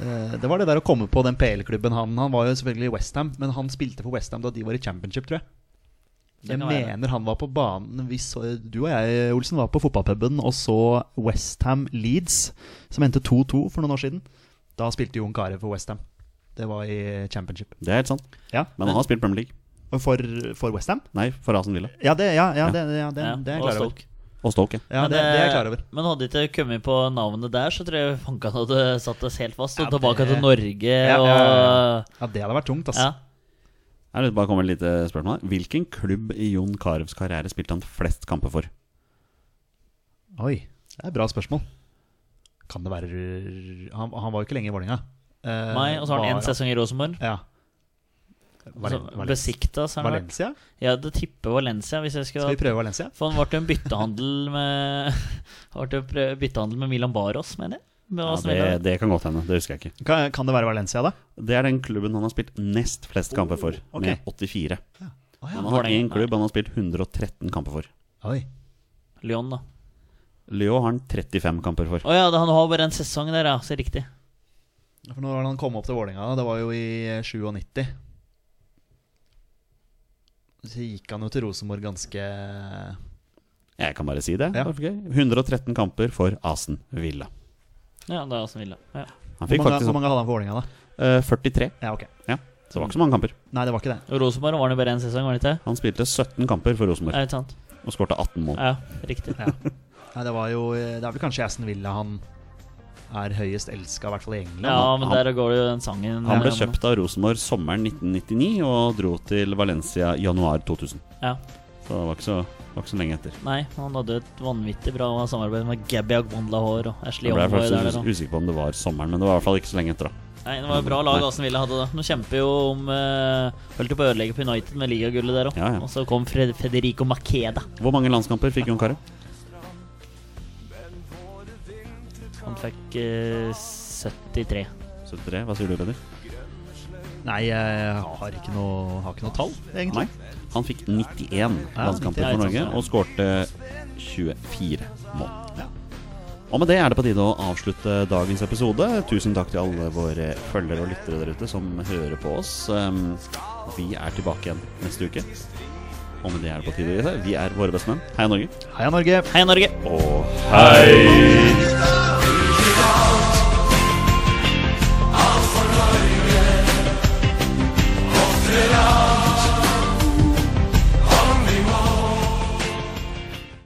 [SPEAKER 2] eh, det var det der å komme på den PL-klubben han Han var jo selvfølgelig i Westham, men han spilte for Westham da de var i championship, tror jeg.
[SPEAKER 3] Det
[SPEAKER 2] Jeg
[SPEAKER 3] kan være.
[SPEAKER 2] mener han var på banen vi så, Du og jeg, Olsen, var på fotballpuben og så Westham Leeds, som endte 2-2 for noen år siden. Da spilte Jon Carew for Westham. Det var i championship.
[SPEAKER 1] det er helt sant.
[SPEAKER 2] Ja,
[SPEAKER 1] Men han har spilt Premier League.
[SPEAKER 2] Og For, for Westham?
[SPEAKER 1] Nei, for Asen Villa.
[SPEAKER 2] Ja, det, ja, ja, det, ja, det,
[SPEAKER 3] Ja,
[SPEAKER 2] det er jeg
[SPEAKER 3] og
[SPEAKER 2] klar over.
[SPEAKER 3] Stoke.
[SPEAKER 1] Og Stoke. ja.
[SPEAKER 2] Ja,
[SPEAKER 3] Men,
[SPEAKER 2] det, det er jeg
[SPEAKER 3] eh,
[SPEAKER 2] klar over.
[SPEAKER 3] Men hadde ikke kommet på navnet der, så tror jeg fanken hadde satt oss helt fast. Og
[SPEAKER 2] Ja,
[SPEAKER 3] tilbake
[SPEAKER 2] det-
[SPEAKER 3] til Norge
[SPEAKER 2] Ja,
[SPEAKER 3] og
[SPEAKER 2] ja, Ja, det hadde vært tungt,
[SPEAKER 3] Ja.
[SPEAKER 2] altså.
[SPEAKER 1] Her er det bare kommer et lite spørsmål her. Hvilken klubb i Jon Carews karriere spilte han flest kamper for?
[SPEAKER 2] Oi, det er et bra spørsmål. Kan det være Han, han var jo ikke lenge i Vålerenga. Eh,
[SPEAKER 3] Nei, og så har han
[SPEAKER 2] var-
[SPEAKER 3] én sesong i Rosenborg.
[SPEAKER 2] Ja.
[SPEAKER 3] Så
[SPEAKER 2] Valen, Valen,
[SPEAKER 3] Besikta, så har han vært.
[SPEAKER 2] Valencia?
[SPEAKER 3] Jeg hadde tippet Valencia. Hvis jeg
[SPEAKER 2] Skal
[SPEAKER 3] skulle
[SPEAKER 2] vi prøve Valencia?
[SPEAKER 3] For han ble jo en byttehandel med Han ble jo prø- byttehandel med Milan Baros, mener jeg. Med
[SPEAKER 1] Ja,
[SPEAKER 3] Aston
[SPEAKER 1] det,
[SPEAKER 3] Villa.
[SPEAKER 1] det kan godt hende. Det husker jeg ikke.
[SPEAKER 2] Kan, kan det være Valencia, da?
[SPEAKER 1] Det er den klubben han har spilt nest flest kamper for,
[SPEAKER 2] Oh, ok.
[SPEAKER 1] med 84.
[SPEAKER 2] Å,
[SPEAKER 1] Han
[SPEAKER 2] ja.
[SPEAKER 1] har
[SPEAKER 3] Vålerenga.
[SPEAKER 1] én klubb han har spilt 113 kamper for.
[SPEAKER 2] Oi.
[SPEAKER 3] Lyon, da.
[SPEAKER 1] Leo har han 35 kamper for.
[SPEAKER 3] Å ja, det- han har bare en sesong der, ja. Så riktig.
[SPEAKER 2] Ja, For når var det han kom opp til Vålerenga? da? Det var jo i eh, 97. Så gikk han jo til Rosenborg ganske
[SPEAKER 1] Jeg kan bare si det.
[SPEAKER 2] Ja.
[SPEAKER 1] Hvorfor ikke? 113 kamper for Asen Villa.
[SPEAKER 3] Ja, det er Aston Villa. Ja.
[SPEAKER 1] Han
[SPEAKER 2] Hvor
[SPEAKER 1] fikk
[SPEAKER 2] mange,
[SPEAKER 1] faktisk
[SPEAKER 2] hvor mange hadde han for Vålerenga, da?
[SPEAKER 1] eh, 43,
[SPEAKER 2] Ja, ok.
[SPEAKER 1] så det var ikke så mange kamper.
[SPEAKER 2] Nei, det var ikke det.
[SPEAKER 3] Og Rosenborg var det bare én sesong, var det ikke?
[SPEAKER 1] Han spilte 17 kamper for
[SPEAKER 3] det?
[SPEAKER 1] Rosenborg
[SPEAKER 3] Er det sant?
[SPEAKER 1] og skårte 18 mål.
[SPEAKER 3] Ja, riktig.
[SPEAKER 2] Nei, det var jo eh, Det er vel kanskje Aston Villa han er høyest elska, i hvert fall i England.
[SPEAKER 3] Ja,
[SPEAKER 2] da.
[SPEAKER 3] men
[SPEAKER 1] han-
[SPEAKER 3] der går det jo den sangen
[SPEAKER 1] Han ble
[SPEAKER 3] eh,
[SPEAKER 1] kjøpt av Rosenborg sommeren 1999 og dro til Valencia januar 2000.
[SPEAKER 3] Ja.
[SPEAKER 1] Så det var ikke så, var ikke så lenge etter.
[SPEAKER 3] Nei, han hadde et vanvittig bra samarbeid med Gabby Agbondlahor og Ashley
[SPEAKER 1] Jeg ble
[SPEAKER 3] Youngboy der, der
[SPEAKER 1] faktisk us-
[SPEAKER 3] og-
[SPEAKER 1] usikker på om det var sommeren, men det var i hvert fall ikke så lenge etter. da
[SPEAKER 3] Nei, det var et bra lag Aston Villa hadde da. Nå kjemper jo om eh, Holdt jo på å ødelegge på United med ligagullet der òg.
[SPEAKER 1] Ja, ja.
[SPEAKER 3] Og så kom Fred Federico Makeda.
[SPEAKER 1] Hvor mange landskamper fikk Jon Carew?
[SPEAKER 3] Han fikk eh, 73.
[SPEAKER 1] 73? Hva sier du, Peder?
[SPEAKER 2] Nei, jeg har ikke noe, har ikke noe tall, egentlig.
[SPEAKER 1] Nei. Han fikk 91 landskamper
[SPEAKER 3] Ja,
[SPEAKER 1] for
[SPEAKER 3] ikke
[SPEAKER 1] Norge
[SPEAKER 3] sant, ja.
[SPEAKER 1] og skårte 24 mål. Og med det er det på tide å avslutte dagens episode. Tusen takk til alle våre følgere og lyttere der ute som hører på oss. Um, Vi er tilbake igjen neste uke. Og med det er det på tide å gi seg. Vi er våre bestemenn. Heia Norge.
[SPEAKER 2] Heia Norge!
[SPEAKER 3] Hei, Norge!
[SPEAKER 1] Og hei